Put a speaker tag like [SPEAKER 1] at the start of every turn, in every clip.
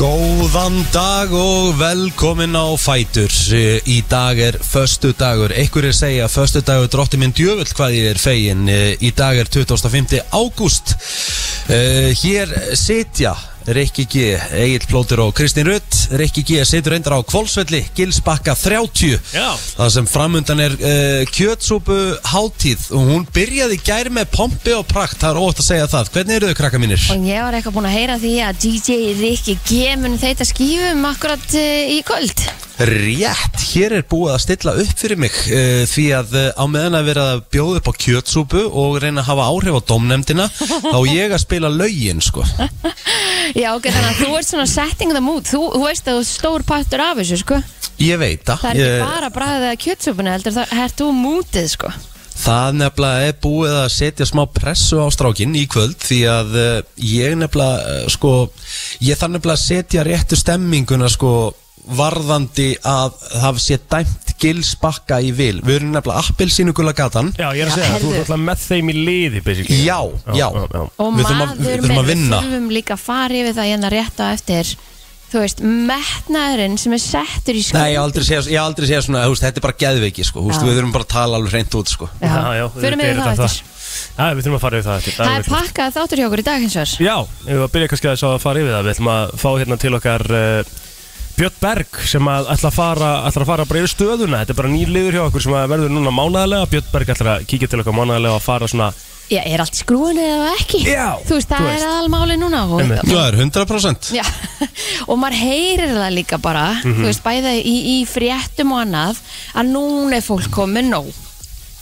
[SPEAKER 1] Góðan dag og velkomin á Fætur Eh, Í dag er föstu dagur Ekkur er segja að föstu dagur drotti minn djöfull hvað ég er fegin Eh, Í dag er 25. ágúst Eh, Hér sitja Rikki G, Egil Plóter og Kristín Rutt Rikki G situr reyndar á Kvolsvelli, Gilsbakka 30
[SPEAKER 2] Já.
[SPEAKER 1] Það sem framundan er uh, kjötsúpu hátíð og hún byrjaði í gær með pompi og prakt, það er ótt að segja það. Hvernig eru þau krakka mínir?
[SPEAKER 3] Og ég var eitthvað búin að heyra því að DJ Rikki G mun þeita skífum akkurat uh, í kvöld.
[SPEAKER 1] Rétt, hér er búið að stilla upp fyrir mig uh, því að uh, á meðan að vera að bjóða upp á kjötsúpu og reyna að hafa áhrif á domnefndina þá á ég að spila lögin sko.
[SPEAKER 3] Já, ok, þannig að þú ert svona setting það mút. Þú, þú veist að þú ert stór partur af þessu, sko.
[SPEAKER 1] Ég veit eh, það.
[SPEAKER 3] Það er ekki
[SPEAKER 1] Ég-
[SPEAKER 3] bara bræðið að kjötsúpuna, heldur það er þú mútið, sko.
[SPEAKER 1] Það nefnilega er búið að setja smá pressu á strákinn í kvöld því að uh, ég nefnilega, uh, sko, ég þarf nefnilega að setja réttu stemminguna, sko, varðandi að það sé dæmt gilsbakka í vil. Við erum nefnilega appelsínugula gatan.
[SPEAKER 2] Já, ég er
[SPEAKER 3] Já,
[SPEAKER 2] að segja, það, þú
[SPEAKER 3] heyrðu.
[SPEAKER 2] ert alltaf með þeim í liði basically.
[SPEAKER 1] Já, já.
[SPEAKER 3] Og
[SPEAKER 1] Við þurfum að- við
[SPEAKER 3] maður
[SPEAKER 1] þurfum að
[SPEAKER 3] með-
[SPEAKER 1] vinna.
[SPEAKER 3] þurfum líka að fara yfir það hérna rétt á eftir. Þú veist, metnaðurinn sem er settur í sko.
[SPEAKER 1] Nei, ég hef aldrei segja, ég hef aldrei segja svona, þú veist, þetta er bara geðveiki, sko, þú veist,
[SPEAKER 3] Já.
[SPEAKER 1] við þurfum bara að tala alveg hreint út, sko.
[SPEAKER 3] Já, fyrir mig það eftir.
[SPEAKER 2] Já, við þurfum að fara yfir það eftir
[SPEAKER 3] Það
[SPEAKER 2] alveg
[SPEAKER 3] er
[SPEAKER 2] rétt.
[SPEAKER 3] pakkað þáttur hjá okkur í dag hins vegar.
[SPEAKER 2] Já, við varum að byrja kannski aðeins á að fara yfir það Við ætlum að fá hérna til okkar uh, Björn Berg sem að ætla að fara ætla að fara bara yfir stöðuna Þetta er bara nýr liður hjá okkur sem að verður núna mánæðarlega Björn Berg ætla að kíkja til okkar mánæðarlega og fara svona
[SPEAKER 3] Já, er allt skrúinu eða ekki?
[SPEAKER 2] Já,
[SPEAKER 3] Þú veist,
[SPEAKER 2] þú
[SPEAKER 3] það
[SPEAKER 2] veist.
[SPEAKER 3] er aðalmáli núna og,
[SPEAKER 2] Einmitt.
[SPEAKER 1] Já, það er 100%.
[SPEAKER 3] Já, og maður heyrir það líka bara, þú veist, bæða í, í fréttum og annað, að núna er fólk komið nóg.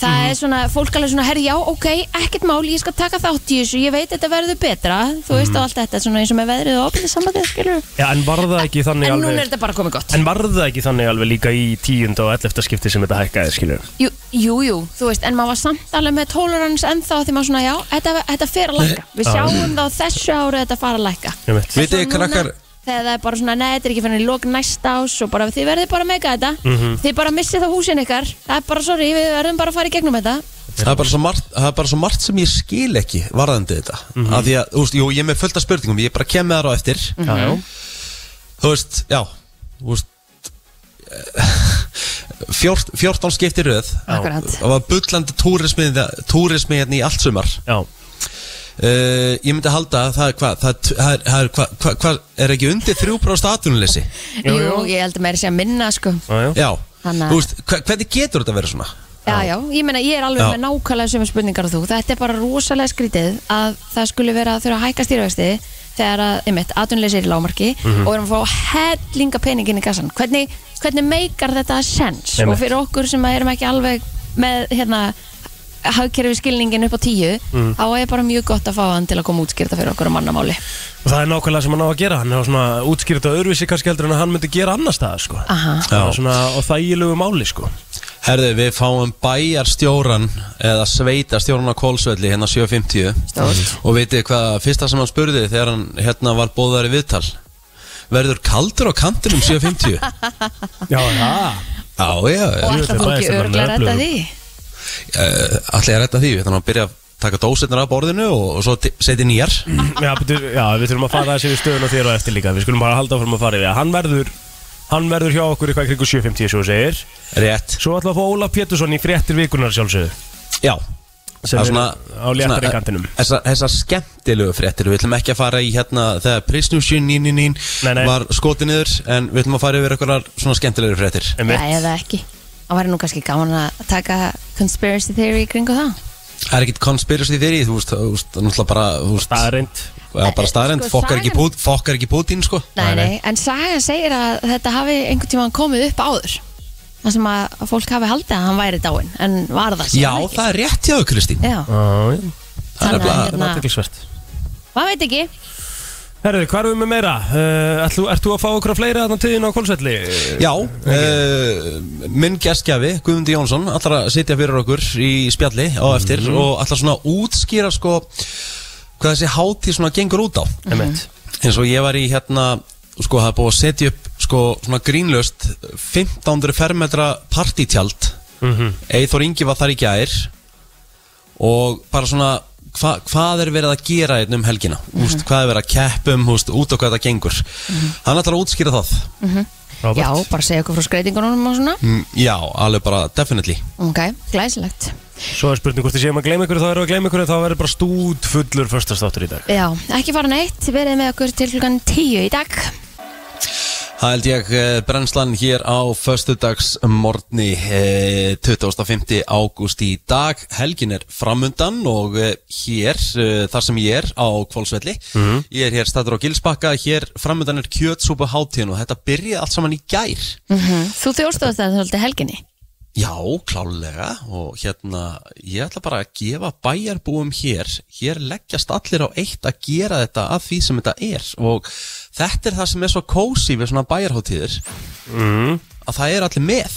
[SPEAKER 3] Það er svona, fólk alveg svona, herri, já, ok, ekkert mál, ég skal taka þátt í þessu, ég veit þetta verður betra, þú veist, og allt þetta, svona eins og með veðrið og opnið sambandið, skilur.
[SPEAKER 2] Já, en var það ekki þannig
[SPEAKER 3] En núna er
[SPEAKER 2] alveg
[SPEAKER 3] þetta bara komið gott.
[SPEAKER 2] En var það ekki þannig alveg líka í tíund og 11. skipti sem þetta hækkaði, skilur
[SPEAKER 3] Jú, jú, jú, þú veist, en maður var samt alveg með tolerance ennþá því maður svona, já, þetta, þetta fer að lækka. Við sjáum það á þessu árið þetta fara að lækka.
[SPEAKER 2] Einmitt.
[SPEAKER 1] Vitið
[SPEAKER 3] Svo
[SPEAKER 1] þið, krakkar,
[SPEAKER 3] núna, Þegar það er bara svona, nei, þetta er ekki fyrir lók næsta ás og bara þið verðið bara að meika þetta Þið bara missið það húsin ykkar Það er bara, sorry, við verðum bara að fara í gegnum þetta
[SPEAKER 1] það er bara svo margt, það er bara svo margt sem ég skil ekki varðandi þetta.
[SPEAKER 2] Mhm.
[SPEAKER 1] Af því að, þú veist, jú, ég er með fullt af spurningum, ég bara kem með þar á eftir.
[SPEAKER 2] Já, já
[SPEAKER 1] Þú veist, já, þú veist, fjort, 14 skipti röð.
[SPEAKER 3] Akkurat.
[SPEAKER 1] Það var bullandi túrismi, túrismi hérna í allt sumar.
[SPEAKER 2] Já,
[SPEAKER 1] Uh, ég myndi halda að það er hvað, það, er- það er, það er hvað, hvað, hvað, er ekki undir 3% atunleysi?
[SPEAKER 2] Jú,
[SPEAKER 3] Jú,
[SPEAKER 2] jú.
[SPEAKER 3] ég held að meira sé að minna, sko
[SPEAKER 2] já, já.
[SPEAKER 1] Já,
[SPEAKER 3] Þannig að-
[SPEAKER 1] þú veist, hva- hvernig getur þetta að vera svona?
[SPEAKER 3] Já, já, ég meina, ég er alveg
[SPEAKER 1] Já.
[SPEAKER 3] með nákvæmlega sömu spurningar og þú Þetta er bara rosalega skrítið að það skulle vera að þurfa að hækka stýravexti þegar að, einmitt, atvinnuleysi er í lágmarki og erum að fá hellinga peningin í kassan Hvernig, hvernig meikar þetta sens?
[SPEAKER 2] Einmitt.
[SPEAKER 3] Og fyrir okkur sem að erum ekki alveg með, hérna, hagkerfi skilningin upp á tíu þá er bara mjög gott að fá hann til að koma útskýrta fyrir okkur um mannamáli
[SPEAKER 2] Og það er nákvæmlega sem hann á að gera, hann er á svona útskýrt á öðruvísi kannski heldur en að hann myndi gera annars staðar sko.
[SPEAKER 3] Aha.
[SPEAKER 2] Það er svona á þægilegu máli sko.
[SPEAKER 1] Herðu, við fáum bæjarstjóran eða sveitarstjóran á Kólsvelli hérna 7.50
[SPEAKER 3] Stórt.
[SPEAKER 1] og veitir hvað, fyrsta sem hann spurði þegar hann hérna var bóðar í viðtal verður kaldur á kantinum 7.50?
[SPEAKER 2] Já, já.
[SPEAKER 1] Já, já, já
[SPEAKER 3] Og
[SPEAKER 2] Jú,
[SPEAKER 3] ætla þú
[SPEAKER 2] þetta er
[SPEAKER 3] ekki
[SPEAKER 2] bæjarstjórnin,
[SPEAKER 3] örglega að redda
[SPEAKER 2] öflugur.
[SPEAKER 3] því?
[SPEAKER 1] Uh, Ætla ég að rætta því, þannig að byrja að taka dósirnar af borðinu og, og svo ti- setja nýjar
[SPEAKER 3] Mm.
[SPEAKER 2] Já, betur, já, við þurfum að fara þessi við stöðun og þér og eftir líka Við skulum bara halda áfram að fara yfir það. Hann verður, hann verður hjá okkur eitthvað kringu 7.50 svo þú segir
[SPEAKER 1] Rétt,
[SPEAKER 2] Svo ætlum við að fá Óla Pétursson í fréttir vikunar sjálfsögðu
[SPEAKER 1] já
[SPEAKER 2] Sem
[SPEAKER 1] Það
[SPEAKER 2] er
[SPEAKER 1] er
[SPEAKER 2] á léttari
[SPEAKER 1] svona, eh,
[SPEAKER 2] kantinum.
[SPEAKER 1] Þessar þessa skemmtilegu fréttir Við ætlum ekki að fara í hérna Þegar Prisnusjön 999
[SPEAKER 2] Nei, nei.
[SPEAKER 1] var skotið niður En við ætlum að fara yfir eitthvað svona skemmtilegu fréttir
[SPEAKER 2] Einmitt.
[SPEAKER 3] Já, eða ekki Það væri nú kannski gaman að taka conspiracy theory í kringu það
[SPEAKER 1] Það er ekkit conspiracy þeirri Þú veist, þú veist, það er náttúrulega bara Þú veist,
[SPEAKER 2] Það er reynd
[SPEAKER 1] það er bara staðrænt
[SPEAKER 3] Sko,
[SPEAKER 1] Fokkar ekki,
[SPEAKER 3] sagan-
[SPEAKER 1] pút, fokkar ekki Putin, sko
[SPEAKER 3] Nei, nei, en sagan segir að þetta hafi einhvern tíma komið upp áður Það sem að að fólk hafi haldið að hann væri dáinn En var það
[SPEAKER 1] Já,
[SPEAKER 3] síðan ekki
[SPEAKER 1] það er rétt hjá þau, Kristín
[SPEAKER 3] Já,
[SPEAKER 1] Það er
[SPEAKER 3] þannig að
[SPEAKER 1] bara
[SPEAKER 2] Það er
[SPEAKER 3] hérna,
[SPEAKER 2] athyglisvert.
[SPEAKER 3] maður veit ekki
[SPEAKER 2] Herðu, hvað erum við með meira? Uh, ætlu, ert þú að fá okkur að fleira þarna tíðin á Kolsvelli?
[SPEAKER 1] Já, uh, minn gæstgjafi Guðmundi Jónsson ætlar að sitja fyrir okkur í spjalli á eftir
[SPEAKER 2] Mhm.
[SPEAKER 1] og ætlar svona að útskýra sko hvað þessi hátíð svona gengur út á
[SPEAKER 2] Einmitt.
[SPEAKER 1] eins og ég var í hérna sko það er búið að setja upp sko svona grínlöst 1500 fermetra partítjald
[SPEAKER 2] Mhm.
[SPEAKER 1] Eithor Ingi var þar í gær og bara svona hva, hvað er verið að gera hérna um helgina
[SPEAKER 2] Mhm.
[SPEAKER 1] úst, hvað er verið að keppum, úst, út á hvað það gengur hann ætlar að útskýra það
[SPEAKER 2] Robert?
[SPEAKER 3] Já, bara segja okkur frá skreitingunum og svona
[SPEAKER 1] mm, já, alveg bara definitely
[SPEAKER 3] Ok, glæsilegt
[SPEAKER 2] Svo er spurning hvort þið séum að gleyma ykkur þá erum við að gleyma ykkur en þá verður bara stúd fullur förstastátur í dag
[SPEAKER 3] Já, ekki fara neitt, verið með okkur til klukkan 10 í dag
[SPEAKER 1] Það held ég eh, brennslan hér á eh, föstudagsmorni 25. ágúst í dag. Helgin er framundan og eh, hér, eh, þar sem ég er á Kvolsvelli, ég er hér stættur á Gilsbakka, hér framundan er kjötsúpa hátíðin og þetta byrjaði allt saman í gær.
[SPEAKER 3] Þú þjóðstofast það svolítið helginni
[SPEAKER 1] Já, klálega og hérna, ég ætla bara að gefa bæjarbúum hér, hér leggjast allir á eitt að gera þetta að því sem þetta er og þetta er það sem er svo kósi við svona bæjarháttíðir að það er allir með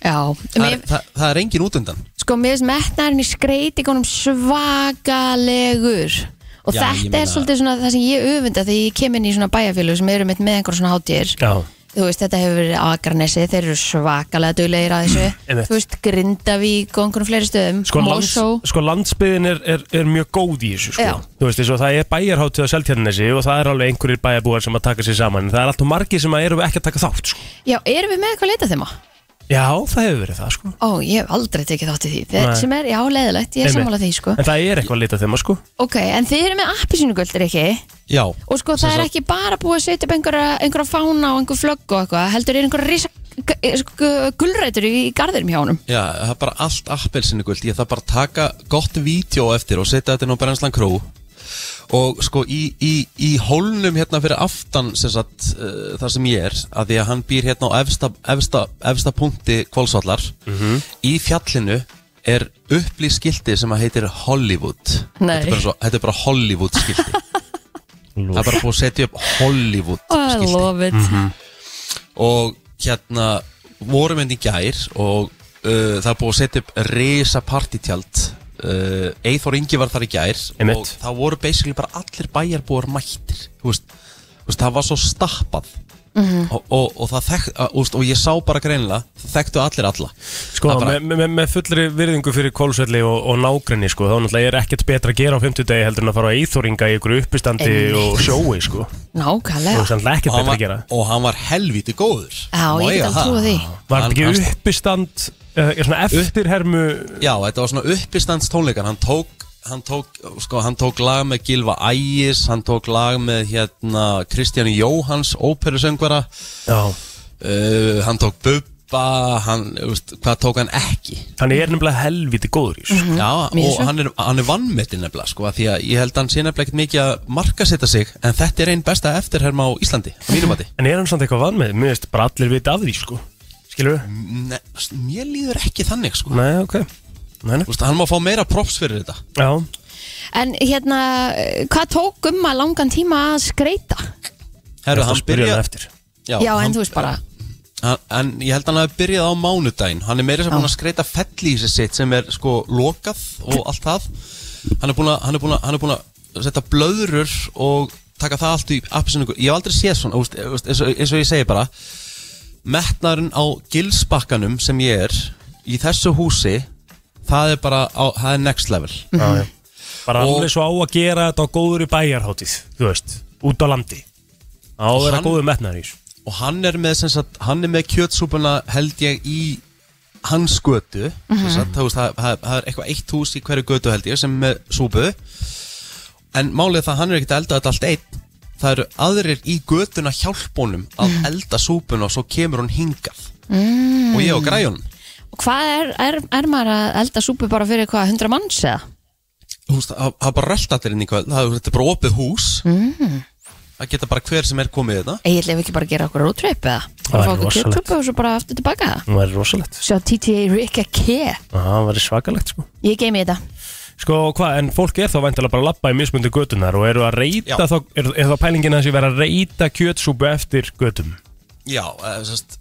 [SPEAKER 3] Já,
[SPEAKER 1] það
[SPEAKER 3] mér,
[SPEAKER 1] er, það, það er engin útundan
[SPEAKER 3] sko mér finnst metnaðurinn í skreitingunum svakalegur og
[SPEAKER 1] Já, ég
[SPEAKER 3] þetta
[SPEAKER 1] meina-
[SPEAKER 3] er svolítið svona það sem ég öfunda þegar ég kem inn í svona bæjarfélög sem eru mitt með einhverjum svona hátíðir
[SPEAKER 2] Já,
[SPEAKER 3] þú veist, þetta hefur verið á Akranesi þeir eru svakalega duglegir að þessu
[SPEAKER 2] Mm, Einmitt.
[SPEAKER 3] þú veist, Grindavík og einhvern fleiri stöðum
[SPEAKER 2] sko, lands,
[SPEAKER 3] Mosó.
[SPEAKER 2] sko landsbyðin er, er, er mjög góð í þessu sko.
[SPEAKER 3] Já.
[SPEAKER 2] Þú veist, eins og það er bæjarháttuð á Seltjarnesi og það er alveg einhverjir bæjarbúar sem að taka sér saman en það er alltaf margir sem að eru ekki að taka þátt sko.
[SPEAKER 3] Já, erum við með eitthvað að leita þeim á?
[SPEAKER 2] Já, það hefur verið það sko.
[SPEAKER 3] Ó, ég hef aldrei tekið þátt í því Þeir,
[SPEAKER 2] Nei.
[SPEAKER 3] sem er, já, leiðilegt, ég er
[SPEAKER 2] Einmitt.
[SPEAKER 3] sammála því sko.
[SPEAKER 2] En það er eitthvað að lita þeim sko.
[SPEAKER 3] Ok, en þið eru með appisínugöldir ekki
[SPEAKER 1] Já,
[SPEAKER 3] og sko það er ekki bara búið að setja upp einhverja, einhverja fána og einhver flögg og eitthvað heldur er einhverja risa gu- sko, gulrætur í garðurum hjá honum
[SPEAKER 1] já, það er bara allt appelsinu guld, ég þarf bara að taka gott vídeo eftir og setja þetta inn á brennslan krú og sko í, í, í hólnum hérna fyrir aftan sem sagt, uh, þar sem ég er að því að hann býr hérna á efsta, efsta, efsta punkti kválsvallar í fjallinu er upplýst skildi sem að heitir Hollywood
[SPEAKER 3] Nei.
[SPEAKER 1] þetta er, bara svo, þetta er bara Hollywood skildi það er bara búið að setja upp Hollywood
[SPEAKER 3] I
[SPEAKER 1] skildi
[SPEAKER 3] love it
[SPEAKER 1] og hérna vorum henni í gær og uh, það er búið að setja upp risa partítjald uh, Eithor Ingi var þar í gær
[SPEAKER 2] Einmitt.
[SPEAKER 1] og það voru basically bara allir bæjarbúar mættir þú veist, þú veist, það var svo stappað og, og, og, það þekkt, uh, úst, og ég sá bara greinilega það þekktu allir alla
[SPEAKER 2] Sko,
[SPEAKER 1] Það bara-
[SPEAKER 2] með, með, með fullri virðingu fyrir kólsvelli og, og nágrinni, sko, þá náttúrulega er ekkert betra að gera á 50 degi heldur en að fara á íþóringa í ykkur uppistandi
[SPEAKER 3] Einmitt.
[SPEAKER 2] og sjói, sko. Það
[SPEAKER 3] Nákvæmlega
[SPEAKER 2] er náttúrulega
[SPEAKER 1] og
[SPEAKER 2] ekkert
[SPEAKER 1] hann,
[SPEAKER 2] betra að gera.
[SPEAKER 1] var, og hann var helvíti góður
[SPEAKER 3] Já, ég
[SPEAKER 1] Má
[SPEAKER 3] get
[SPEAKER 1] eiga
[SPEAKER 3] alveg
[SPEAKER 1] það.
[SPEAKER 3] trúið því
[SPEAKER 2] Var
[SPEAKER 1] Hann-
[SPEAKER 2] þetta
[SPEAKER 1] hann-
[SPEAKER 2] ekki uppistand, uh, er svona eftirhermu,
[SPEAKER 1] Já, þetta var svona uppistandstónleikar hann tók, hann tók, sko, hann tók lag með Gilva Ægis, hann tók lag með hérna Kristján Jóhans óperusöngvara,
[SPEAKER 2] já,
[SPEAKER 1] uh, hann tók Bubba hann, þú veist, hvað tók hann ekki
[SPEAKER 2] hann er nefnilega helviti góður í, sko.
[SPEAKER 1] Já,
[SPEAKER 3] mér
[SPEAKER 1] og
[SPEAKER 3] svo.
[SPEAKER 1] hann er, hann er vannmetinn nefnilega, sko, af því að ég held að hann sé nefnilega ekkert mikið að marka sig, en þetta er einn besta eftirherma á Íslandi, að mínum að
[SPEAKER 2] En er hann samt eitthvað vann með, mér veist, bara allir vita af því, sko. Skilur við?
[SPEAKER 1] því Mér líður ekki þannig, sko
[SPEAKER 2] Nei, ok. Nei, nei.
[SPEAKER 1] Vist, Hann má fá meira props fyrir þetta
[SPEAKER 2] Já.
[SPEAKER 3] En hérna, eh, hvað tók um að langan tíma að skreita?
[SPEAKER 1] Herru, hann byrja,
[SPEAKER 2] eftir.
[SPEAKER 3] Já, en
[SPEAKER 1] hann-
[SPEAKER 3] þú veist bara
[SPEAKER 1] Hann- En ég held að hann hafi byrjað á mánudaginn Hann er meira sem búin að skreita felli í sér sitt sem er sko lokað og allt það Hann er búin að, hann er búin að, hann er búin að setja blöðrur og taka það allt í appisunningu Ég hef aldrei séð svona, úst, úst, eins, og, eins og ég segi bara Metnarinn á gilsbakkanum sem ég er í þessu húsi það er bara, á, það er next level
[SPEAKER 2] Já, já. Bara
[SPEAKER 1] Og-
[SPEAKER 2] alveg svo á að gera þetta á góður í bæjarháttíð, þú veist, út á landi. Á að vera
[SPEAKER 1] Hann-
[SPEAKER 2] góður metnaður í þessu.
[SPEAKER 1] og hann er með, sem sagt, hann er með kjötsúpuna held ég í hans götu sem sagt, það, það, það, það er eitthvað eitt hús í hverju götu held ég sem er með súpu en málið er það að hann er ekkert að elda þetta allt einn það eru aðrir í götuna hjálpunum að elda súpuna og svo kemur hún hingað mm. og ég
[SPEAKER 3] Mhm.
[SPEAKER 1] og græjunum
[SPEAKER 3] Og hvað er, er, er maður að elda súpu bara fyrir hvað, 100 manns eða?
[SPEAKER 1] Þú veist, það það er bara rölt allir inn í hvað það þetta er bara opið hús mm. það geta bara hver sem er komið hérna. þetta
[SPEAKER 3] Egil, ef ekki bara að gera okkur roadtrip eða?
[SPEAKER 2] Það
[SPEAKER 3] Bara fá
[SPEAKER 2] væri
[SPEAKER 3] okkur
[SPEAKER 2] rosalegt.
[SPEAKER 3] kjötsúpu og svo bara aftur tilbaka það?
[SPEAKER 2] Það væri rosalegt.
[SPEAKER 3] Sjá TTA Rikka K
[SPEAKER 2] Það væri svakalegt sko
[SPEAKER 3] Ég geymi þetta
[SPEAKER 2] Sko hvað, en fólk er þá væntalega bara að lappa í mismundu götunar og eru að reyta
[SPEAKER 1] Já.
[SPEAKER 2] þá, er, er þá pælingin að þessi vera að reyta kjötsúpu eftir götum
[SPEAKER 1] Já, eh, eða, sérst,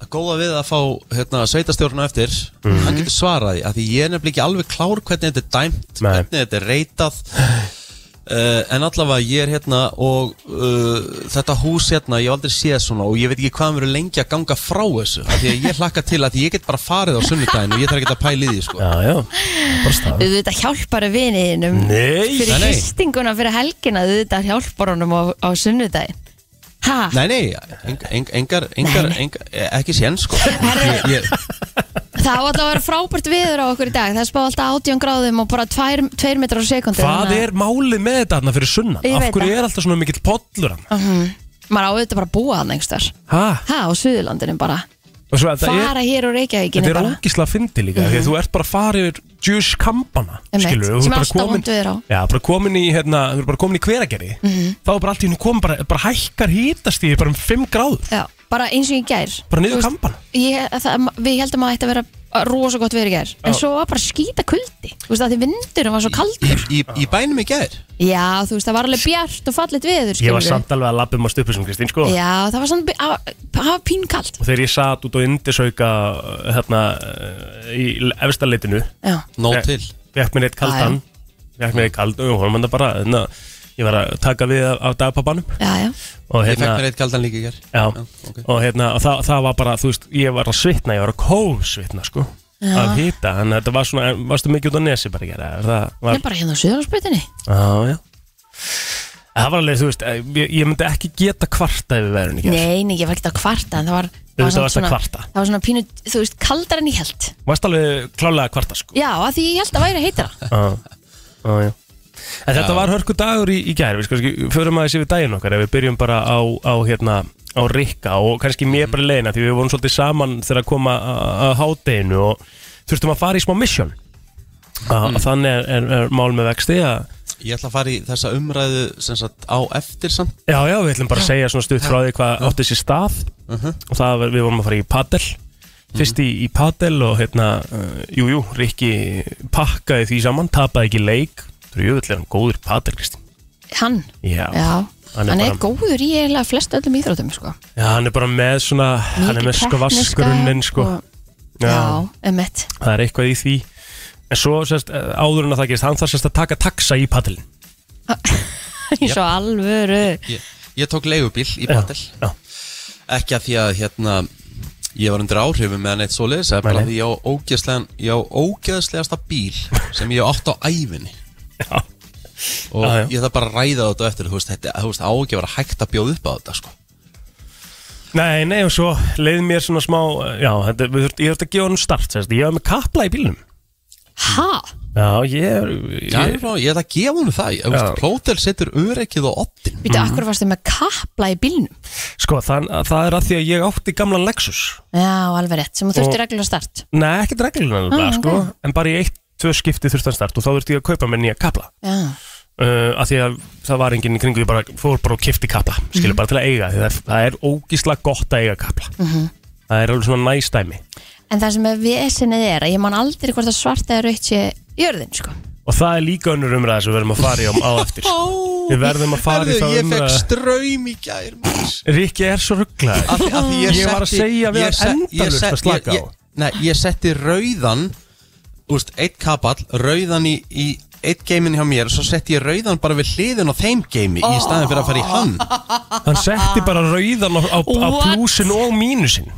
[SPEAKER 1] að góða við að fá hérna, sveitastjórna eftir
[SPEAKER 2] Mhm.
[SPEAKER 1] hann getur svaraði, að því ég er nefnilega ekki alveg klár hvernig þetta er dæmt
[SPEAKER 2] Nei.
[SPEAKER 1] hvernig þetta er reytað Uh, en allavega ég er hérna og uh, þetta hús hérna ég hef aldrei séð svona og ég veit ekki hvað mér er lengi að ganga frá þessu af því að ég hlakka til að ég get bara farið á sunnudaginn og ég þarf ekki að pæla í því sko.
[SPEAKER 2] Já, já, bara stað
[SPEAKER 3] auðvitað hjálpar að viniðinum
[SPEAKER 2] Nei,
[SPEAKER 1] Nei,
[SPEAKER 3] fyrir
[SPEAKER 1] nei.
[SPEAKER 3] hristinguna fyrir helgina auðvitað hjálpar honum á, á sunnudaginn ha,
[SPEAKER 1] Nei, nei, eng, eng, engar, engar,
[SPEAKER 3] Nei, nei.
[SPEAKER 1] engar ekki sén sko. ég, ég,
[SPEAKER 3] það var alltaf að vera frábært viður á okkur í dag það spáði alltaf 18 gráðum og bara 2 metrar á sekundi
[SPEAKER 2] Hvað er málið með þetta hérna fyrir sunnan?
[SPEAKER 3] Ég
[SPEAKER 2] Af
[SPEAKER 3] veit
[SPEAKER 2] hverju
[SPEAKER 3] það.
[SPEAKER 2] er alltaf svona mikill pollur hann?
[SPEAKER 3] Mhm. maður á auðvitað bara að búa hann einhvers
[SPEAKER 2] Hæ?
[SPEAKER 3] ha, á Suðurlandinu bara
[SPEAKER 2] Og svo þetta er,
[SPEAKER 3] fara hér úr
[SPEAKER 2] þetta
[SPEAKER 3] Reykjavíkinu
[SPEAKER 2] er
[SPEAKER 3] bara Mhm.
[SPEAKER 2] ógísla að fyndi líka Því að þú ert bara að fara yfir Jewish kampana
[SPEAKER 3] Einmitt,
[SPEAKER 2] Skilur,
[SPEAKER 3] sem er alltaf vond veður á.
[SPEAKER 2] Já, bara komin í, hérna, þú er bara komin í hveragerði
[SPEAKER 3] Mhm.
[SPEAKER 2] Þá er bara allt í hennu komin, bara, bara hækkar hítast í bara um 5 gráður
[SPEAKER 3] Já, bara eins og ég gær
[SPEAKER 2] Bara niður
[SPEAKER 3] Þú veist,
[SPEAKER 2] kampana.
[SPEAKER 3] ég, það, Við heldum að þetta vera rosa gott verið gær En
[SPEAKER 2] Já.
[SPEAKER 3] svo var bara skýta kuldi Þú veist að því vindurinn var svo kaldur
[SPEAKER 1] í, í bænum í gær
[SPEAKER 3] Já, þú veist, það var alveg bjart og fallit veður
[SPEAKER 2] Ég var
[SPEAKER 3] skilurðu.
[SPEAKER 2] samt alveg að labba um að stupu sem Kristín sko
[SPEAKER 3] Já, það var samt, að það var pínkalt
[SPEAKER 2] Og þegar ég satt út á indisauka hérna í efstaleitinu
[SPEAKER 3] Já,
[SPEAKER 1] Nóg til
[SPEAKER 2] Vekk mér eitt kaldan Vekk mér eitt kaldan og hún var bara hérna, Ég var að taka við af, af dagpappanum
[SPEAKER 3] já, já
[SPEAKER 2] Og
[SPEAKER 1] Ég fekk mér
[SPEAKER 2] hérna
[SPEAKER 1] eitt kaldan líka í gær
[SPEAKER 2] Já,
[SPEAKER 1] ok.
[SPEAKER 2] og hérna, og það, það var bara, þú veist, ég var að svitna, ég var að kófsvitna, sko,
[SPEAKER 3] Já.
[SPEAKER 2] af hýta, þannig að þetta var svona, en varstu mikið út á nesi bara ekki, það
[SPEAKER 3] Ég
[SPEAKER 2] var,
[SPEAKER 3] er bara hérna á Suðurlandsbrytinni
[SPEAKER 2] já, já, það var alveg, þú veist, eh, ég, ég myndi ekki geta kvarta yfir verðin ekki,
[SPEAKER 3] Nei, nei, ég var ekkert að kvarta En það var,
[SPEAKER 2] Þú veist, það
[SPEAKER 3] samt
[SPEAKER 2] varst að
[SPEAKER 3] svona-
[SPEAKER 2] kvarta.
[SPEAKER 3] Það var svona pínu, þú veist, kaldar en ég held
[SPEAKER 2] varst alveg klálega að kvarta, sko,
[SPEAKER 3] Já, að því ég held að væri heitra
[SPEAKER 2] já, já, já. En þetta var hörku dagur í, í gær, við sko, ekki- förum aðeins yfir daginn okkar, ef við byrjum bara á, á hérna, á Rikka og kannski mér bara leina, því við vorum svolítið saman þegar að koma að- að hádeginu og þurftum að fara í smá misjón. Mm. Þannig er, er, er mál með vexti að
[SPEAKER 1] Ég ætla að fara í þessa umræðu sem sagt á eftir samt
[SPEAKER 2] Já, já, við ætlum bara að segja svona stutt frá því hvað átti sér stað
[SPEAKER 1] Uh-huh.
[SPEAKER 2] og það var, við vorum að fara í padel
[SPEAKER 1] Mhm.
[SPEAKER 2] fyrst í, í padel og hérna uh, jú, jú, Rikki pakkaði því saman, tapaði ekki leik þú eru jöfnvel er hann góður í padel, Kristi
[SPEAKER 3] Hann,
[SPEAKER 2] Já,
[SPEAKER 3] já,
[SPEAKER 2] hann
[SPEAKER 3] hann
[SPEAKER 2] er
[SPEAKER 3] er,
[SPEAKER 2] bara-
[SPEAKER 3] góður í eiginlega flest öllum íþrótum, sko
[SPEAKER 2] Já, hann er bara með svona hann er með sko vaskurunnin, sko
[SPEAKER 3] Já, já emmett
[SPEAKER 2] það er eitthvað í því en svo, sérst, eh, áður en að það gerist hann þarf sérst að taka taxa í padelin
[SPEAKER 3] Í svo alvöru
[SPEAKER 1] Ég, ég tók leigubíl í patel
[SPEAKER 2] Já,
[SPEAKER 1] Ekki að því að hérna Ég var undir áhrifum með neitt svoleiðis Það er bara
[SPEAKER 2] Nei, nei.
[SPEAKER 1] því ég á ógeðslegan Ég á ógeðslegasta bíl Sem ég á átt á æfinni
[SPEAKER 2] já,
[SPEAKER 1] Og
[SPEAKER 2] Já, já.
[SPEAKER 1] ég þarf bara að ræða þetta á eftir Þú veist, þetta þú veist, á ekki að vera hægt að bjóða upp á þetta sko.
[SPEAKER 2] Nei, nei, og svo leið mér svona smá, eh, já, þetta, við þurft, ég þurfti að gefa hann start, sérst, ég var með kapla í bílnum.
[SPEAKER 3] Ha?
[SPEAKER 2] Já, ég er, ég,
[SPEAKER 1] Já, ég, ég ætla að gefa hún það Ég- þú veist,
[SPEAKER 2] Já.
[SPEAKER 1] Plótel setur öryggið á oddin
[SPEAKER 2] Mhm.
[SPEAKER 3] Býtu, mm. akkur varstu með kapla í bílnum?
[SPEAKER 2] sko, það, það er að því að ég átti gamlan Lexus.
[SPEAKER 3] Já, alveg rétt, sem þú
[SPEAKER 2] Og-
[SPEAKER 3] þurfti reglulega start
[SPEAKER 2] Nei, ekkert reglulega, nefnilega,
[SPEAKER 3] Ah,
[SPEAKER 2] sko, en bara í eitt, tvö skipti þurfti hann start og þá þurfti ég að kaupa mér nýja kapla.
[SPEAKER 3] Já,
[SPEAKER 2] Uh, að því að það var enginn í kringu, ég bara fór bara og kifti kapla, skilur
[SPEAKER 3] Mhm.
[SPEAKER 2] bara til að eiga, því það, það er ógísla gott að eiga kapla. Það er alveg svona næstæmi.
[SPEAKER 3] mhm. en það sem er vesinnið er að ég man aldrei hvort að svarta eða rautt sé jörðin, sko
[SPEAKER 2] Og það er líka önnur umræða sem við verðum að fara í á, á eftir. Við verðum að fara í
[SPEAKER 1] Herðu,
[SPEAKER 2] þá
[SPEAKER 1] Ég fekk
[SPEAKER 2] umræða.
[SPEAKER 1] ströym í gær maður.
[SPEAKER 2] Rikki er svo rugglaður.
[SPEAKER 1] Af því- af því
[SPEAKER 2] Ég var að
[SPEAKER 1] setti-
[SPEAKER 2] segja
[SPEAKER 1] ég
[SPEAKER 2] við hann
[SPEAKER 1] se- ég
[SPEAKER 2] endalaust
[SPEAKER 1] se-
[SPEAKER 2] að slaka
[SPEAKER 1] ég-
[SPEAKER 2] á.
[SPEAKER 1] ég- Nei, ég setti rauðan úst, Eitt kapall, rauðan í, í Eitt geimin hjá mér Svo setti ég rauðan bara við hliðin á þeim geimi Í staðin fyrir að fara í hann
[SPEAKER 2] Hann setti bara rauðan á, á, á
[SPEAKER 3] What?
[SPEAKER 2] plúsin og mínusin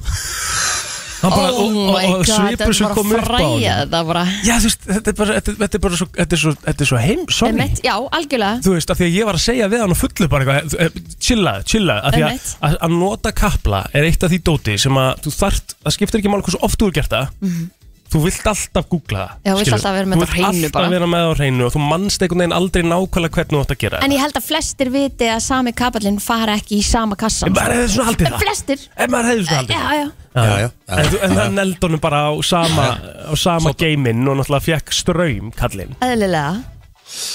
[SPEAKER 2] Hann bara
[SPEAKER 3] Oh
[SPEAKER 2] og, og,
[SPEAKER 3] my
[SPEAKER 2] og
[SPEAKER 3] god,
[SPEAKER 2] svipur sem kom upp á
[SPEAKER 3] fræja
[SPEAKER 2] hann
[SPEAKER 3] þetta bara
[SPEAKER 2] Já þú veist, þetta er bara, þetta, þetta er bara svo, þetta er svo, þetta er svo heim, sorry
[SPEAKER 3] Emmett, já, algjörlega
[SPEAKER 2] Þú veist, af því að ég var að segja við hann og fullu bara eitthvað eh, eh, Chillaðu, chillaðu, af því að,
[SPEAKER 3] Einmitt.
[SPEAKER 2] að, að nota kapla er eitt af því dóti sem að þú þart, það skiptir ekki máli hversu oft þú er gert það
[SPEAKER 4] Mhm.
[SPEAKER 2] Þú vilt alltaf googla það
[SPEAKER 3] Já, þú vilt
[SPEAKER 2] skilurðu.
[SPEAKER 3] alltaf vera með
[SPEAKER 2] Þú
[SPEAKER 3] þetta á
[SPEAKER 2] vilt
[SPEAKER 3] hreinu
[SPEAKER 2] alltaf
[SPEAKER 3] bara.
[SPEAKER 2] vera með það á hreinu og þú manst einhvern veginn aldrei nákvæmlega hvernig þú átt að gera
[SPEAKER 3] En ég held að flestir viti að sami kapallinn fara ekki í sama kassan
[SPEAKER 2] En maður hefði svona haldið það
[SPEAKER 3] Flestir,
[SPEAKER 2] En maður hefði svona haldið það
[SPEAKER 3] já, já
[SPEAKER 1] Já, já, já.
[SPEAKER 2] En, þú- en það neld honum bara á sama, á sama geiminn og náttúrulega fekk ströym kallinn.
[SPEAKER 3] Eðlilega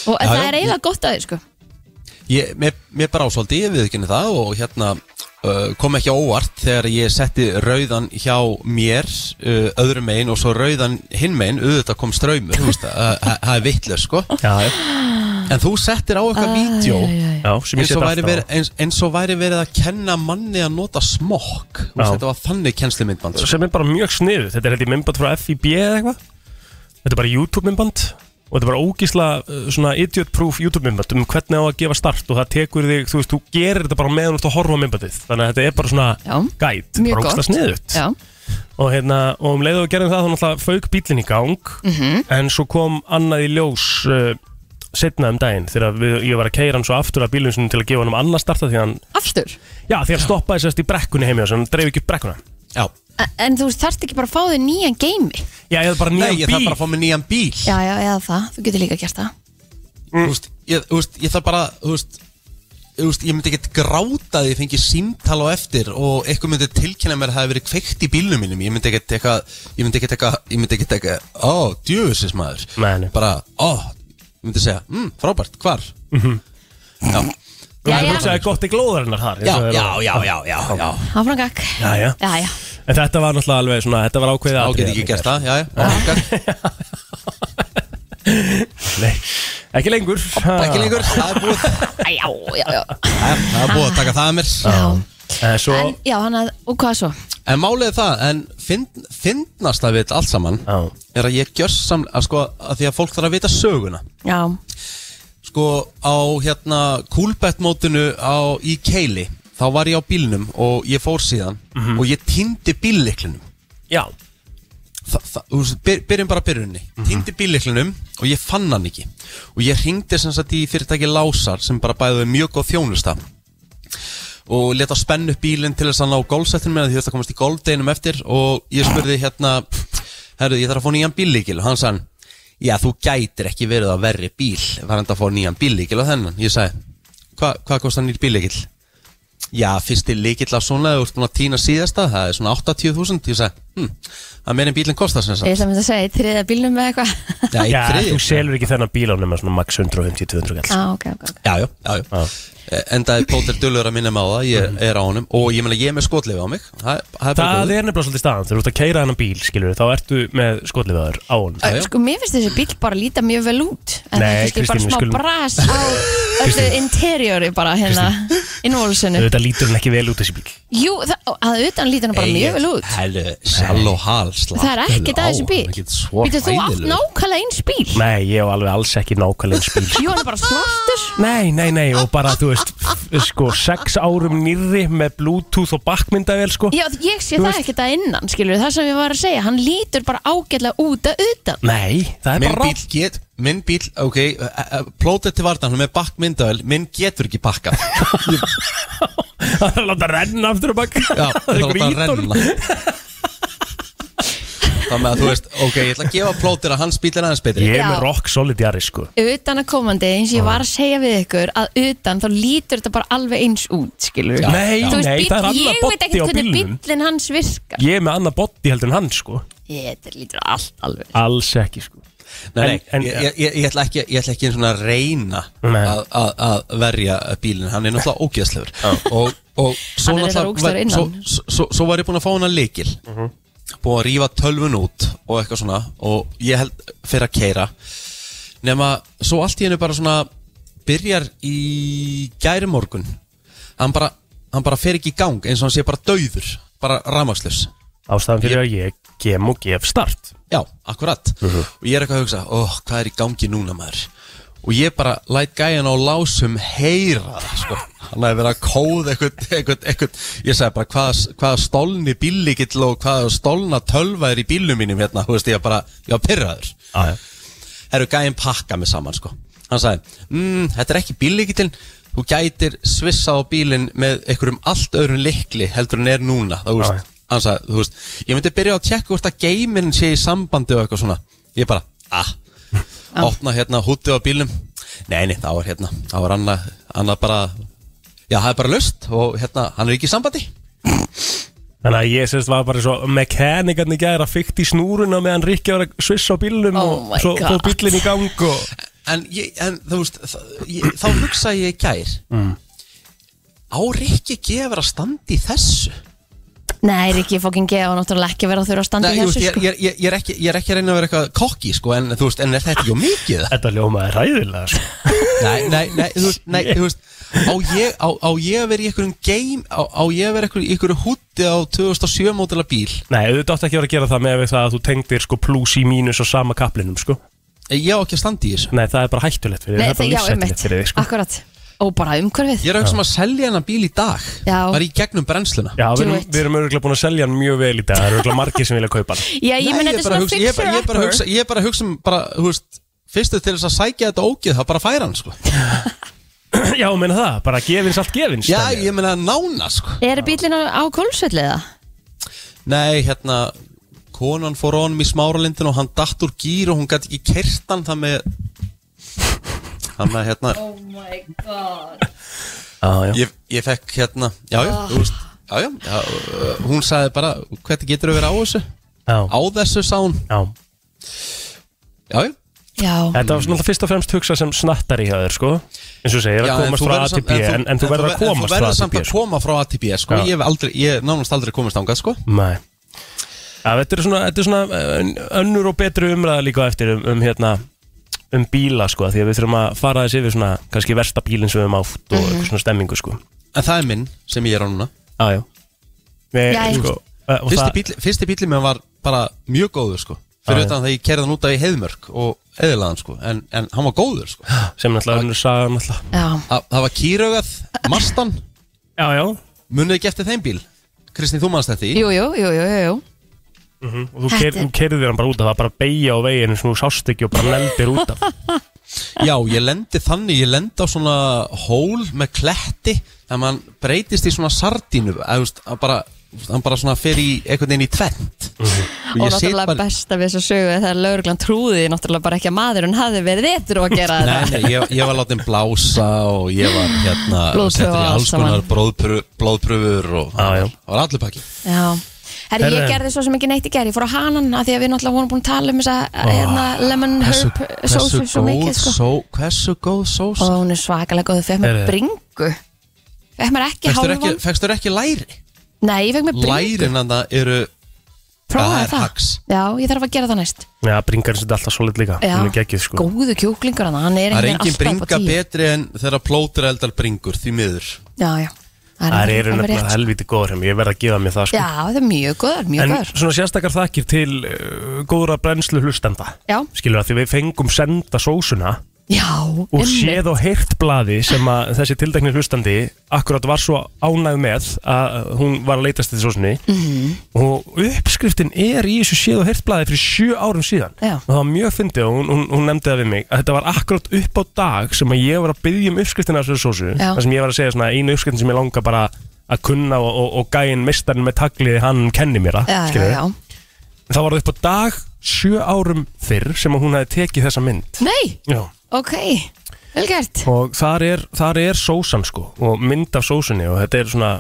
[SPEAKER 3] Og
[SPEAKER 1] Já,
[SPEAKER 3] það
[SPEAKER 1] já.
[SPEAKER 3] er eiginlega gott að þið sko
[SPEAKER 1] ég, mér, mér bara ásvaldi, ég viðkynni það og hérna uh, kom ekki á óvart þegar ég setti rauðan hjá mér uh, öðrum megin og svo rauðan hinn megin, auðvitað kom ströymur þú veist, það það- það er vitlega sko
[SPEAKER 2] Já, já,
[SPEAKER 1] en þú settir á eitthvað vídeo
[SPEAKER 2] já, sem ég
[SPEAKER 1] eins
[SPEAKER 2] set
[SPEAKER 1] og, væri
[SPEAKER 2] alltaf
[SPEAKER 1] verið,
[SPEAKER 2] verið,
[SPEAKER 1] eins, eins og væri verið að kenna manni að nota smokk Þú veist,
[SPEAKER 2] Já.
[SPEAKER 1] þetta var þannig kennslumyndband sko.
[SPEAKER 2] sem er bara mjög sniðu. Þetta er hætti myndband frá FIB eða eitthvað. Þetta er bara YouTube myndband. og þetta er bara ógísla uh, svona idiot-proof YouTube-myndband um hvernig á að gefa start og það tekur þig, þú veist, þú gerir þetta bara meðan þú ert að horfa á myndbandið þannig að þetta er bara svona
[SPEAKER 3] Já.
[SPEAKER 2] gæt,
[SPEAKER 3] Mjög
[SPEAKER 2] bara ógísla
[SPEAKER 3] gott.
[SPEAKER 2] sniðut
[SPEAKER 3] Já,
[SPEAKER 2] og, hérna, og um leið og við gerðum það þá náttúrulega fauk bílinn í gang
[SPEAKER 3] Mhm.
[SPEAKER 2] -hmm. en svo kom annað í ljós uh, setna um daginn þegar við, ég var að keira hann svo aftur að bílum sinni til að gefa hann um annað starta því að hann,
[SPEAKER 3] aftur
[SPEAKER 2] já, því að hann stoppaði sérst í brekkunni heimja og hann dreif ekki upp brekkuna
[SPEAKER 1] Já,
[SPEAKER 3] En- En þú þarft ekki bara að fá þig nýjan geimi
[SPEAKER 2] Já, ég hef bara
[SPEAKER 1] nei,
[SPEAKER 2] nýjan
[SPEAKER 1] ég þarf
[SPEAKER 2] bíl
[SPEAKER 1] bara að fá mig nýjan bíl
[SPEAKER 3] Já, já, eða það, þú getur líka gert það
[SPEAKER 2] Mm.
[SPEAKER 1] Þú veist, ég, þú veist, ég þarf bara, þú veist Þú veist, ég myndi ekkert gráta að ég fengi símtal á eftir og eitthvað myndi tilkynna mér að það hefði verið kveikt í bílnum mínum ég myndi ekkert eitthvað, ég myndi ekkert eitthvað ég myndi ekkert eitthvað, ó, djöfusis maður
[SPEAKER 2] Nei, nei.
[SPEAKER 1] bara, ó, ég myndi segja mm, frábært, hvar? Mhm. já.
[SPEAKER 3] Já,
[SPEAKER 2] Það
[SPEAKER 3] já.
[SPEAKER 2] er Mhm. hugsaði gott í glóðarinnar þar
[SPEAKER 1] Já, já, já, já, já, já
[SPEAKER 3] Áframgak
[SPEAKER 2] Já, já.
[SPEAKER 3] já, já.
[SPEAKER 2] En þetta var náttúrulega alveg svona, þetta var ákveðið
[SPEAKER 1] þá
[SPEAKER 2] atriði
[SPEAKER 1] get ég ekki
[SPEAKER 2] þarna,
[SPEAKER 1] gert það, já, já, áfram,
[SPEAKER 2] Nei, ekki lengur
[SPEAKER 1] ekki lengur það er búið,
[SPEAKER 3] Æ, já, já, já.
[SPEAKER 1] Jæja, það er búið að taka það að mér
[SPEAKER 3] já.
[SPEAKER 2] Eh, Svo,
[SPEAKER 3] En, já, hann að, og hvað svo?
[SPEAKER 1] En málið er það, en finn- fyndnast að við allt saman
[SPEAKER 2] Já.
[SPEAKER 1] er að ég gjör samlega, að sko, að því að fólk þarf að vita söguna
[SPEAKER 3] Já,
[SPEAKER 1] Sko, á hérna kúlbettmótinu á, í Keili þá var ég á bílnum og ég fór síðan og ég týndi bílliklinum
[SPEAKER 2] Mhm. já, Mhm.
[SPEAKER 1] Þa, það, þú veist, byr, byrjum bara byrjunni mm -hmm. týndi bílliklinum og ég fann hann ekki og ég hringdi sem sagt í fyrirtæki Lásar sem bara bæði mjög góð þjónusta og leta spennu upp bílinn til þess að ná gólsettinu minna því þurfti að komast í góldeginum eftir og ég spurði hérna herru ég þarf að fá nýjan bíllíkil og hann sagði já þú gætir ekki verið að verri bíl var hann að fá nýjan bíllíkil og þennan ég sagði "Hva- hvað kostar nýr bíllíkil Já, fyrsti líkill af svona, þú ert búin að týna síðasta, það er svona 80.000, ég sagði, hm, það er meira en bílinn kostar sem sagt.
[SPEAKER 3] ég ætla að mynda að segja, í þriða bílnum með eitthvað
[SPEAKER 1] Já, í
[SPEAKER 2] já
[SPEAKER 1] þriðju.
[SPEAKER 2] þú selur ekki þennan bíl á nema svona max 150-200 gæls
[SPEAKER 3] Já, ok, ok, ok
[SPEAKER 1] Já, já, já, já. Eh, Enda er Póter Dullur að minna mig á það, ég er á honum og ég meina ég er með skotlefi á mig. Það, það er bara
[SPEAKER 2] Mhm. Það
[SPEAKER 1] góður.
[SPEAKER 2] er nefnilega svolítið staðan, þegar þú ert að keira hennan bíl, skilur þá ertu með skotliföður á hún
[SPEAKER 1] Já, já.
[SPEAKER 3] Sko, mér finnst þessi bíl bara líta mjög vel út En
[SPEAKER 2] Nei,
[SPEAKER 3] það er kannski bara
[SPEAKER 2] Kristín, við
[SPEAKER 3] smá
[SPEAKER 2] skulum-
[SPEAKER 3] bras á öllu interiori bara hérna Innvólusinu
[SPEAKER 2] Þetta lítur hann ekki vel út þessi bíl
[SPEAKER 3] Jú, það, að utan líta hann bara mjög vel út
[SPEAKER 1] Hellu, sjálf og hal, slapp.
[SPEAKER 3] Það er ekkert að þessi bíl Býtu,
[SPEAKER 1] Býtu
[SPEAKER 3] þú átt nákvæmlega eins bíl
[SPEAKER 2] Nei, ég á alveg alls ekki nákvæmlega eins bíl
[SPEAKER 3] Jú, hann er bara svartur
[SPEAKER 2] Nei, nei, nei, og bara, þú veist, sko, sex árum nýrri með bluetooth og bakkmyndavél, sko
[SPEAKER 3] Já, ég sé
[SPEAKER 2] Þú
[SPEAKER 3] það
[SPEAKER 2] veist-
[SPEAKER 3] ekkert að innan, skilur það sem ég var að segja, hann lítur bara ágætlega út að utan
[SPEAKER 2] Nei, það er
[SPEAKER 1] Minn
[SPEAKER 2] bara
[SPEAKER 1] bíl get, minn bíl, ok, plótið til vartan, hún er með bakkmyndavel, minn getur ekki bakkað.
[SPEAKER 2] Það er að láta renna aftur og bakka
[SPEAKER 1] Já, það er bara að renna Þannig að þú veist, ok, ég ætla að gefa plótir að hans bíl er aðeins betri
[SPEAKER 2] Ég er
[SPEAKER 3] Já.
[SPEAKER 2] með rock solid jari sko
[SPEAKER 3] utan að komandi, eins og ég var að segja við ykkur að utan þá lítur þetta bara alveg eins út, skilur
[SPEAKER 2] Já, Nei,
[SPEAKER 3] Þú veist,
[SPEAKER 2] nei,
[SPEAKER 3] bíll-
[SPEAKER 2] það er annað
[SPEAKER 3] Ég veit
[SPEAKER 2] boddi á
[SPEAKER 3] ekkert hvernig
[SPEAKER 2] bílnum.
[SPEAKER 3] bíllinn hans virkar
[SPEAKER 2] Ég er með annað boddi heldur en hann sko
[SPEAKER 3] Ég, þetta lítur allt alveg
[SPEAKER 2] Alls ekki sko
[SPEAKER 1] Nei, nei,
[SPEAKER 2] En- en-
[SPEAKER 1] ég, ég, ég, ætla ekki, ég ætla ekki einu svona að reyna
[SPEAKER 2] Nei.
[SPEAKER 1] að, að, að verja bílinn Hann er náttúrulega ógeðslegur Og, og svo,
[SPEAKER 3] Hann er reyndar
[SPEAKER 1] náttúrulega
[SPEAKER 3] ógeðslegur
[SPEAKER 1] var-
[SPEAKER 3] innan.
[SPEAKER 1] svo, svo, svo, svo var ég búin að fá hana likil
[SPEAKER 2] Mhm.
[SPEAKER 1] Búin að rífa tölvun út og eitthvað svona Og ég held fyrir að keira Nefna, svo allt í hennu bara svona Byrjar í gæri morgun Hann bara, hann bara fer ekki í gang eins og hann sé bara dauður Bara ramagsljus
[SPEAKER 2] Ástæðan fyrir að ég gem og gef start
[SPEAKER 1] Já, akkurat
[SPEAKER 2] uh-huh.
[SPEAKER 1] Og ég er eitthvað að hugsa, óh, hvað er í gangi núna maður Og ég bara læt gæjan á lásum heyra það, sko Hann hefði verið að kóða eitthvað, eitthvað, eitthvað Ég sagði bara, hvaða, hvaða stolni bílíkill og hvaða stolna tölva er í bílnum mínum hérna Þú veist, ég var bara, ég var pyrraður
[SPEAKER 2] Já, já.
[SPEAKER 1] Herru, gæjan pakka mig saman, sko Hann sagði, mmm, þetta er ekki bílíkillin Þú gætir svissa á bílinn með einhverjum allt öðrun likli heldur en er núna, þú
[SPEAKER 2] Já, já.
[SPEAKER 1] veist hann sagði, þú veist, ég myndi byrja á að tjekka hvort að geiminn sé í sambandi og eitthvað svona ég bara, ah, opna hérna hútið á bílnum nei, nei, það var hérna, það var annað annað bara, já, það er bara löst og hérna, hann er ekki í sambandi
[SPEAKER 2] Þannig að ég sérst var bara svo mekanikarni gæra fyrkt í snúruna meðan Rikki var að svissa á bílnum
[SPEAKER 3] Oh my
[SPEAKER 2] og svo fór
[SPEAKER 3] God.
[SPEAKER 2] bílinn í gang og
[SPEAKER 1] en, ég, en þú veist, það, ég, þá hugsa ég í gær mm. á Rikki gefur að standi í þessu
[SPEAKER 3] Nei, Rikki fókin geða og náttúrulega ekki verið að þurfa að standa í
[SPEAKER 1] Nei, ég, veist,
[SPEAKER 3] þessu
[SPEAKER 1] ég,
[SPEAKER 3] sko.
[SPEAKER 1] ég, ég, ég, er ekki, ég er ekki að reyna að vera eitthvað kokki sko, en þú veist, en er þetta ekki á mikið
[SPEAKER 2] Þetta ljómaði ræðilega sko
[SPEAKER 1] Nei, nei, nei, þú veist, nei, þú veist Á ég, á, á ég að vera í einhverjum game Á, á ég að vera í einhverju hútti á 2007 mótala bíl
[SPEAKER 2] Nei, þú átt ekki að vera að gera það með við það að þú tengdir sko plus í mínus á sama kaplinum sko
[SPEAKER 1] ég á ekki að standa í þessu
[SPEAKER 2] Nei, það er bara hættulegt fyrir
[SPEAKER 3] Nei,
[SPEAKER 2] þig,
[SPEAKER 3] já,
[SPEAKER 2] það er bara
[SPEAKER 3] einmitt,
[SPEAKER 2] lífsættulegt fyrir þig sko.
[SPEAKER 3] akkurat Og bara umhverfið
[SPEAKER 1] Ég er að hugsa um að selja hennar bíl í dag
[SPEAKER 3] Já.
[SPEAKER 1] Bara í gegnum brennsluna
[SPEAKER 2] Já,
[SPEAKER 3] Do
[SPEAKER 2] við erum,
[SPEAKER 3] it.
[SPEAKER 2] við erum örgulega búin að selja hann mjög vel í dag Það eru örgulega margir sem vilja kaupa hann
[SPEAKER 3] Já, ég menn
[SPEAKER 1] Nei,
[SPEAKER 3] þetta er
[SPEAKER 1] bara
[SPEAKER 3] svona
[SPEAKER 1] hugsa- ég er bara-
[SPEAKER 3] fixer
[SPEAKER 1] ég er bara að
[SPEAKER 3] upper
[SPEAKER 1] hugsa- Ég er bara að hugsa um bara, þú veist Fyrstu til þess að sækja þetta ógið Það bara færa hann, sko
[SPEAKER 2] Já, meina það, bara gefins allt gefins
[SPEAKER 1] Já,
[SPEAKER 2] dæmi.
[SPEAKER 1] ég meina nána, sko
[SPEAKER 3] Er bílinn á, á kólsvelli eða?
[SPEAKER 1] Nei, hérna Konan fór á honum í smáralindin og hann datt úr gýr og hún gæti ekki kertan það með Þannig að hérna
[SPEAKER 2] Já, já.
[SPEAKER 1] ég, ég fekk hérna Já, já, þú veist Já, já, já uh, hún sagði bara Hvernig getur þú verið á þessu? Á
[SPEAKER 2] Já,
[SPEAKER 1] þessu, sá hún
[SPEAKER 2] já.
[SPEAKER 1] Já, já
[SPEAKER 3] Já,
[SPEAKER 2] Þetta var svona alltaf fyrst og fremst hugsa sem snattar í hjá þér sko. eins og segir
[SPEAKER 1] Já,
[SPEAKER 2] að komast frá
[SPEAKER 1] verður samt-
[SPEAKER 2] ATB en, en þú verður að
[SPEAKER 1] ver- en
[SPEAKER 2] komast
[SPEAKER 1] Þú
[SPEAKER 2] frá
[SPEAKER 1] verður samt
[SPEAKER 2] ATB
[SPEAKER 1] að
[SPEAKER 2] sko.
[SPEAKER 1] koma frá ATB sko.
[SPEAKER 2] Já.
[SPEAKER 1] Ég hef aldrei, ég hef nánast aldrei komist ángað sko.
[SPEAKER 2] Nei Já, þetta er svona, þetta er svona eh, önnur og betri umræða líka á eftir um, um hérna um bíla sko, því að við þurfum að fara þessi yfir svona, kannski versta bílinn sem við höfum átt og
[SPEAKER 3] Mhm.
[SPEAKER 2] eitthvað svona stemmingu sko
[SPEAKER 1] En það er minn sem ég er á núna
[SPEAKER 2] Já, já Við,
[SPEAKER 3] Jæja.
[SPEAKER 2] sko, eh, og
[SPEAKER 1] Fyrsti
[SPEAKER 2] það-
[SPEAKER 1] bíll- Fyrsti bíli minn var bara mjög góður sko. Fyrir
[SPEAKER 2] Já, já.
[SPEAKER 1] utan þegar ég kerði hann út af í heiðmörk og eðilaðan sko. en, en hann var góður sko.
[SPEAKER 2] sem náttúrulega önnur saga náttúrulega
[SPEAKER 3] já
[SPEAKER 1] Þa, Það var kýraugað, mastan
[SPEAKER 2] Já, já
[SPEAKER 1] Munið ekki eftir þeim bíl Kristín, þú manst þetta í
[SPEAKER 3] Jú, jú, jú, jú, jú, jú.
[SPEAKER 2] Og þú keir-
[SPEAKER 3] Þetta-
[SPEAKER 2] þú keirðir hann bara út af það, bara beigja á veginn sem þú sást ekki og bara lendir út af
[SPEAKER 1] Já, ég lendi þannig, ég lendi á svona hól með kletti þannig að mann breytist í svona sardínu eða, þú veist, að bara, hann bara svona fer í einhvern veginn í tvent
[SPEAKER 2] Mhm.
[SPEAKER 3] Og náttúrulega besta við þessu sögu er þegar lauruglan trúði því náttúrulega bara ekki að maðurinn hafði verið eittur að gera
[SPEAKER 1] Nei,
[SPEAKER 3] þetta
[SPEAKER 1] nei, ég, ég var látin blása og ég var hérna
[SPEAKER 3] Blóðprufa
[SPEAKER 1] settur í
[SPEAKER 3] og
[SPEAKER 1] alls
[SPEAKER 3] allt
[SPEAKER 1] konar
[SPEAKER 3] saman.
[SPEAKER 1] blóðpröfur, blóðpröfur og
[SPEAKER 2] Já, já.
[SPEAKER 1] það var allir pakki
[SPEAKER 3] Já Herri, ég
[SPEAKER 2] Herri.
[SPEAKER 3] gerði svo sem ekki neitt í gerð, ég fór á hanan að því að við náttúrulega vorum búin að tala um þessa hérna, lemon herb sósu svo mikið sko.
[SPEAKER 1] só, hversu góð sós
[SPEAKER 3] og hún er svakalega góð, fekk mér
[SPEAKER 2] Herri.
[SPEAKER 3] bringu fekk mér ekki
[SPEAKER 1] Fekstur ekki,
[SPEAKER 3] hálfan
[SPEAKER 1] fekkstu ekki læri?
[SPEAKER 3] nei, ég fekk mér bringu,
[SPEAKER 1] Lærin hann eru það
[SPEAKER 3] prófaði
[SPEAKER 1] er
[SPEAKER 3] það
[SPEAKER 1] hacks.
[SPEAKER 3] já, ég þarf að gera það næst
[SPEAKER 2] Já, bringar sem þetta alltaf svolít líka,
[SPEAKER 3] já,
[SPEAKER 2] hún er geggið sko
[SPEAKER 3] góðu kjúklingur hann, hann er
[SPEAKER 1] Það er
[SPEAKER 3] einhvern
[SPEAKER 1] engin
[SPEAKER 3] veginn alltaf upp
[SPEAKER 1] bringa
[SPEAKER 3] á tíu
[SPEAKER 1] betri en þegar plótur eldar bringur, því miður
[SPEAKER 3] já, já,
[SPEAKER 2] Það
[SPEAKER 3] alveg-
[SPEAKER 2] eru
[SPEAKER 3] alveg
[SPEAKER 2] nefnilega
[SPEAKER 3] rétt.
[SPEAKER 2] helvítið góður hjá mér, ég verð að gefa mér það sko
[SPEAKER 3] já, það er mjög góður, mjög
[SPEAKER 2] En
[SPEAKER 3] góður
[SPEAKER 2] svona sérstakar þakkir til uh, góðra brennslu hlustenda
[SPEAKER 3] Já.
[SPEAKER 2] Skilur að því við fengum senda sósuna
[SPEAKER 3] já,
[SPEAKER 2] Úr
[SPEAKER 3] einmitt.
[SPEAKER 2] séð og heyrt blaði sem að þessi tildæknir hlustandi Akkurat var svo ánægð með að hún var að leitast þetta sósunni -hmm.
[SPEAKER 3] Mm.
[SPEAKER 2] Og uppskriftin er í þessu séð og heyrt blaði fyrir sjö árum síðan
[SPEAKER 3] Já.
[SPEAKER 2] Og það var mjög fyndið og hún, hún, hún nefndi það við mig Að þetta var akkurat upp á dag sem að ég var að byggja um uppskriftina af þessu sósu
[SPEAKER 3] Já.
[SPEAKER 2] Það sem ég var að segja svona einu uppskriftin sem ég langa bara að kunna og, og, og gæinn mistarinn með tagliði hann kenni mér það
[SPEAKER 3] já, já,
[SPEAKER 2] skilurðu.
[SPEAKER 3] já
[SPEAKER 2] Það var upp á dag sjö árum fyrr sem að hún hafi tekið þessa mynd
[SPEAKER 3] nei,
[SPEAKER 2] Já.
[SPEAKER 3] ok, vel gert
[SPEAKER 2] Og þar er, þar er sósan sko og mynd af sósunni og þetta er svona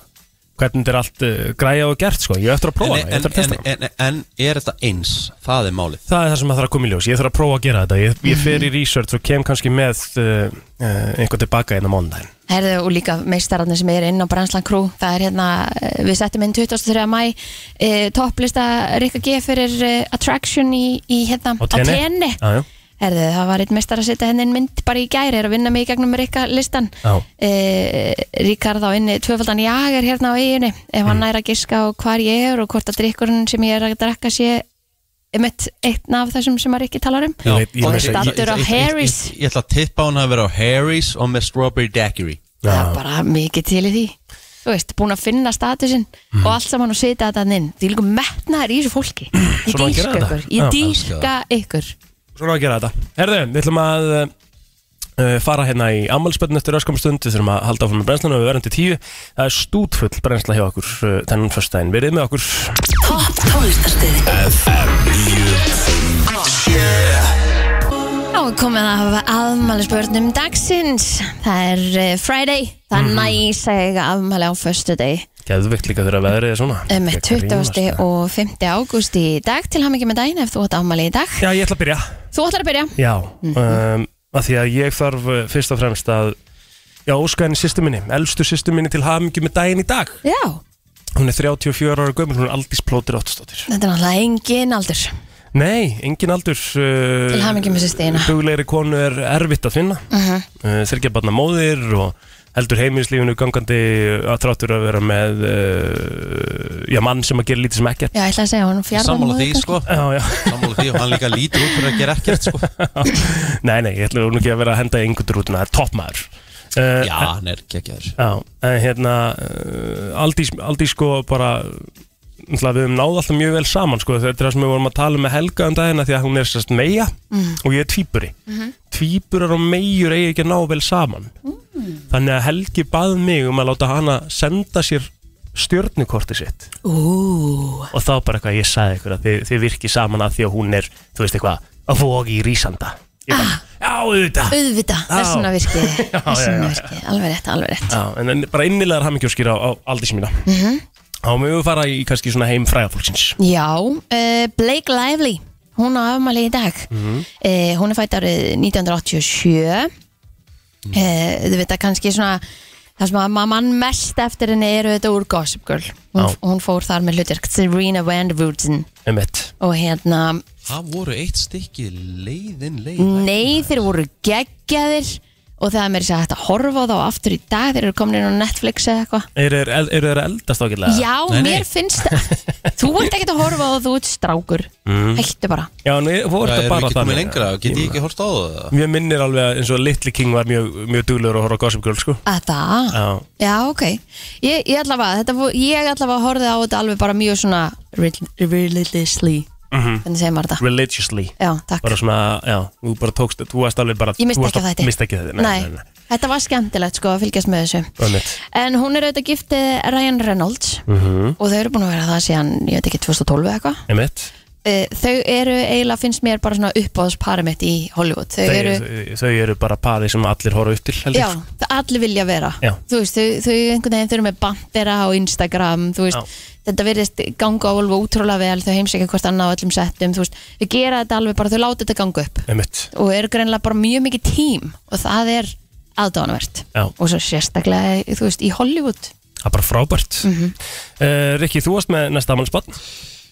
[SPEAKER 2] hvernig þetta er allt uh, græja og gert sko ég á eftir að prófa
[SPEAKER 1] en,
[SPEAKER 2] það, ég á
[SPEAKER 1] en,
[SPEAKER 2] eftir að
[SPEAKER 1] en,
[SPEAKER 2] testa það
[SPEAKER 1] en, en er þetta eins? Það er málið Mhm.
[SPEAKER 2] Það er það sem að það er að koma í ljós, ég þarf að prófa að gera þetta ég, ég fer í research og kem kannski með uh, uh, einhvern tilbaka inn á mánudaginn
[SPEAKER 3] Herðu, og líka meistararnir sem er inn á Branslan Crew, það er hérna eh, við settum inn 23. mæ e, topplista Rikka G fyrir e, Attraction í, í hérna
[SPEAKER 2] Á Tene. Já, já.
[SPEAKER 3] Herðu, það var einn meistar að setja henni inn mynd bara í gæri, er að vinna mig í gegnum Rikka listan
[SPEAKER 2] Já.
[SPEAKER 3] e, Ríkard á inni tvöfaldan jager hérna á eiginu ef hann nær að giska á hvar ég er og hvort að drikkurinn sem ég er að drekka sé einmitt einn af þessum sem að Rikki talar um
[SPEAKER 2] Ég veit- ég
[SPEAKER 1] Og
[SPEAKER 2] veit-
[SPEAKER 1] þessi-
[SPEAKER 3] Staddur
[SPEAKER 1] ég-
[SPEAKER 3] á
[SPEAKER 1] ég- ég-
[SPEAKER 3] Harry's.
[SPEAKER 1] ég- Ég ætla að tippa hún að vera á Harry's og með Strawberry Daiquiri
[SPEAKER 3] það er bara mikið til í því þú veist, búin að finna statusinn og allt saman og setja þetta inn því líka metnaður í þessu fólki ég
[SPEAKER 2] Mm. Svona að gera
[SPEAKER 3] dýrka
[SPEAKER 2] þetta.
[SPEAKER 3] ykkur,
[SPEAKER 2] Já,
[SPEAKER 3] ég dýrka ykkur
[SPEAKER 2] Svona á að gera þetta Herðu, við ætlum að uh, fara hérna í ammálspennu eftir öskum stund Við þurfum að halda áfram með brennslunum og við verðum til tíu Það er stútfull brennsla hjá okkur uh, þennan föstudaginn Verið með okkur
[SPEAKER 5] Topp tónlistarstöð
[SPEAKER 3] Já, komið að hafa afmæli spörnum dagsins það er eh, Friday það er
[SPEAKER 2] Mhm.
[SPEAKER 3] mm. næs að eiga afmæli á föstu deg
[SPEAKER 2] Geðvikt líka þegar veðrið er svona
[SPEAKER 3] með 20. og 5. ágúst í dag til hann ekki með daginn ef þú átt afmæli í dag
[SPEAKER 2] Já, ég ætla að byrja
[SPEAKER 3] þú ætlar að byrja
[SPEAKER 2] Já, um, að því að ég þarf uh, fyrst og fremst að Já, óska henni sýstu minni, elstu sýstu minni til hamingju með daginn í dag
[SPEAKER 3] Já,
[SPEAKER 2] Hún er 34 ára gömur, hún er aldís plótir áttstóttir
[SPEAKER 3] þetta er náttúrulega engin aldur
[SPEAKER 2] Nei, engin aldur uh,
[SPEAKER 3] Til hamingju með systurina. Mhm.
[SPEAKER 2] Huglegri konu er erfitt að finna uh -huh. uh, Þyrkja barna Eh, móðir og heldur heimilislífinu gangandi að þráttur að vera með uh, já, mann sem að gera lítið sem ekkert
[SPEAKER 3] Já, ég ætla að segja honum fjarðan
[SPEAKER 1] Sammála því sko
[SPEAKER 2] Já, já,
[SPEAKER 1] Sammála því og hann líka lítur út fyrir að gera ekkert sko
[SPEAKER 2] nei, nei, ég ætla nú ekki að vera að henda yngutur út, það er toppmaður uh,
[SPEAKER 1] Já, hann er geggjaður
[SPEAKER 2] Já, en hérna uh, Aldís, Aldís sko bara náttúrulega við höfum náð alltaf mjög vel saman sko, þetta er það sem við vorum að tala með Helga um dagina því að hún er sérst meia og ég er tvíburi tvíburar og meiur eigi ekki að ná vel saman þannig að Helgi bað mig um að láta hana senda sér stjörnukorti sitt
[SPEAKER 5] Ú,
[SPEAKER 2] og þá bara eitthvað ég sagði ykkur að þið, þið virki saman að því að hún er, þú veist eitthvað að vogi í rísanda Ég bara, Já, auðvitað
[SPEAKER 3] Auðvita, þessuna virkið
[SPEAKER 2] já, já.
[SPEAKER 3] Þessuna virkið, alveg rétt, alveg rétt Mhm.
[SPEAKER 2] Já, en, en bara innilegar hamingjóskir á, á aldis mína mm -hmm. Þá mögum við fara í kannski svona heim fræðafólksins
[SPEAKER 3] Já, uh, Blake Lively Hún á afmæli í dag mm
[SPEAKER 2] Mhm.
[SPEAKER 3] Hún er fætt árið 1987
[SPEAKER 2] Mhm.
[SPEAKER 3] mm. Þú veit að kannski svona Það sem að mann mest eftir henni eru þetta úr Gossip Girl Hún,
[SPEAKER 2] Já.
[SPEAKER 3] hún fór þar með hlutverk Serena Van Woodsen
[SPEAKER 2] Um eitt
[SPEAKER 3] Og hérna,
[SPEAKER 1] Það voru eitt stykki leiðin leið
[SPEAKER 3] Mm. Nei, þeir voru geggjaðir og það er mér að þetta horfa á þá aftur í dag þeir eru komin inn á Netflix eða eitthvað
[SPEAKER 2] Eru þeir el- eru þeir að eldast ákveðlega?
[SPEAKER 3] Já,
[SPEAKER 1] Nei, nei.
[SPEAKER 3] mér finnst það Þú ert ekkert að horfa á það, þú ert strákur
[SPEAKER 2] Mm.
[SPEAKER 3] Hættu bara
[SPEAKER 2] Mhm. Já, en við vorum
[SPEAKER 1] Það
[SPEAKER 2] þetta
[SPEAKER 1] er
[SPEAKER 2] bara
[SPEAKER 1] ekki komið lengra, get ég ekki hort á það
[SPEAKER 2] Mér minnir alveg að eins og Little King var mjög, mjög duglur að horfa á Gossip Girl sko
[SPEAKER 3] að það
[SPEAKER 2] Já,
[SPEAKER 3] Já, ok Ég, ég allavega, þetta, vo- ég allavega horfið á þetta alveg bara mjög svona rel- religiously Hvernig segir maður þetta?
[SPEAKER 2] Mhm. religiously
[SPEAKER 3] Já, takk
[SPEAKER 2] Bara svona, já, þú bara tókst, þú varst alveg bara
[SPEAKER 3] Ég misti
[SPEAKER 2] þú varst
[SPEAKER 3] ekki
[SPEAKER 2] að-
[SPEAKER 3] af þetta
[SPEAKER 2] mist ekki þetta, nei, nei, nei,
[SPEAKER 3] Þetta var skemmtilegt sko að fylgjast með þessu
[SPEAKER 2] nei. Einmitt.
[SPEAKER 3] En hún er auðvitað giftið Ryan Reynolds
[SPEAKER 2] Mhm.
[SPEAKER 3] og þau eru búin að vera það síðan, ég veit ekki, 2012 eða eitthvað
[SPEAKER 2] Einmitt.
[SPEAKER 3] Eh, þau eru eiginlega finnst mér bara svona uppáðspari mitt í Hollywood þau,
[SPEAKER 2] Þau,
[SPEAKER 3] eru,
[SPEAKER 2] þau, þau eru bara parið sem allir horfa upp til heldur.
[SPEAKER 3] já, það allir vilja vera
[SPEAKER 2] Já.
[SPEAKER 3] þú veist, þau, þau einhvern veginn þau eru með bandera á Instagram, þú veist þetta virðist ganga á alveg útrúlega vel þau heimsækja hvort annað á öllum settum þú veist, þau gera þetta alveg bara, þau láta þetta ganga upp
[SPEAKER 2] Einmitt.
[SPEAKER 3] og eru greinlega bara mjög mikið tím og það er aðdánavert
[SPEAKER 2] Já.
[SPEAKER 3] og svo sérstaklega, þú veist, í Hollywood
[SPEAKER 2] Það er bara frábært mm
[SPEAKER 3] Mhm.
[SPEAKER 2] Rikki, þú varst með næsta amannsbann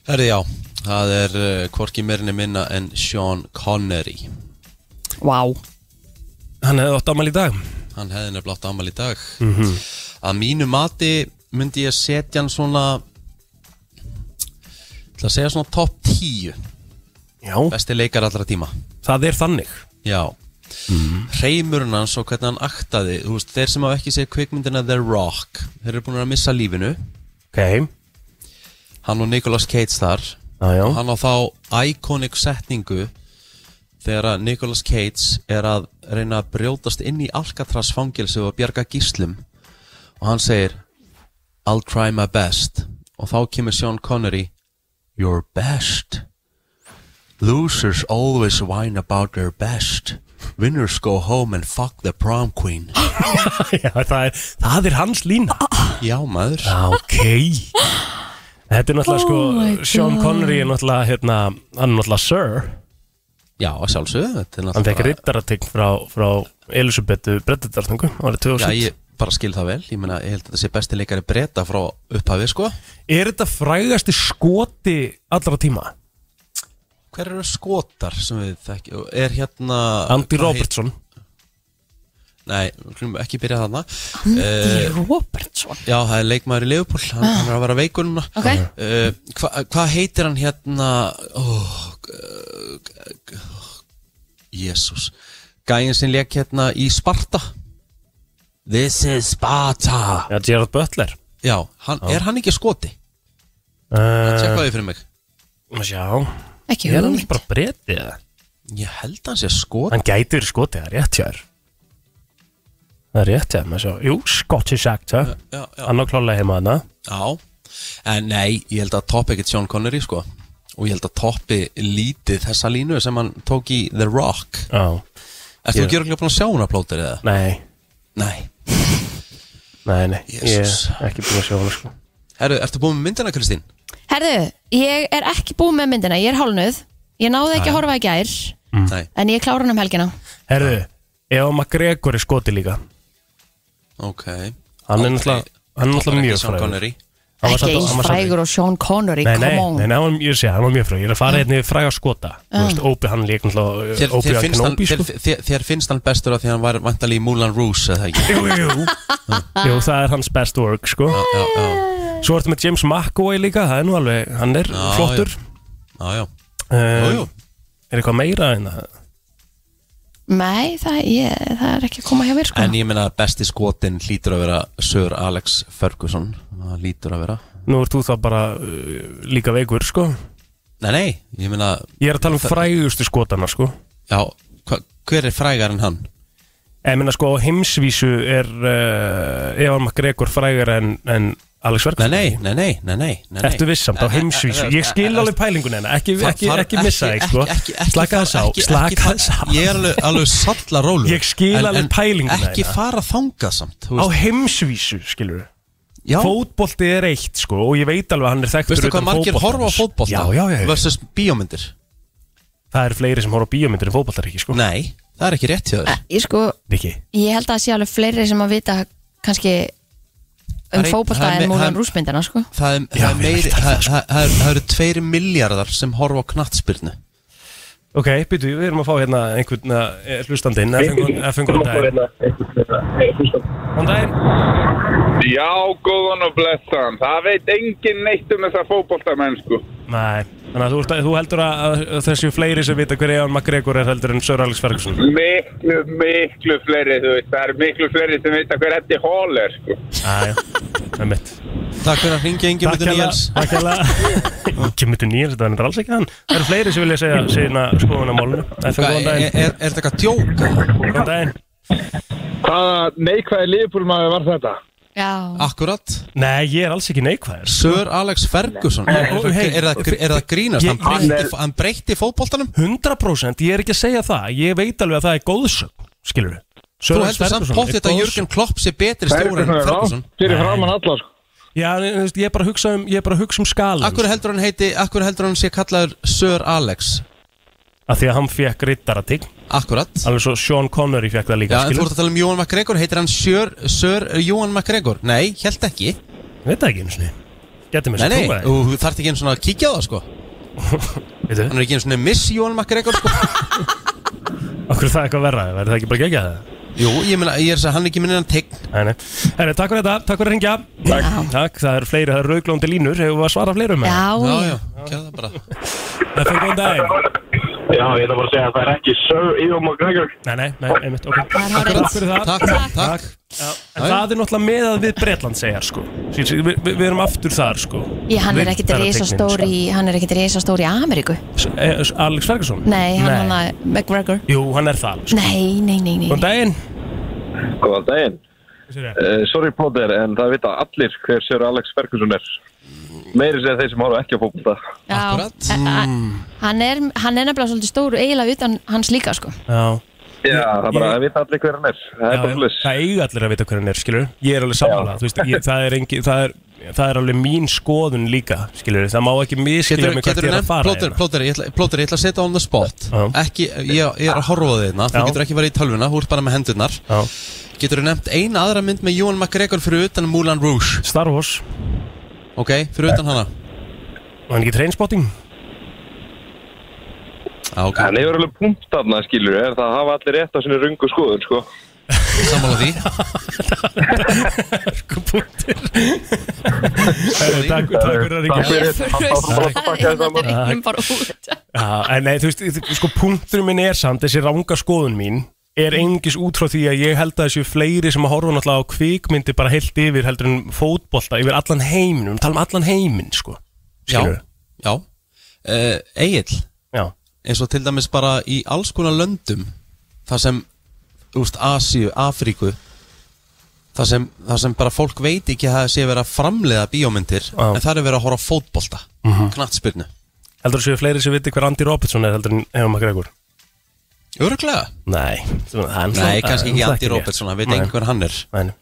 [SPEAKER 1] Herði já, það er uh, hvorki meirinni minna en Sean Connery
[SPEAKER 3] wow.
[SPEAKER 2] Hann hefði átt ámæli í dag Mhm.
[SPEAKER 1] Hann hefði nefnilega átt afmæli í dag Að mínu mati myndi ég setja hann svona Það að segja svona top 10
[SPEAKER 2] Já
[SPEAKER 1] Besti leikar allra tíma
[SPEAKER 2] Það er þannig Mhm.
[SPEAKER 1] Já Hreimurinn hans og hvernig hann aktaði Þú veist, Þeir sem hafa ekki séð kvikmyndina The Rock Þeir eru búin að missa lífinu
[SPEAKER 2] Ok
[SPEAKER 1] Hann og Nicolas Cage þar
[SPEAKER 2] Já, já
[SPEAKER 1] og hann á þá iconic setningu þegar að Nicolas Cage er að reyna að brjótast inn í Alcatraz fangilsu og bjarga gíslum og hann segir I'll try my best og þá kemur Sean Connery Your best Losers always whine about their best Winners go home and fuck the prom queen
[SPEAKER 2] Já, það er, það er hans lína
[SPEAKER 1] Já maður
[SPEAKER 2] Já, ok Þetta er náttúrulega
[SPEAKER 3] Oh
[SPEAKER 2] sko Sean Connery er náttúrulega hérna, Hann er náttúrulega Sir
[SPEAKER 1] Já að sjálfsögðu þetta er
[SPEAKER 2] Hann fekk
[SPEAKER 1] náttúrulega-
[SPEAKER 2] rittaratign frá, frá Elisabetu Breddardarþungu árið
[SPEAKER 1] Já
[SPEAKER 2] 2000
[SPEAKER 1] ég bara skil það vel Ég meina ég held að þetta sé besti leikari breyta frá upphafi sko
[SPEAKER 2] Er þetta frægasti skoti allra tíma?
[SPEAKER 1] Hver eru skotar sem við þekkjum? Er hérna... hvað
[SPEAKER 2] Andy
[SPEAKER 1] heit-
[SPEAKER 2] Robertson
[SPEAKER 1] Nei, við skulum ekki byrja þarna. Eh,
[SPEAKER 3] Andy Robertson
[SPEAKER 1] Já, það er leikmaður í Leopold, hann, hann er að vera veikur núna.
[SPEAKER 3] Ok.
[SPEAKER 1] Uh, hva- Hvað heitir hann hérna... Oh, Jésús. Gæin sem leik hérna í Sparta. This is Sparta.
[SPEAKER 2] Já, Gerard Butler
[SPEAKER 1] Já, hann, er hann ekki skoti?
[SPEAKER 2] uh,
[SPEAKER 1] Tjekka því fyrir mig.
[SPEAKER 2] Já
[SPEAKER 3] ekki
[SPEAKER 2] Er hann
[SPEAKER 3] hugmynd
[SPEAKER 2] ekki bara breytið það?
[SPEAKER 1] Ég held að hann sé skoti.
[SPEAKER 2] Hann gæti verið skotið, það er rétt hjá þér Það er rétt hjá þér, maður svo Jú, Scottish actor
[SPEAKER 1] Já, já.
[SPEAKER 2] Hann á klálega heima hana
[SPEAKER 1] Já, en nei, ég held að toppi ekkert Sean Connery sko og ég held að toppi lítið þessa línu sem hann tók í The Rock
[SPEAKER 2] Já,
[SPEAKER 1] Erst þú ekki örgulega búin að sjá hún að plótir eða?
[SPEAKER 2] nei,
[SPEAKER 1] Nei
[SPEAKER 2] nei, nei Ég
[SPEAKER 1] Jesus.
[SPEAKER 2] er ekki búin að sjá hana sko
[SPEAKER 1] Herru, ertu búin með myndina Kristín?
[SPEAKER 3] Herðu, ég er ekki búin með myndina, ég er hálnuð Ég náði ekki að horfa í gær
[SPEAKER 1] Nei,
[SPEAKER 3] En ég klára hann um helgina
[SPEAKER 2] Mm. Herðu, Eva McGregor er skotið líka
[SPEAKER 1] ok
[SPEAKER 2] Hann er náttúrulega- hann er náttúrulega
[SPEAKER 1] fræður
[SPEAKER 2] mjög frægur.
[SPEAKER 1] Sean Connery
[SPEAKER 2] Hann var
[SPEAKER 3] Ekki
[SPEAKER 2] samt-
[SPEAKER 3] eins
[SPEAKER 2] hann var samt-
[SPEAKER 3] frægur og Sean Connery,
[SPEAKER 2] Nei,
[SPEAKER 3] come
[SPEAKER 2] nei,
[SPEAKER 3] on Mm.
[SPEAKER 2] nei, nei, hann var- ég sé, hann var mjög fræg Ég er að fara hérna í fræga skota Þú veist, Óbi, hann leik
[SPEAKER 1] Þér,
[SPEAKER 2] náttúrulega Óbi
[SPEAKER 1] þér,
[SPEAKER 2] að
[SPEAKER 1] finnst hann,
[SPEAKER 2] Knóbi,
[SPEAKER 1] þér,
[SPEAKER 2] sko
[SPEAKER 1] þér, þér finnst hann bestur af því að hann var vantalí í Moulin Rouge eða ekki?
[SPEAKER 2] Jú, jú, jú Jú, það er hans best work, sko
[SPEAKER 1] Já, já, já,
[SPEAKER 2] Svo ertu með James McAvoy líka, það er nú alveg, hann er
[SPEAKER 1] Já,
[SPEAKER 2] flottur
[SPEAKER 1] já, já.
[SPEAKER 2] uh,
[SPEAKER 1] Jú, jú.
[SPEAKER 2] Er eitthvað meira en það?
[SPEAKER 3] Nei, það, ég, það er ekki að koma hjá mér sko
[SPEAKER 1] En ég meina besti skotin hlýtur að vera Sir Alex Ferguson Það hlýtur að vera
[SPEAKER 2] Nú ert þú þá bara uh, líka veikur, sko
[SPEAKER 1] Nei, nei, ég meina
[SPEAKER 2] Ég er að tala um frægustu skotana, sko
[SPEAKER 1] Já, hva, hver er frægar en hann?
[SPEAKER 2] En minna, sko, á heimsvísu er uh, Eva McGregor frægur en, en
[SPEAKER 1] Nei,
[SPEAKER 2] Alex Ferguson
[SPEAKER 1] nei, nei, nei, nei, nei, nei.
[SPEAKER 2] Ertu vissamt
[SPEAKER 1] Eh,
[SPEAKER 2] á
[SPEAKER 1] eh,
[SPEAKER 2] heimsvísu?
[SPEAKER 1] eh,
[SPEAKER 2] Ég skil
[SPEAKER 1] eh, eh,
[SPEAKER 2] alveg pælingun hennar, ekki,
[SPEAKER 1] fa-
[SPEAKER 2] ekki,
[SPEAKER 1] far-
[SPEAKER 2] ekki missa þig, sko.
[SPEAKER 1] ekki- ekki-
[SPEAKER 2] Slaka
[SPEAKER 1] fara-
[SPEAKER 2] þess á,
[SPEAKER 1] ekki- ekki
[SPEAKER 2] slaka
[SPEAKER 1] fara-
[SPEAKER 2] þess á.
[SPEAKER 1] Ég er alveg, alveg sallarólu
[SPEAKER 2] Ég skil alveg pælinguna
[SPEAKER 1] Ekki
[SPEAKER 2] þína.
[SPEAKER 1] fara þangað samt þú
[SPEAKER 2] Á
[SPEAKER 1] veist.
[SPEAKER 2] heimsvísu, skilur við.
[SPEAKER 1] Já,
[SPEAKER 2] Fótbolti er eitt, sko, og ég veit alveg að hann er þekktur
[SPEAKER 1] veistu hvað
[SPEAKER 2] utan
[SPEAKER 1] margir horfa á
[SPEAKER 2] fótboltans.
[SPEAKER 1] fótbolta
[SPEAKER 2] Já, já, já, já.
[SPEAKER 1] Versus bíómyndir
[SPEAKER 2] Það er fleiri sem horfa á bíómyndir en fótboltar ekki, sko.
[SPEAKER 1] Nei, það er ekki rétt hjá þér
[SPEAKER 3] Eh, Ég sko,
[SPEAKER 2] Viki.
[SPEAKER 3] ég held að það sé alveg fleiri sem að vita kannski um
[SPEAKER 1] Það er-
[SPEAKER 3] fótbolta
[SPEAKER 1] það er me-
[SPEAKER 3] en
[SPEAKER 1] það er-
[SPEAKER 3] Múlan Rúsmyndina sko
[SPEAKER 1] Það er,
[SPEAKER 2] Já,
[SPEAKER 1] það er
[SPEAKER 2] ég
[SPEAKER 1] meiri,
[SPEAKER 2] veit það,
[SPEAKER 1] það, það, það, er- það eru tveiri miljardar sem horfa á knattspyrnu
[SPEAKER 2] Ok, býtu, við erum að fá hérna einhvern eh, hlustandinn, ef fengur hann daginn. Hann daginn?
[SPEAKER 6] Já, góðan og blessan. Það veit enginn neitt um þessa fótboltamenn, sko.
[SPEAKER 2] Nei, þannig að þú, ert að- þú heldur að að þessi fleiri sem vita hver Evan McGregor er heldur en Sir Alex Ferguson.
[SPEAKER 6] Miklu, miklu fleiri, þú veist. Það er miklu fleiri sem veit að hver Eddie Hall er, sko.
[SPEAKER 2] Æja, það er mitt.
[SPEAKER 1] Takk fyrir að ringja Ingi
[SPEAKER 2] Takk
[SPEAKER 1] Mútur
[SPEAKER 2] hella,
[SPEAKER 1] Níels
[SPEAKER 2] takk hella Kemur til nýjans, þetta er alls ekki hann Það eru fleiri sem vilja segja sína skoðun á málunum FM,
[SPEAKER 1] Hvað,
[SPEAKER 2] góðan
[SPEAKER 1] Er
[SPEAKER 2] daginn,
[SPEAKER 1] er- er þetta eitthvað djók?
[SPEAKER 2] góðan daginn
[SPEAKER 6] Hvaða neikvæði liðbúlmaður var þetta?
[SPEAKER 3] Já,
[SPEAKER 1] Akkurat
[SPEAKER 2] Nei, ég er alls ekki neikvæður
[SPEAKER 1] Sir Alex Ferguson Er, er,
[SPEAKER 2] Ó, hey.
[SPEAKER 1] er, það- er það grínast?
[SPEAKER 2] Ég-
[SPEAKER 1] Hann breytti, hann breytti fótboltanum?
[SPEAKER 2] 100% ég er ekki að segja það Ég veit alveg að það er góðsögn, skilur við
[SPEAKER 1] Þú heldur samt pottið að Jörgen Klopp sé betri stjóri en Ferguson
[SPEAKER 6] Fyrir framann alla, sko.
[SPEAKER 2] Já, en, þú veist, ég er bara að hugsa um, ég er bara að hugsa um skalum
[SPEAKER 1] Akkur heldur hann heiti, akkur heldur hann sé kallaður Sir Alex?
[SPEAKER 2] Af því að hann fekk rittaratign
[SPEAKER 1] Akkurat
[SPEAKER 2] Alveg svo Sean Connery fekk það líka,
[SPEAKER 1] Já, en þú
[SPEAKER 2] skilur
[SPEAKER 1] ert að tala um Jóhann McGregor, heitir hann Sir, Sir Jóhann McGregor? Nei, held ekki
[SPEAKER 2] Veit það ekki einu sinni Gæti
[SPEAKER 1] Nei,
[SPEAKER 2] mér sem
[SPEAKER 1] nei,
[SPEAKER 2] trúa
[SPEAKER 1] þú þarft ekki einu svona að kíkja á það sko
[SPEAKER 2] Veitu,
[SPEAKER 1] Hann er ekki einu svona Miss Jóhann McGregor sko
[SPEAKER 2] okkur það eitthvað verra Verður það ekki bara gegja það?
[SPEAKER 1] Jú, ég meina, ég er að segja, hann er ekki minna en tegn
[SPEAKER 2] Nei, nei. Herri, takk fyrir þetta, takk fyrir að ringja Takk, takk það eru fleiri, það eru rauglóndi línur Hefur við að svara fleirum
[SPEAKER 3] já,
[SPEAKER 1] Já,
[SPEAKER 3] já.
[SPEAKER 1] já, kjá það bara
[SPEAKER 2] Það fyrir góðan daginn
[SPEAKER 7] Já, ég ætla bara að segja að það er ekki Sir Ewan McGregor.
[SPEAKER 2] Nei, nei, nei, einmitt, ok
[SPEAKER 3] er hárrétt.
[SPEAKER 2] Takk fyrir það
[SPEAKER 1] Takk, takk, takk.
[SPEAKER 2] Já, En það er náttúrulega með að við Bretland segjar sko Sýn, sýn, Við vi, vi erum aftur þar sko
[SPEAKER 3] Ég, hann er ekkit
[SPEAKER 2] Riddaratygnin,
[SPEAKER 3] risastór í,
[SPEAKER 1] sko.
[SPEAKER 3] hann er ekkit risastór í Ameríku
[SPEAKER 2] sko. S- eh, s- Alex Ferguson
[SPEAKER 3] Nei, hann hann að McGregor
[SPEAKER 2] Jú, hann er það sko.
[SPEAKER 3] Nei, nei, nei, nei, nei.
[SPEAKER 2] Góðan daginn
[SPEAKER 8] Góðan daginn.
[SPEAKER 2] Sérðu?
[SPEAKER 8] Uh, sorry Plóter, en það vita allir hver sér Alex Ferguson er. Meiri segja þeir sem horfa ekki á fólkvölda.
[SPEAKER 3] Já,
[SPEAKER 1] Akkurat. Mm.
[SPEAKER 3] a- a- Hann er, hann er nefnilega svolítið stór og eiginlega utan hans líka sko
[SPEAKER 2] Já
[SPEAKER 8] Já, það bara,
[SPEAKER 2] ég-
[SPEAKER 8] það vita allir hver hann er. Það er
[SPEAKER 2] Já,
[SPEAKER 8] bara hlust.
[SPEAKER 2] það eiga allir að vita hver hann er, skilur Ég er alveg samanlega, þú veist, ég, það, er engi, það, er, það er alveg mín skoðun líka, skilur Það má ekki miskilja
[SPEAKER 1] Getur,
[SPEAKER 2] mig
[SPEAKER 1] getur
[SPEAKER 2] hvert ég er
[SPEAKER 1] nefnt,
[SPEAKER 2] að fara hérna?
[SPEAKER 1] plóter, plóter, ég ætla, plóter, ég ætla að setja on the spot
[SPEAKER 2] Já.
[SPEAKER 1] ekki, ég, ég er að horfa á þig hérna þú
[SPEAKER 2] Já.
[SPEAKER 1] getur ekki verið í tölvuna, þú ert bara með hendurnar
[SPEAKER 2] Já.
[SPEAKER 1] getur þú nefnt eina aðra mynd með Jóhann McGregor fyrir utan Moulin Rouge
[SPEAKER 2] Star Wars
[SPEAKER 1] ok, fyrir utan hana
[SPEAKER 2] Og hann ekki trainspotting
[SPEAKER 1] ah, ok,
[SPEAKER 8] En hefur alveg punkt þarna, skilur, er það hafa allir rétt á sinni rungu skoðun, sko.
[SPEAKER 1] sammála því
[SPEAKER 2] Punktur Herru, Takk takk fyrir að ringja
[SPEAKER 8] fyrir
[SPEAKER 3] Hann bara út
[SPEAKER 2] Já, en nei, þú veist, þ- sko punktur minn er samt þessi ranga skoðun mín er engis út frá því að ég held að þessu fleiri sem að horfa náttúrulega á kvikmyndi bara heilt yfir heldur en fótbolta yfir allan heiminn, við talum allan heiminn sko, Eh,
[SPEAKER 1] já,
[SPEAKER 2] skilur
[SPEAKER 1] já uh, Egil,
[SPEAKER 2] Já,
[SPEAKER 1] eins og til dæmis bara í alls konar löndum þar sem, þú veist, Asíu Afríku þar sem, þar sem bara fólk veit ekki að það sé verið að framleiða bíómyndir
[SPEAKER 2] Já. Mhm.
[SPEAKER 1] en það er verið að horfa á fótbolta mm knattspyrnu,
[SPEAKER 2] heldur þessu fleiri sem viti hver Andy Robertson er heldur en Eva McGregor
[SPEAKER 1] örglega
[SPEAKER 2] Nei, þú- það er
[SPEAKER 1] Nei, kannski ekki
[SPEAKER 2] það er
[SPEAKER 1] Andy
[SPEAKER 2] rétt.
[SPEAKER 1] Robertson, hann veit
[SPEAKER 2] Nei,
[SPEAKER 1] engin hver hann er
[SPEAKER 2] nei, nei.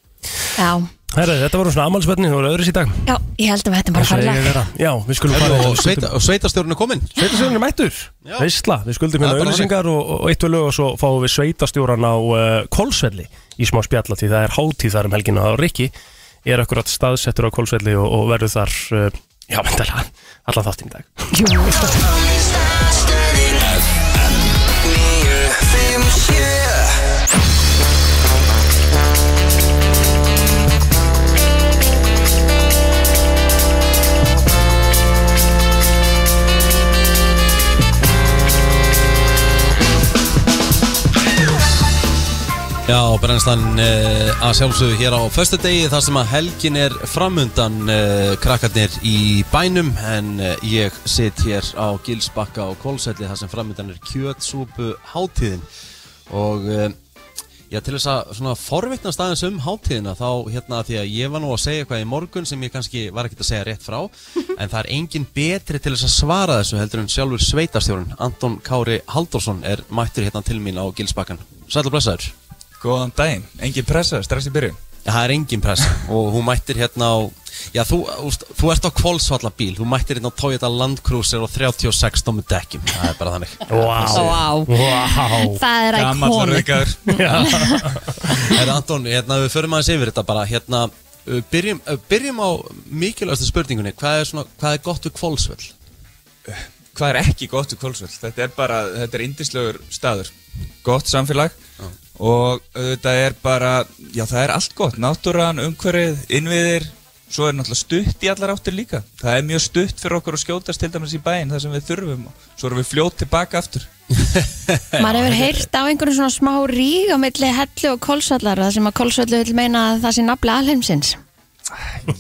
[SPEAKER 3] Já,
[SPEAKER 2] Herra, þetta voru svona amalspenni, þú voru öðru síðan
[SPEAKER 3] já, ég held að við hættum bara að fara í lag.
[SPEAKER 2] Já, við skulum fara
[SPEAKER 1] Og, sveita, og sveitastjórn er kominn
[SPEAKER 2] Sveitarstjórn er mættur Veistla, við skuldum
[SPEAKER 1] Það
[SPEAKER 2] hérna
[SPEAKER 1] er bara
[SPEAKER 2] auðlýsingar og, og eitt og lög og svo fáum við sveitarstjóran á uh, Kolsvelli í smá spjalla því það er hátíð þar um helgina og Rikki er akkurat staðsettur á Kólsvelli og, og verður þar uh, já, vendalega, allan þáttinn í dag
[SPEAKER 1] Já, brennslan uh, að sjálfsögðu hér á föstu degi þar sem að helgin er framundan uh, krakkarnir í bænum en uh, ég sit hér á Gilsbakka á Kólsvelli þar sem framundan er kjötsúpu hátíðin og uh, já, til þess að svona forvitnast aðeins um hátíðina þá hérna því að ég var nú að segja eitthvað í morgun sem ég kannski var ekkert að segja rétt frá en það er engin betri til þess að svara þessu heldur en sjálfur sveitastjórun Anton Kári Halldórsson er mættur hérna til mín á Gilsbakkan Sætla blessaður
[SPEAKER 9] Góðan daginn, engin pressa, stress í byrjun
[SPEAKER 1] Það er engin pressa og hún mættir hérna á Já, þú, úst, þú ert á kvolsvalla bíl Þú mættir hérna á Toyota Land Cruiser og 36 tómi dekkjum Það er bara þannig
[SPEAKER 3] Vá.
[SPEAKER 2] Vá.
[SPEAKER 3] Það er
[SPEAKER 9] Gamall og
[SPEAKER 3] íkónik
[SPEAKER 9] rauðgæður.
[SPEAKER 1] Herra Anton, hérna við förum aðeins yfir þetta bara Hérna, uh, byrjum, uh, byrjum á mikilvægastu spurningunni Hvað er, svona, hvað er gott við kvolsvall?
[SPEAKER 9] Hvað er ekki gott við Kólsvöld? Þetta er bara, þetta er indislegur staður Gott samfélag Og auðvitað er bara, já það er allt gott Náttúran, umhverfið, innviðir Svo er náttúrulega stutt í allar áttir líka Það er mjög stutt fyrir okkur að skjótast til dæmis í bæinn Það sem við þurfum Svo erum við fljót tilbaka aftur
[SPEAKER 3] Maður hefur heyrt á einhvern svona smá ríg á milli hellu og kolsvallar það sem að kolsvallu vil meina að það sé nafli alheimsins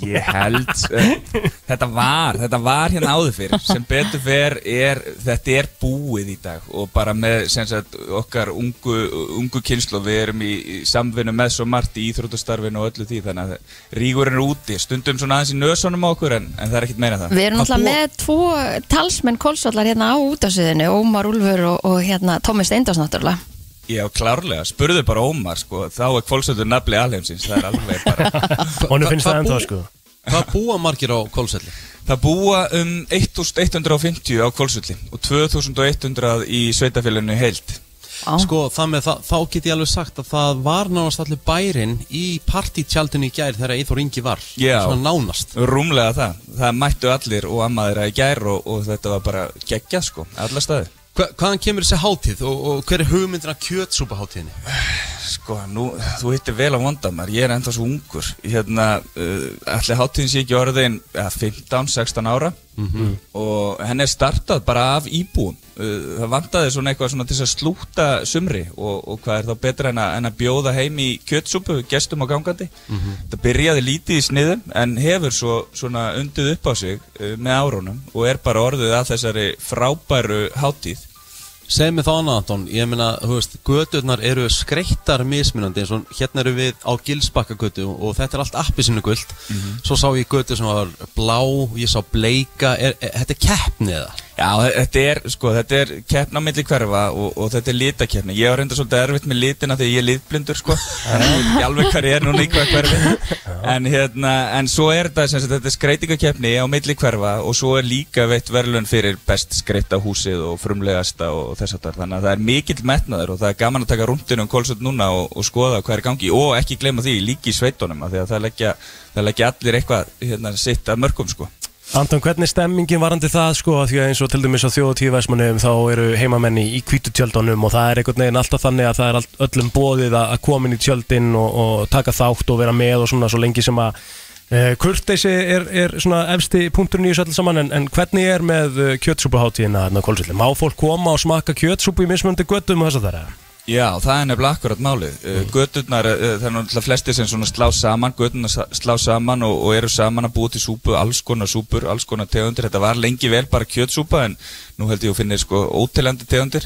[SPEAKER 9] Ég held eh, Þetta var, þetta var hérna áður fyrir sem betur fer er þetta er búið í dag og bara með sem sagt, okkar ungu, ungu kynslu við erum í, í samvinnu með svo margt í íþróttastarfinu og öllu því þannig að rígurinn er úti, stundum svona aðeins í nösunum á okkur en, en það er ekkert meira en það
[SPEAKER 3] Við erum
[SPEAKER 9] Að
[SPEAKER 3] náttúrulega
[SPEAKER 9] búa-
[SPEAKER 3] með tvo talsmenn kolsvallar hérna á útásviðinu Ómar Úlfur og, og hérna Tómi Steindós náttúrulega
[SPEAKER 9] Já, klárlega, spurðu bara Ómar sko, þá er kvólsöldur nafli alheimsins það er alveg bara
[SPEAKER 2] Honum finnst
[SPEAKER 1] Hva- hvað
[SPEAKER 2] það ennþá
[SPEAKER 1] bú-
[SPEAKER 2] sko
[SPEAKER 1] Hvað búa margir á kvolsvalli?
[SPEAKER 9] Það búa um 1150 á kvólsöldi og 2100 í sveitafélaginu í heild
[SPEAKER 3] Á.
[SPEAKER 1] Sko, það með, það, þá get ég alveg sagt að það var nánast allir bærin í partítjaldinu í gær þegar Eithor Ingi var
[SPEAKER 9] Já.
[SPEAKER 1] Svona nánast
[SPEAKER 9] Rúmlega það, það mættu allir og ammaðir að í gær og, og þetta var bara geggja sko, alla staði
[SPEAKER 1] Hva, Hvaðan kemur þessi hátíð og, og hver er hugmyndin að kjötsúpa hátíðinni?
[SPEAKER 9] Sko, nú, þú hittir vel á vondamar, ég er enda svo ungur Hérna, uh, allir hátíðin sé ekki orðin ja, 15-16 ára
[SPEAKER 1] Mhm.
[SPEAKER 9] Og henni er startað bara af íbúum uh, Það vantaði svona eitthvað svona til þess að slúta sumri Og, og hvað er þá betra en að, en að bjóða heim í kjötsúpu, gestum og gangandi
[SPEAKER 1] Mhm.
[SPEAKER 9] Það byrjaði lítið í sniðum En hefur svo svona undið upp á sig uh, með árunum Og er bara orðið að þessari frábæru hátíð
[SPEAKER 1] Segð mér þá annað Anton, ég meina, þú veist, göturnar eru skreittar mismunandi eins og hérna eru við á Gilsbakkagötu og þetta er allt appi sinu guld Svo sá ég götu sem var blá, ég sá bleika, er, er, eh, þetta er keppni eða?
[SPEAKER 9] Já, þe- þetta er, sko, þetta er keppna á milli hverfa og, og þetta er litakeppna. Ég var reynda svolítið erfitt með litina þegar ég er litblindur, sko. Þannig að ég veit ekki alveg hvað ég er núna í hvað hverfi. En hérna, en svo er þetta, sem sagt, þetta er skreitingakeppni á milli hverfa og svo er líka veitt verðlun fyrir best skreita húsið og frumlegasta og þess að Þannig að það er mikill metnaður og það er gaman að taka rúndinu um kólsöld núna og, og skoða hvað er í gangi og ekki gleyma því líki í sveitunum af því að það leggja, það leggja allir eitthvað, hérna, sitt að mörgum, sko.
[SPEAKER 2] Anton, hvernig er stemmingin varandi það sko að því að eins og til dæmis á þjóðatíu versmanum þá eru heimamenni í hvítu tjöldunum og það er einhvern veginn alltaf þannig að það er allt, öllum bóðið að, að koma inn í tjöldin og, og taka þátt og vera með og svona svo lengi sem að e, kurteisi er, er svona efsti punkturinn í þessu allir saman en, en hvernig er með eh, kjötsúpuhátíðina hérna á Kolsvilli? Má fólk koma og smakka kjötsúpu í mismöndi göttum og þess að það er?
[SPEAKER 9] Já, það er nefnilega akkurat málið. Uh, göturnar, uh, það er náttúrulega flesti sem svona slá saman, göturnar sa- slá saman og, og eru saman að búa til súpu, alls konar súpur, alls konar tegundir. Þetta var lengi vel bara kjötsúpa en nú held ég að finna sko ótilandi tegundir.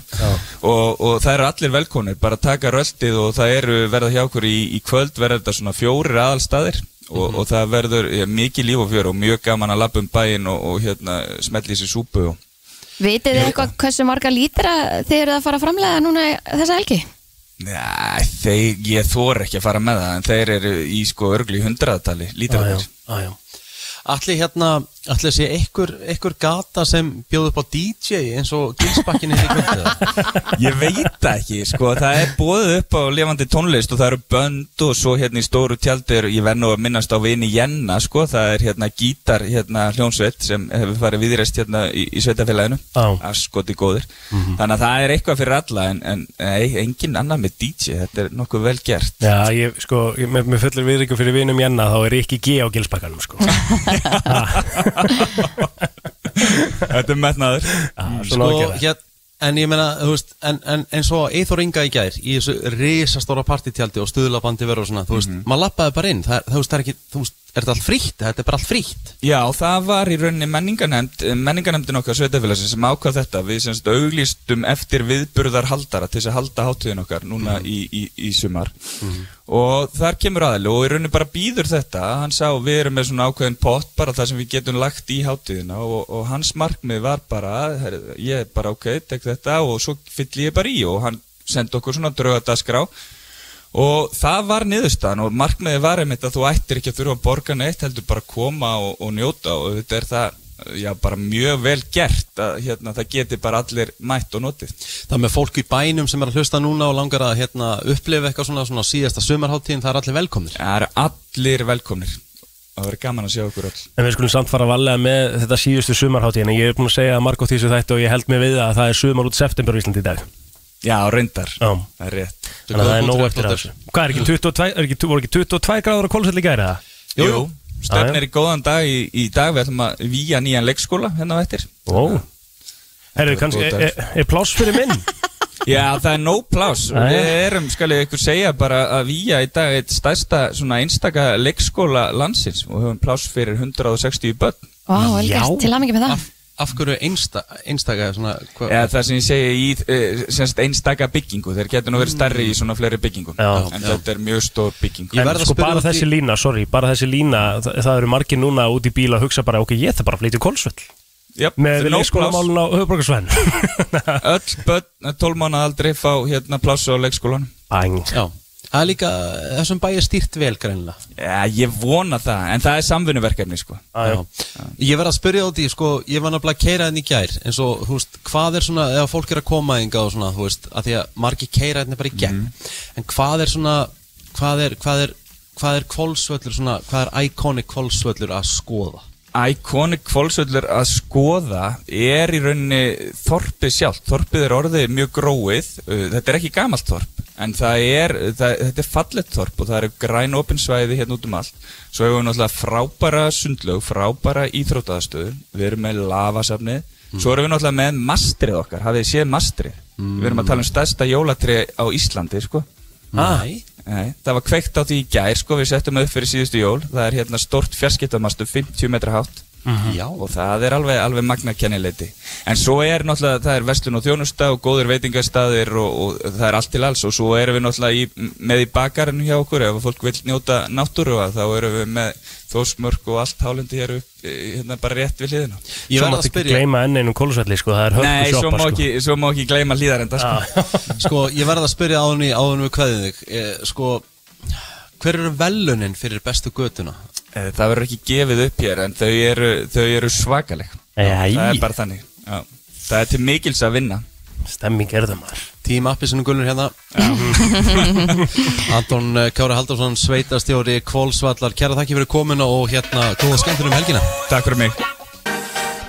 [SPEAKER 9] Og, og það eru allir velkonir, bara taka röldið og það eru verða hjá okkur í, í kvöld, verða þetta svona fjórir aðalstaðir og, og það verður ja, mikið líf og fjör og mjög gaman að lappa um bæinn og, og hérna smelli sér súpu og
[SPEAKER 3] Vitið þið eitthvað hversu marga lítra þið eruð að fara að framlega núna þessa helgi?
[SPEAKER 9] Nei, þeir, ég þor ekki að fara með það en þeir eru í sko örgli hundraðatali lítraðir
[SPEAKER 2] Aðjá,
[SPEAKER 1] Allir hérna, Ætli að sé einhver, einhver gata sem bjóð upp á DJ eins og gilsbakkinni í kvöldið
[SPEAKER 9] Ég veit það ekki, sko, það er bóðið upp á levandi tónlist og það eru bönd og svo hérna í stóru tjaldir, ég verð nú að minnast á vini Jenna, sko, það er hérna gítar, hérna hljónsveit sem hefur farið viðræst hérna í, í sveitafélaginu,
[SPEAKER 2] Á.
[SPEAKER 9] askoti góðir, þannig að það er eitthvað fyrir alla en, en ei, engin annar með DJ, þetta er nokkuð vel gert.
[SPEAKER 2] Já, ég, sko, ég, með, með fullir viðriku fyrir vinum Jenna þá er ekki G á gilsbakkanum, sko
[SPEAKER 9] þetta er metnaður.
[SPEAKER 2] Ah, svona
[SPEAKER 1] sko,
[SPEAKER 2] ágæða.
[SPEAKER 1] hér, En ég meina, þú veist, en, en, en svo Eithor Inga í gær í þessu risastóra partitjaldi og stuðlabandi verður og svona, þú veist,
[SPEAKER 9] Mhm.
[SPEAKER 1] maður lappaði bara inn, það, er- þú veist, það er ekki, þú veist, er þetta allt frítt, þetta er bara allt frítt
[SPEAKER 9] Já, það var í rauninni menningarnemnd, menningarnemndin okkar sveitafélagsins sem ákvað þetta. Við semst auglýstum eftir viðburðar haldara til þess að halda hátíðin okkar núna
[SPEAKER 1] Mhm.
[SPEAKER 9] í, í, í sumar. Og þar kemur aðli og í rauninni bara býður þetta. Hann sá við erum með svona ákveðin pott bara það sem við getum lagt í hátíðina og, og hans markmið var bara, her, ég er bara ok, tek þetta og svo fyll ég bara í og hann sendi okkur svona draugadaskrá og það var niðurstaðan og markmiðið var einmitt að þú ættir ekki að þurfa að borga neitt heldur bara að koma og, og njóta og þetta er það já, bara mjög vel gert að hérna, það geti bara allir mætt og notið
[SPEAKER 1] Það með fólk í bænum sem er að hlusta núna og langar að hérna, upplifa eitthvað svona, svona síðasta sumarháttíðin, það er allir velkomnir
[SPEAKER 9] Það eru allir velkomnir það verður gaman að sjá okkur öll
[SPEAKER 2] En við skulum samt fara að valega með þetta síðustu sumarháttíðin en ég er búin að segja að margótt þessu þættu og ég held mig við það að það er sumar út september í Íslandi í dag
[SPEAKER 9] Já, reyndar,
[SPEAKER 2] Já.
[SPEAKER 9] það er rétt
[SPEAKER 2] Þannig að það er nóg
[SPEAKER 1] Góður
[SPEAKER 2] eftir af
[SPEAKER 1] punktur,
[SPEAKER 2] þessu Hvað er ekki 22, er ekki, voru ekki 22 gráður á kólusell í gæri það?
[SPEAKER 1] Jú, jú.
[SPEAKER 9] Jú, stefnir í góðan dag í, í dag við ætlum að víja nýjan leikskóla hérna á eftir
[SPEAKER 2] Ó Herru, kannski,
[SPEAKER 9] góð
[SPEAKER 2] er, er, er pláss fyrir minn?
[SPEAKER 9] Já, það er nóg plás og
[SPEAKER 2] Jæja.
[SPEAKER 9] við erum, skal ég ykkur segja, bara að víja í dag eitt stærsta svona einstaka leikskóla landsins og höfum plás fyrir 160 börn
[SPEAKER 3] Vá, vel gert, til aðmengi með það
[SPEAKER 1] Af, af hverju einsta, einstaka svona, hva,
[SPEAKER 9] eða það sem ég segi í eh, sem sagt, einstaka byggingu, þeir getur nú verið stærri í svona fleiri byggingum
[SPEAKER 2] Já.
[SPEAKER 9] en þetta er mjög stór bygging
[SPEAKER 1] Mm. Ég verð
[SPEAKER 2] En
[SPEAKER 1] að
[SPEAKER 2] sko
[SPEAKER 1] spyrja
[SPEAKER 2] bara
[SPEAKER 1] út í-
[SPEAKER 2] þessi lína, sorry, bara þessi lína það, það eru margir núna út í bíla að hugsa bara ok, ég þarf bara að flytja kólusvöll
[SPEAKER 9] Jáp, nóg
[SPEAKER 2] með
[SPEAKER 9] pláss.
[SPEAKER 2] leikskólamálun á höfuborgarsvæðinu
[SPEAKER 9] Öll börn eh, 12 mánuð aldrei fá hérna pláss á leikskólanum
[SPEAKER 2] Bang
[SPEAKER 1] Já, það er líka þessum bæ er stýrt vel greinlega
[SPEAKER 9] Já, ég vona það, Ah, en það er samvinnuverkefni sko
[SPEAKER 2] Ah, Já, já.
[SPEAKER 1] Ég verð að spyrja út í, sko, ég var nefnilega að keira henni í gær eins og, þú veist, hvað er svona ef fólk er að koma enga og svona, þú veist að því að margir keira henni bara í gegn
[SPEAKER 9] Mhm.
[SPEAKER 1] en hvað er svona, hvað er hvað er, hvað er kvolsvöllur svona hvað er iconic kvolsvöllur að skoða
[SPEAKER 9] Iconic Kvolsvöllur að skoða er í rauninni þorpið sjálft. Þorpið er orðið mjög gróið. Uh, Þetta er ekki gamalt þorp, en það er, það, þetta er fallegt þorp og það eru græn opinsvæði hérna út um allt. Svo hefur við náttúrulega frábæra sundlög, frábæra íþrótaðastöðu. Við erum með lavasafnið. Svo erum við náttúrulega með mastrið okkar. Hafið þið séð mastrið?
[SPEAKER 1] Mm.
[SPEAKER 9] Við erum að tala um stærsta jólatri á Íslandi, sko.
[SPEAKER 1] Næ,
[SPEAKER 9] Nei, það var kveikt á því í gær, sko, við settum það upp fyrir síðustu jól. Það er hérna stort fjarskiptamastu, 50 metra hátt
[SPEAKER 2] Mhm.
[SPEAKER 1] já
[SPEAKER 9] og það er alveg, alveg magna kennileiti en svo er náttúrulega, það er vestlun og þjónusta og góður veitingastaðir og, og það er allt til alls og svo erum við náttúrulega í, með í bakarinn hjá okkur ef fólk vil njóta náttúru þá erum við með þósmörk og allt hálendi hér upp eh, hérna bara rétt við hliðina
[SPEAKER 1] Ég
[SPEAKER 2] Svo
[SPEAKER 1] verð
[SPEAKER 2] máttu
[SPEAKER 1] að
[SPEAKER 2] ekki
[SPEAKER 1] spyrja
[SPEAKER 2] gleyma enn einum kólusvelli sko, það er
[SPEAKER 9] Nei,
[SPEAKER 2] hörku
[SPEAKER 9] svo
[SPEAKER 2] sjoppa
[SPEAKER 9] má,
[SPEAKER 2] sko.
[SPEAKER 9] ekki, svo má ekki gleyma hlýðarenda sko.
[SPEAKER 1] Sko, ég verð að spyrja áðan í áðan við kveðið þig eh, Sko, hver eru velunin fyrir bestu götuna?
[SPEAKER 9] Eh, Það verður ekki gefið upp hér en þau eru, þau eru svakaleg
[SPEAKER 2] Æ.
[SPEAKER 9] Það er bara þannig Já. Það er til mikils að vinna
[SPEAKER 2] Stemming er það maður
[SPEAKER 1] Tíma appi sinni gulur hérna Anton eh, Kári Haldarsson sveitastjóri Kvolsvallar, kæra þakki fyrir komin og hérna, góða skemmtunum helgina
[SPEAKER 9] Takk fyrir mig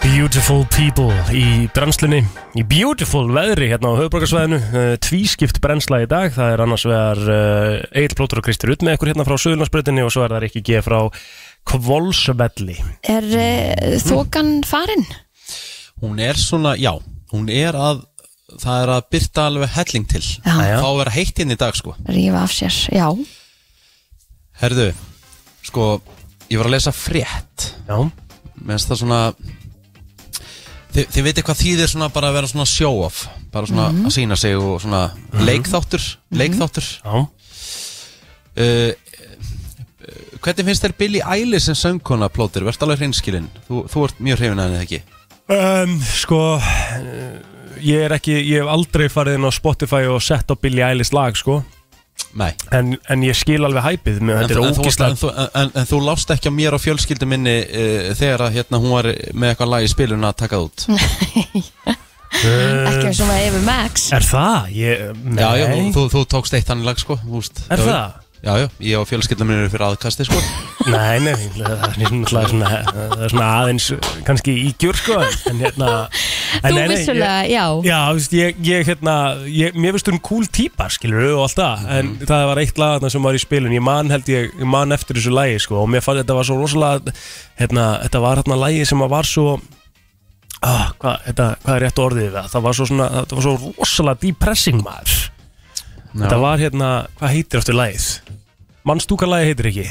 [SPEAKER 2] Beautiful people í brennslunni Í beautiful veðri hérna á höfbrukarsvæðinu uh, Tvískipt brennsla í dag Það er annars vegar uh, Egil Plótur og Kristur Ut með ykkur hérna frá Suðurlandsbröðinni Og svo er það ekki geð frá Kvolsvelli
[SPEAKER 3] Er
[SPEAKER 2] Mm.
[SPEAKER 3] uh, þokan farin?
[SPEAKER 1] Hún er svona, já, hún er að það er að byrta alveg helling til
[SPEAKER 3] Já.
[SPEAKER 2] Já.
[SPEAKER 1] þá er heitt inn í dag sko
[SPEAKER 3] Rífa af sér, já
[SPEAKER 1] Herðu, sko ég var að lesa frétt
[SPEAKER 2] Já,
[SPEAKER 1] Mér finnst það svona þið, þið veitir hvað þýðir svona bara að vera svona show off bara svona
[SPEAKER 2] Mhm.
[SPEAKER 1] að sína sig og svona leikþáttur, leikþáttur
[SPEAKER 2] já
[SPEAKER 1] uh, uh, Hvernig finnst þér Billie Eilish sem söngkona plótir? Verst alveg hreinskilinn þú, þú ert mjög hrifin að henni ekki
[SPEAKER 2] um, Sko Ég er ekki, ég hef aldrei farið inn á Spotify og sett á Billie Eilish lag sko
[SPEAKER 1] Nei
[SPEAKER 2] en, en ég skil alveg hæpið með
[SPEAKER 1] En,
[SPEAKER 2] þetta
[SPEAKER 1] þú-
[SPEAKER 2] er
[SPEAKER 1] en, þú, en,
[SPEAKER 2] ógislega
[SPEAKER 1] þú, en, en þú lást ekki á mér og fjölskyldu minni uh, þegar að hérna hún var með eitthvað lag í spilun að taka það út
[SPEAKER 3] Ekki eins og maður yfir Max
[SPEAKER 2] Er það? Eh, Ég,
[SPEAKER 1] Já, já, þú,
[SPEAKER 2] nei.
[SPEAKER 1] þú, þú tókst eitt hann lag sko húst,
[SPEAKER 2] Er það?
[SPEAKER 1] Já, já, ég og fjölskyldu minni eru fyrir aðkasti sko
[SPEAKER 2] Nei, nei, það er náttúrulega svona, það er svona aðeins kannski ígjur sko en hérna en
[SPEAKER 3] Þú
[SPEAKER 2] nei, nei,
[SPEAKER 3] vissulega,
[SPEAKER 2] ég,
[SPEAKER 3] já.
[SPEAKER 2] Já, þú veist, ég, ég hérna, ég, mér finnst hún cool típa skilur og allt það en það var eitt lag þarna sem var í spilin, ég man held ég, ég man eftir þessu lagi sko og mér fann þetta var svo rosalega hérna, þetta var hérna lagi sem að var svo ah, hvað, hérna, hvað er rétt orðið við það, það var svo svona, þetta var svo rosalega depressing maður
[SPEAKER 4] Mhm.
[SPEAKER 2] þetta var hérna, hvað heitir eftir lagið? Mannstúka lagi heitir ekki?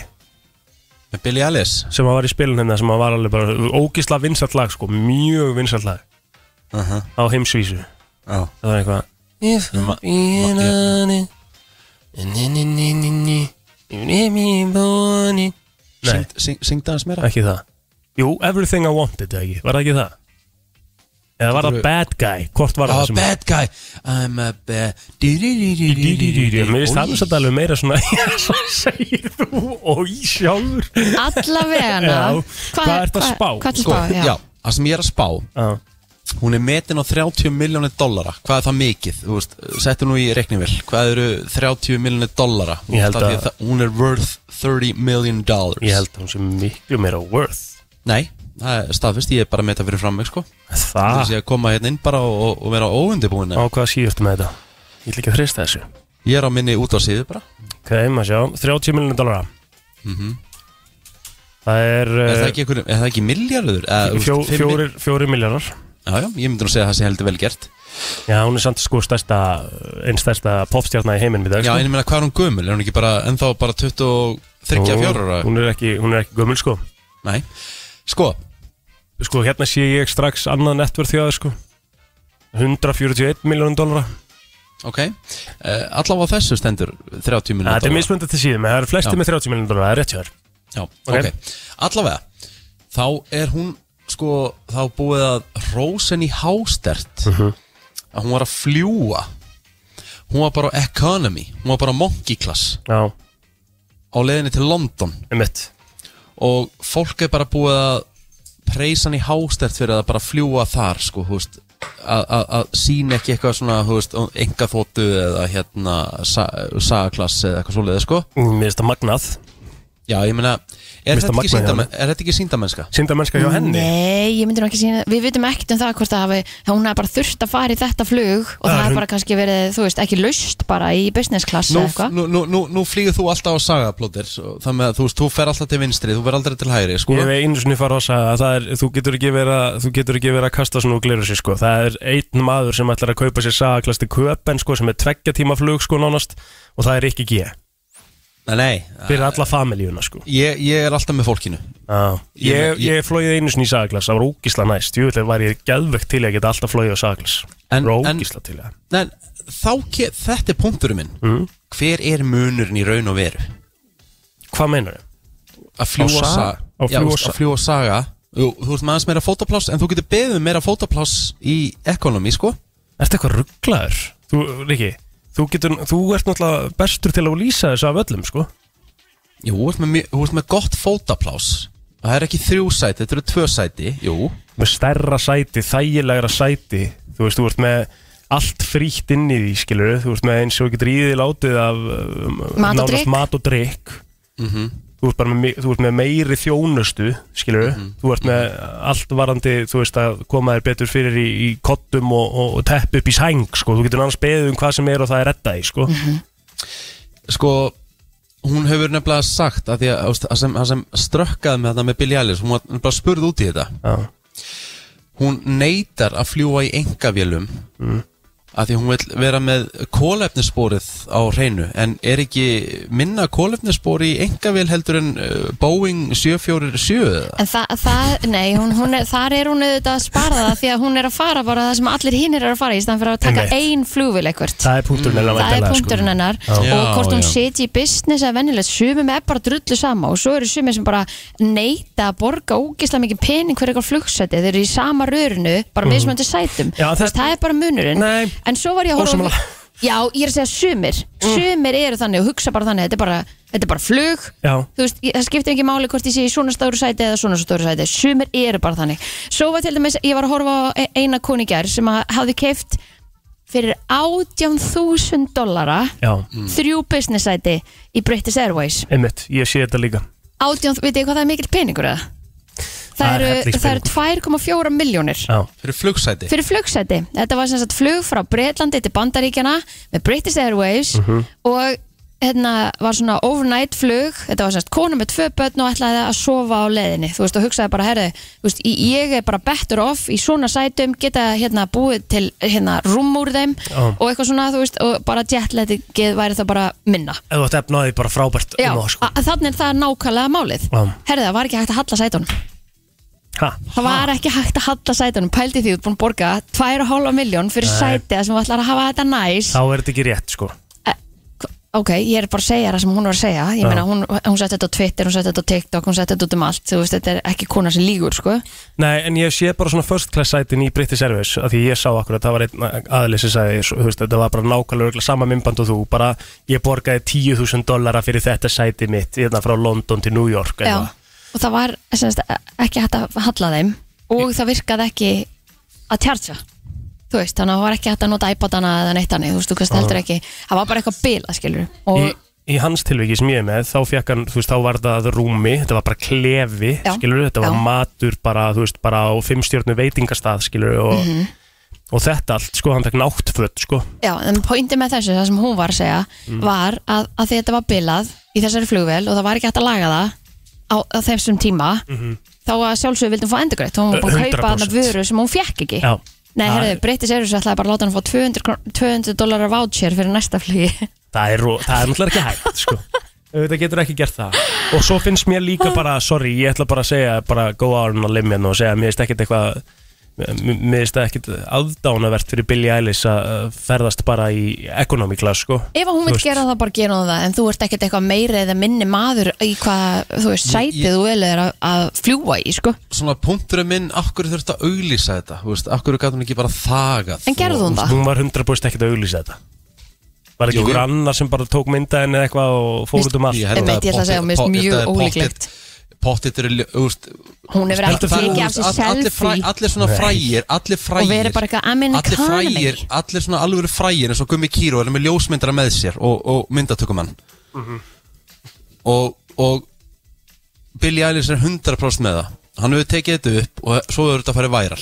[SPEAKER 1] Með Billy Ellis
[SPEAKER 2] sem að var í spilun hérna sem að var alveg bara ógisla vinsalt lag sko, mjög vinsalt lag
[SPEAKER 1] uh -huh.
[SPEAKER 2] á heimsvísu
[SPEAKER 1] Já
[SPEAKER 2] það var eitthvað If
[SPEAKER 1] Ma-
[SPEAKER 2] I'm being
[SPEAKER 1] ma- já.
[SPEAKER 2] honest ni- ni- ni- ni- ni, you need me born in- Nei,
[SPEAKER 1] Syng- syng- Syngdu hans meira
[SPEAKER 2] ekki það Jú, Everything I Wanted, eða ekki, var það ekki það? Eða var það
[SPEAKER 1] Geturðu-
[SPEAKER 2] Bad Guy, hvort var það
[SPEAKER 1] Oh,
[SPEAKER 2] sem að
[SPEAKER 1] bad guy I'm a bad
[SPEAKER 2] Mér finnst það
[SPEAKER 1] Mér
[SPEAKER 2] samt alveg meira svona Svo segir þú, oi sjálfur
[SPEAKER 3] Alla vegana
[SPEAKER 2] Já. Hvað ertu að spá?
[SPEAKER 3] Hvað ertu að
[SPEAKER 1] Sko,
[SPEAKER 3] spá, já,
[SPEAKER 1] já, það sem ég er að spá
[SPEAKER 2] Já,
[SPEAKER 1] Hún er metin á 30 miljónir dollara Hvað er það mikið? Þú veist, settu nú í reikningvill Hvað eru 30 miljónir dollara? Þú
[SPEAKER 2] Ég
[SPEAKER 1] veist,
[SPEAKER 2] held
[SPEAKER 1] af því
[SPEAKER 2] að-
[SPEAKER 1] það- Hún er worth 30 million dollars
[SPEAKER 2] Ég held að hún sé miklu meira worth
[SPEAKER 1] Nei, það er staðfist Ég er bara að meta fyrir framveg sko Það
[SPEAKER 2] Það,
[SPEAKER 1] sé að koma hérna inn bara og, og vera óundibúin
[SPEAKER 2] á hvað síðurstu með þetta? Ég vil ekki að frista þessu
[SPEAKER 1] Ég er á minni út á síðu bara
[SPEAKER 2] Ok, maður sjá, 30 miljonar dollara
[SPEAKER 1] Mhm.
[SPEAKER 2] Það er,
[SPEAKER 1] Er það ekki, einhver- er það ekki miljardur?
[SPEAKER 2] eh, fjó, fjórir, fjórir miljonar
[SPEAKER 1] Já, já, ég myndi nú segja að það sé heldur vel gert
[SPEAKER 2] Já, hún er samt sko stærsta, einn stærsta popstjarna í heiminum í dag
[SPEAKER 1] Já,
[SPEAKER 2] sko.
[SPEAKER 1] en ég meina, hvað er hún gömul? Er hún ekki bara ennþá bara 23-24 ára?
[SPEAKER 2] Hún er ekki, hún er ekki gömul sko
[SPEAKER 1] Nei Sko,
[SPEAKER 2] Sko, hérna sé ég strax annað nettvörð þjóða sko 141 miljonar dollara
[SPEAKER 1] ok uh, Allavega á þessu stendur 30 minútur
[SPEAKER 2] Þetta er mismöndið til síðum, en það eru flesti
[SPEAKER 1] Já.
[SPEAKER 2] með 30 miljonar dollara, það er rétt hjá þér
[SPEAKER 1] Já, ok,
[SPEAKER 2] Ok.
[SPEAKER 1] Allavega, þá er hún sko, þá búið að Rósen í hástert
[SPEAKER 2] Mhm.
[SPEAKER 1] að hún var að fljúa Hún var bara á economy Hún var bara á monkey class
[SPEAKER 2] Já,
[SPEAKER 1] á leiðinni til London
[SPEAKER 2] einmitt
[SPEAKER 1] og fólk er bara búið að preysa hann í hástert fyrir að bara fljúa þar sko, þú veist að- að að sína ekki eitthvað svona þú veist, enga þóttu eða hérna sa, sagaklass eða eitthvað svoleiði sko
[SPEAKER 2] Mm, Mér finnst það magnað
[SPEAKER 1] já ég meina, er
[SPEAKER 2] Mér finnst
[SPEAKER 1] þetta
[SPEAKER 2] það
[SPEAKER 1] ekki,
[SPEAKER 2] magnað hjá
[SPEAKER 1] síndamenn, er þetta ekki síndamennska?
[SPEAKER 2] Sýnda mennska hjá henni
[SPEAKER 3] Mm, Nei, ég myndi nú ekki sína Við vitum ekkert um það hvort það hafi Það hún hafi bara þurft að fara í þetta flug Og
[SPEAKER 2] Það
[SPEAKER 3] það
[SPEAKER 2] er
[SPEAKER 3] hafi
[SPEAKER 2] hún-
[SPEAKER 3] bara kannski verið, þú veist, ekki laust bara í business class
[SPEAKER 1] Nú,
[SPEAKER 3] eða eitthvað
[SPEAKER 1] nú, nú, nú, nú flýgur þú alltaf á sagaplótir þannig að þú veist, þú fer alltaf til vinstri þú fer aldrei til hægri sko
[SPEAKER 2] Ég hef einu sinni farið að sagða að það er, þú getur ekki verið að, þú getur ekki verið að kasta svona úr gleru sér sko. Það er einn maður sem ætlar að kaupa sér sagaklasti köpen sko sem er tveggja tíma flug sko nánast og það er ekki G.
[SPEAKER 1] nei, nei,
[SPEAKER 2] Fyrir alla familíuna sko.
[SPEAKER 1] ég, ég er alltaf með fólkinu
[SPEAKER 2] Já.
[SPEAKER 1] Ég-
[SPEAKER 2] Ég, ég flóið einu sinni í sagaklas, það var ógísla næst. Jú, það var ég geðvegt til ég geta alltaf flóið á sagaklas.
[SPEAKER 1] En-
[SPEAKER 2] Það var
[SPEAKER 1] en-
[SPEAKER 2] ógísla til ég.
[SPEAKER 1] nei, þá, ke- þetta er punkturinn minn
[SPEAKER 2] Mhm.
[SPEAKER 1] hver er munurinn í raun og veru?
[SPEAKER 2] Hvað meinar þau?
[SPEAKER 1] að fljúa
[SPEAKER 2] Á Saga?
[SPEAKER 1] saga
[SPEAKER 2] Á
[SPEAKER 1] Já, þú
[SPEAKER 2] fljúga
[SPEAKER 1] veist,
[SPEAKER 2] Saga.
[SPEAKER 1] að fljúa saga Jú, þú ert með aðeins meira fótapláss en þú getur beðið um meira fótapláss í ekonomi, sko
[SPEAKER 2] Ertu eitthvað rugglaður? Þú, Riki, þú getur, þú ert náttúrulega bestur til að lýsa þessu af öllum sko.
[SPEAKER 1] Jú, þú ert með, mjög- þú ert með gott fótapláss það er ekki þrjú sæti, þetta eru tvö sæti Jú,
[SPEAKER 2] með stærra sæti, þægilegra sæti þú veist, þú ert með allt frítt inn í því, skilur þú ert með eins og getur í því látið af um,
[SPEAKER 3] Mat og
[SPEAKER 2] nánast
[SPEAKER 3] drykk.
[SPEAKER 2] mat og drikk
[SPEAKER 1] Mhm.
[SPEAKER 2] þú, ert bara með, mi- þú ert með meiri þjónustu skilur,
[SPEAKER 1] Mhm.
[SPEAKER 2] þú ert með allt varandi, þú veist, að koma þér betur fyrir í, í kottum og, og, og tepp upp í sæng, sko, þú getur annars beðið um hvað sem er og það er reddað í, sko
[SPEAKER 3] Mhm.
[SPEAKER 1] sko hún hefur nefnilega sagt að því að þú veist, það sem, það sem strökkaði með þetta með Billie Eilish hún var nefnilega spurð út í þetta
[SPEAKER 2] Já.
[SPEAKER 1] hún neytar að fljúa í engavélum
[SPEAKER 2] Mm.
[SPEAKER 1] að því hún vil vera með kólefnissporið á hreinu en er ekki minna kólefnisspori í engavél heldur en uh, Boeing 747 eða?
[SPEAKER 3] En það, það nei, hún, hún er, þar er hún auðvitað að spara það því að hún er að fara bara það sem allir hinnir er að fara í staðan fyrir að taka
[SPEAKER 2] Einmitt.
[SPEAKER 3] ein flugvil eitthvert.
[SPEAKER 2] það er punkturinn hennar
[SPEAKER 3] Það er
[SPEAKER 2] væntanlega,
[SPEAKER 3] punkturinn
[SPEAKER 2] sko.
[SPEAKER 3] hennar
[SPEAKER 1] Já.
[SPEAKER 3] og hvort
[SPEAKER 1] Já,
[SPEAKER 3] hún
[SPEAKER 1] já.
[SPEAKER 3] sitji í business eða venjulegt, sumum er bara drullu sama og svo eru sumir sem bara neyta að borga ógislega mikið pening fyrir eitthvað flugsæti þeir eru í sama rörinu, bara mismöndi sætum
[SPEAKER 2] Mhm. Já,
[SPEAKER 3] Þú veist,
[SPEAKER 2] þetta-
[SPEAKER 3] það er bara munurinn
[SPEAKER 2] Nei.
[SPEAKER 3] en svo var ég að horfa á-
[SPEAKER 2] Ósammála. Mm.
[SPEAKER 3] Já, ég er að segja sumir Sumir eru þannig og hugsa bara þannig Þetta er bara, þetta er bara flug
[SPEAKER 2] Já.
[SPEAKER 3] Þú veist, ég, Það skiptir ekki máli hvort ég sé í svona stóru sæti eða svona stóru sæti Sumir eru bara þannig Svo var til dæmis, ég var að horfa á e- eina koningjar sem að hafði keift fyrir 18.000 dollara
[SPEAKER 2] Já,
[SPEAKER 1] Mm.
[SPEAKER 3] þrjú business sæti í British Airways
[SPEAKER 2] einmitt, ég sé þetta líka
[SPEAKER 3] 18, veit ég hvað það er mikill peningur eða?
[SPEAKER 2] Það
[SPEAKER 3] Það
[SPEAKER 2] er
[SPEAKER 3] eru, það eru
[SPEAKER 2] hellingspeningur.
[SPEAKER 3] 2,4 miljónir
[SPEAKER 2] Já,
[SPEAKER 1] Fyrir flugsæti
[SPEAKER 3] fyrir flugsæti. Þetta var sem sagt flug frá Breitlandi til Bandaríkjana með British Airways
[SPEAKER 2] Mhm.
[SPEAKER 3] og hérna var svona overnight flug þetta var sem sagt kona með tvö börn og ætlaði að sofa á leiðinni, þú veist, og hugsaði bara herðu, þú veist, í- ég er bara better off í svona sætum, geta hérna búið til hérna rúm úr þeim
[SPEAKER 2] Já.
[SPEAKER 3] og eitthvað svona, þú veist, og bara jetlettingið væri það bara minna
[SPEAKER 2] ef þú ætti efnaði bara frábært
[SPEAKER 3] Já,
[SPEAKER 2] um á, sko.
[SPEAKER 3] a- þannig er það nákvæmlega málið
[SPEAKER 2] Já.
[SPEAKER 3] Herðu, það var ekki hægt að halla sætunum
[SPEAKER 2] Ha,
[SPEAKER 3] Það var ekki hægt að halla sætunum Pældi því þú ert búin að borga 2,5 miljón fyrir sæti að sem þú ætlar að hafa þetta næs
[SPEAKER 2] Þá er þetta ekki rétt sko
[SPEAKER 3] Eh, hva- Ok, ég er bara að segja það sem hún var að segja Ég
[SPEAKER 2] Já.
[SPEAKER 3] meina, hún, hún setti þetta á Twitter, hún setti þetta á TikTok Hún setti þetta út um allt, þú veist, þetta er ekki kona sem lígur, sko
[SPEAKER 2] Nei, en ég sé bara svona first class sætin í British Airways af því ég sá akkur að það var einn aðli sem sagði, svo- þú veist, þetta var bara nákvæmlega örugglega sama mymband og þú, bara ég borgaði 10.000 dollara fyrir þetta sæti mitt hérna frá London til New York
[SPEAKER 3] Já, og það var semst, ekki hægt að halla þeim Og það virkaði ekki að tjartja Þú veist, þannig að það var ekki hægt að nota iPadana eða neitt hannig, þú veist, þú kannski heldur ekki Það var bara eitthvað bila, skilur
[SPEAKER 2] Í,
[SPEAKER 3] og,
[SPEAKER 2] í hans tilviki sem ég er með þá fekk hann, þú veist, þá var það rúmi þetta var bara klefi,
[SPEAKER 3] Já.
[SPEAKER 2] skilur þetta var
[SPEAKER 3] Já.
[SPEAKER 2] matur bara, þú veist, bara á fimmstjörnu veitingastað, skilur og,
[SPEAKER 3] Mhm.
[SPEAKER 2] og þetta allt, sko, hann fekk náttföt sko,
[SPEAKER 3] Já, en pointi með þessu, það sem hún var að segja
[SPEAKER 1] Mm.
[SPEAKER 3] var að, að því þetta var bilað í þessari flugvél og það var ekki hægt að laga það á, á þessum tíma
[SPEAKER 1] Mm.
[SPEAKER 3] þá að sjálfsögur vildum fá endurgreitt þá var hún búin að kaupa
[SPEAKER 2] 100%.
[SPEAKER 3] þarna vöru sem hún fekk ekki
[SPEAKER 2] já
[SPEAKER 3] Nei,
[SPEAKER 2] Það-
[SPEAKER 3] herðu, breytis eru ætlaði bara að láta hann fá 200, kr- 200 dólarar voucher fyrir næsta flugi
[SPEAKER 2] það er, ro- það er náttúrulega ekki hægt sko. þetta getur ekki gert það og svo finnst mér líka bara, sorry, ég ætla bara að segja bara go out on a limb hérna og segja mér finnst ekkit eitthvað mér mér finnst það ekkit aðdánavert fyrir Billie Eilish að uh, ferðast bara í economy class sko.
[SPEAKER 3] Ef að hún
[SPEAKER 2] Þú
[SPEAKER 3] vil
[SPEAKER 2] veist.
[SPEAKER 3] gera það, bara gera hún það en þú ert ekkert eitthvað meiri eða minni maður í hvað, þú veist, sætið
[SPEAKER 1] ég-
[SPEAKER 3] þú vel er að, að fljúa í, sko
[SPEAKER 1] Svona punkturinn minn, akkur þurfti að auglýsa þetta Þú veist, akkur gæti hún ekki bara þagað
[SPEAKER 3] En gerði hún það?
[SPEAKER 2] hún var 100% ekkit að auglýsa þetta var ekki
[SPEAKER 1] Jú, jú.
[SPEAKER 2] einhver annar sem bara tók mynda henni eða eitthvað og fór út um allt
[SPEAKER 1] held
[SPEAKER 3] Einmitt, ég ætla að segja, mér finnst
[SPEAKER 1] pottet-
[SPEAKER 3] mjög
[SPEAKER 1] þetta er pottet-
[SPEAKER 3] ólíklegt.
[SPEAKER 1] Pottet eru, ljó- þú veist
[SPEAKER 3] Hún hefur
[SPEAKER 1] það-
[SPEAKER 3] ekki
[SPEAKER 1] það-
[SPEAKER 3] tekið af sér
[SPEAKER 1] all- allir fræ-
[SPEAKER 3] selfie
[SPEAKER 1] Allir svona frægir, allir frægir
[SPEAKER 3] Og verið bara eitthvað, I'm in
[SPEAKER 1] Allir
[SPEAKER 3] economy.
[SPEAKER 1] frægir, allir svona alvöru frægir eins og Gummi Kíró er með ljósmyndara með sér og, og myndatökumann
[SPEAKER 2] Mhm.
[SPEAKER 1] og, og Billy Eilish er 100% með það Hann hefur tekið þetta upp og svo hefur þetta farið væral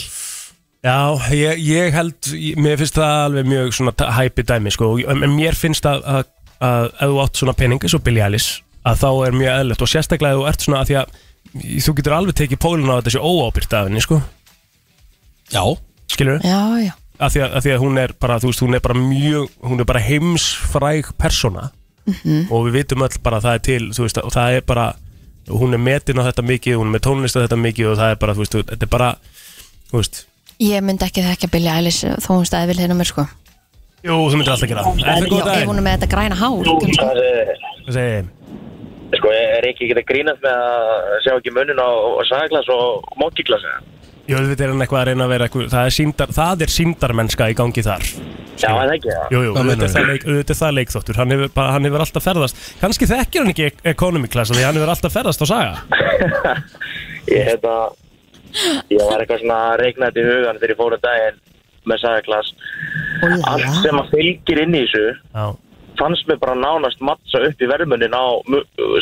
[SPEAKER 2] Já, ég, ég held, ég- mér finnst það alveg mjög svona ta- hæpi dæmi sko og- en mér finnst að, að, að ef þú átt svona peningi svo Billie Eilish að þá er mjög eðlert og sérstaklega ef þú ert svona að því að þú getur alveg tekið pólun á þetta sé óábyrgt af henni sko
[SPEAKER 1] Já,
[SPEAKER 2] skilur,
[SPEAKER 3] Já, já,
[SPEAKER 2] að því að, að því að hún er bara, þú veist, hún er bara mjög hún er bara heimsfræg persóna
[SPEAKER 3] Mhm.
[SPEAKER 2] og við vitum öll bara að það er til þú veist, og það er bara, hún er metin á þetta mikið, hún er með tónlist á þetta mikið og það er bara, þú veist, þetta er bara þú veist,
[SPEAKER 3] Ég myndi ekki þekka Billie Eilish þó hún staði vil hérna mér sko
[SPEAKER 2] jú, þú myndir alltaf gera það. Er
[SPEAKER 3] En
[SPEAKER 2] það góð
[SPEAKER 3] já, ef
[SPEAKER 2] daginn?
[SPEAKER 3] hún er með þetta græna hár sko.
[SPEAKER 2] Hvað segir þið?
[SPEAKER 7] eh, Sko, er ekki ekki að grínast með að sjá ekki munin á sagaglas og mókiglas
[SPEAKER 2] Jú, þetta er hann eitthvað að reyna að vera eitthvað, það er, síndar, það er síndarmennska í gangi þar
[SPEAKER 7] Já, en ekki það
[SPEAKER 2] Jú, jú,
[SPEAKER 1] Hvað
[SPEAKER 2] auðvitað
[SPEAKER 1] meinarðu?
[SPEAKER 2] er það leik- auðvitað er það leikþóttur hann hefur, bara, hann hefur alltaf ferðast kannski þekkir hann ekki ek- economy class af því hann hefur alltaf ferðast á saga
[SPEAKER 7] Ég hef það Ég var eitthvað svona reiknætt í hugan þegar ég fór um daginn með sagaglas Allt
[SPEAKER 3] Úlala.
[SPEAKER 7] sem að fylgir inn í þessu
[SPEAKER 2] Já,
[SPEAKER 7] fannst mér bara nánast mattsa upp í verðmunin á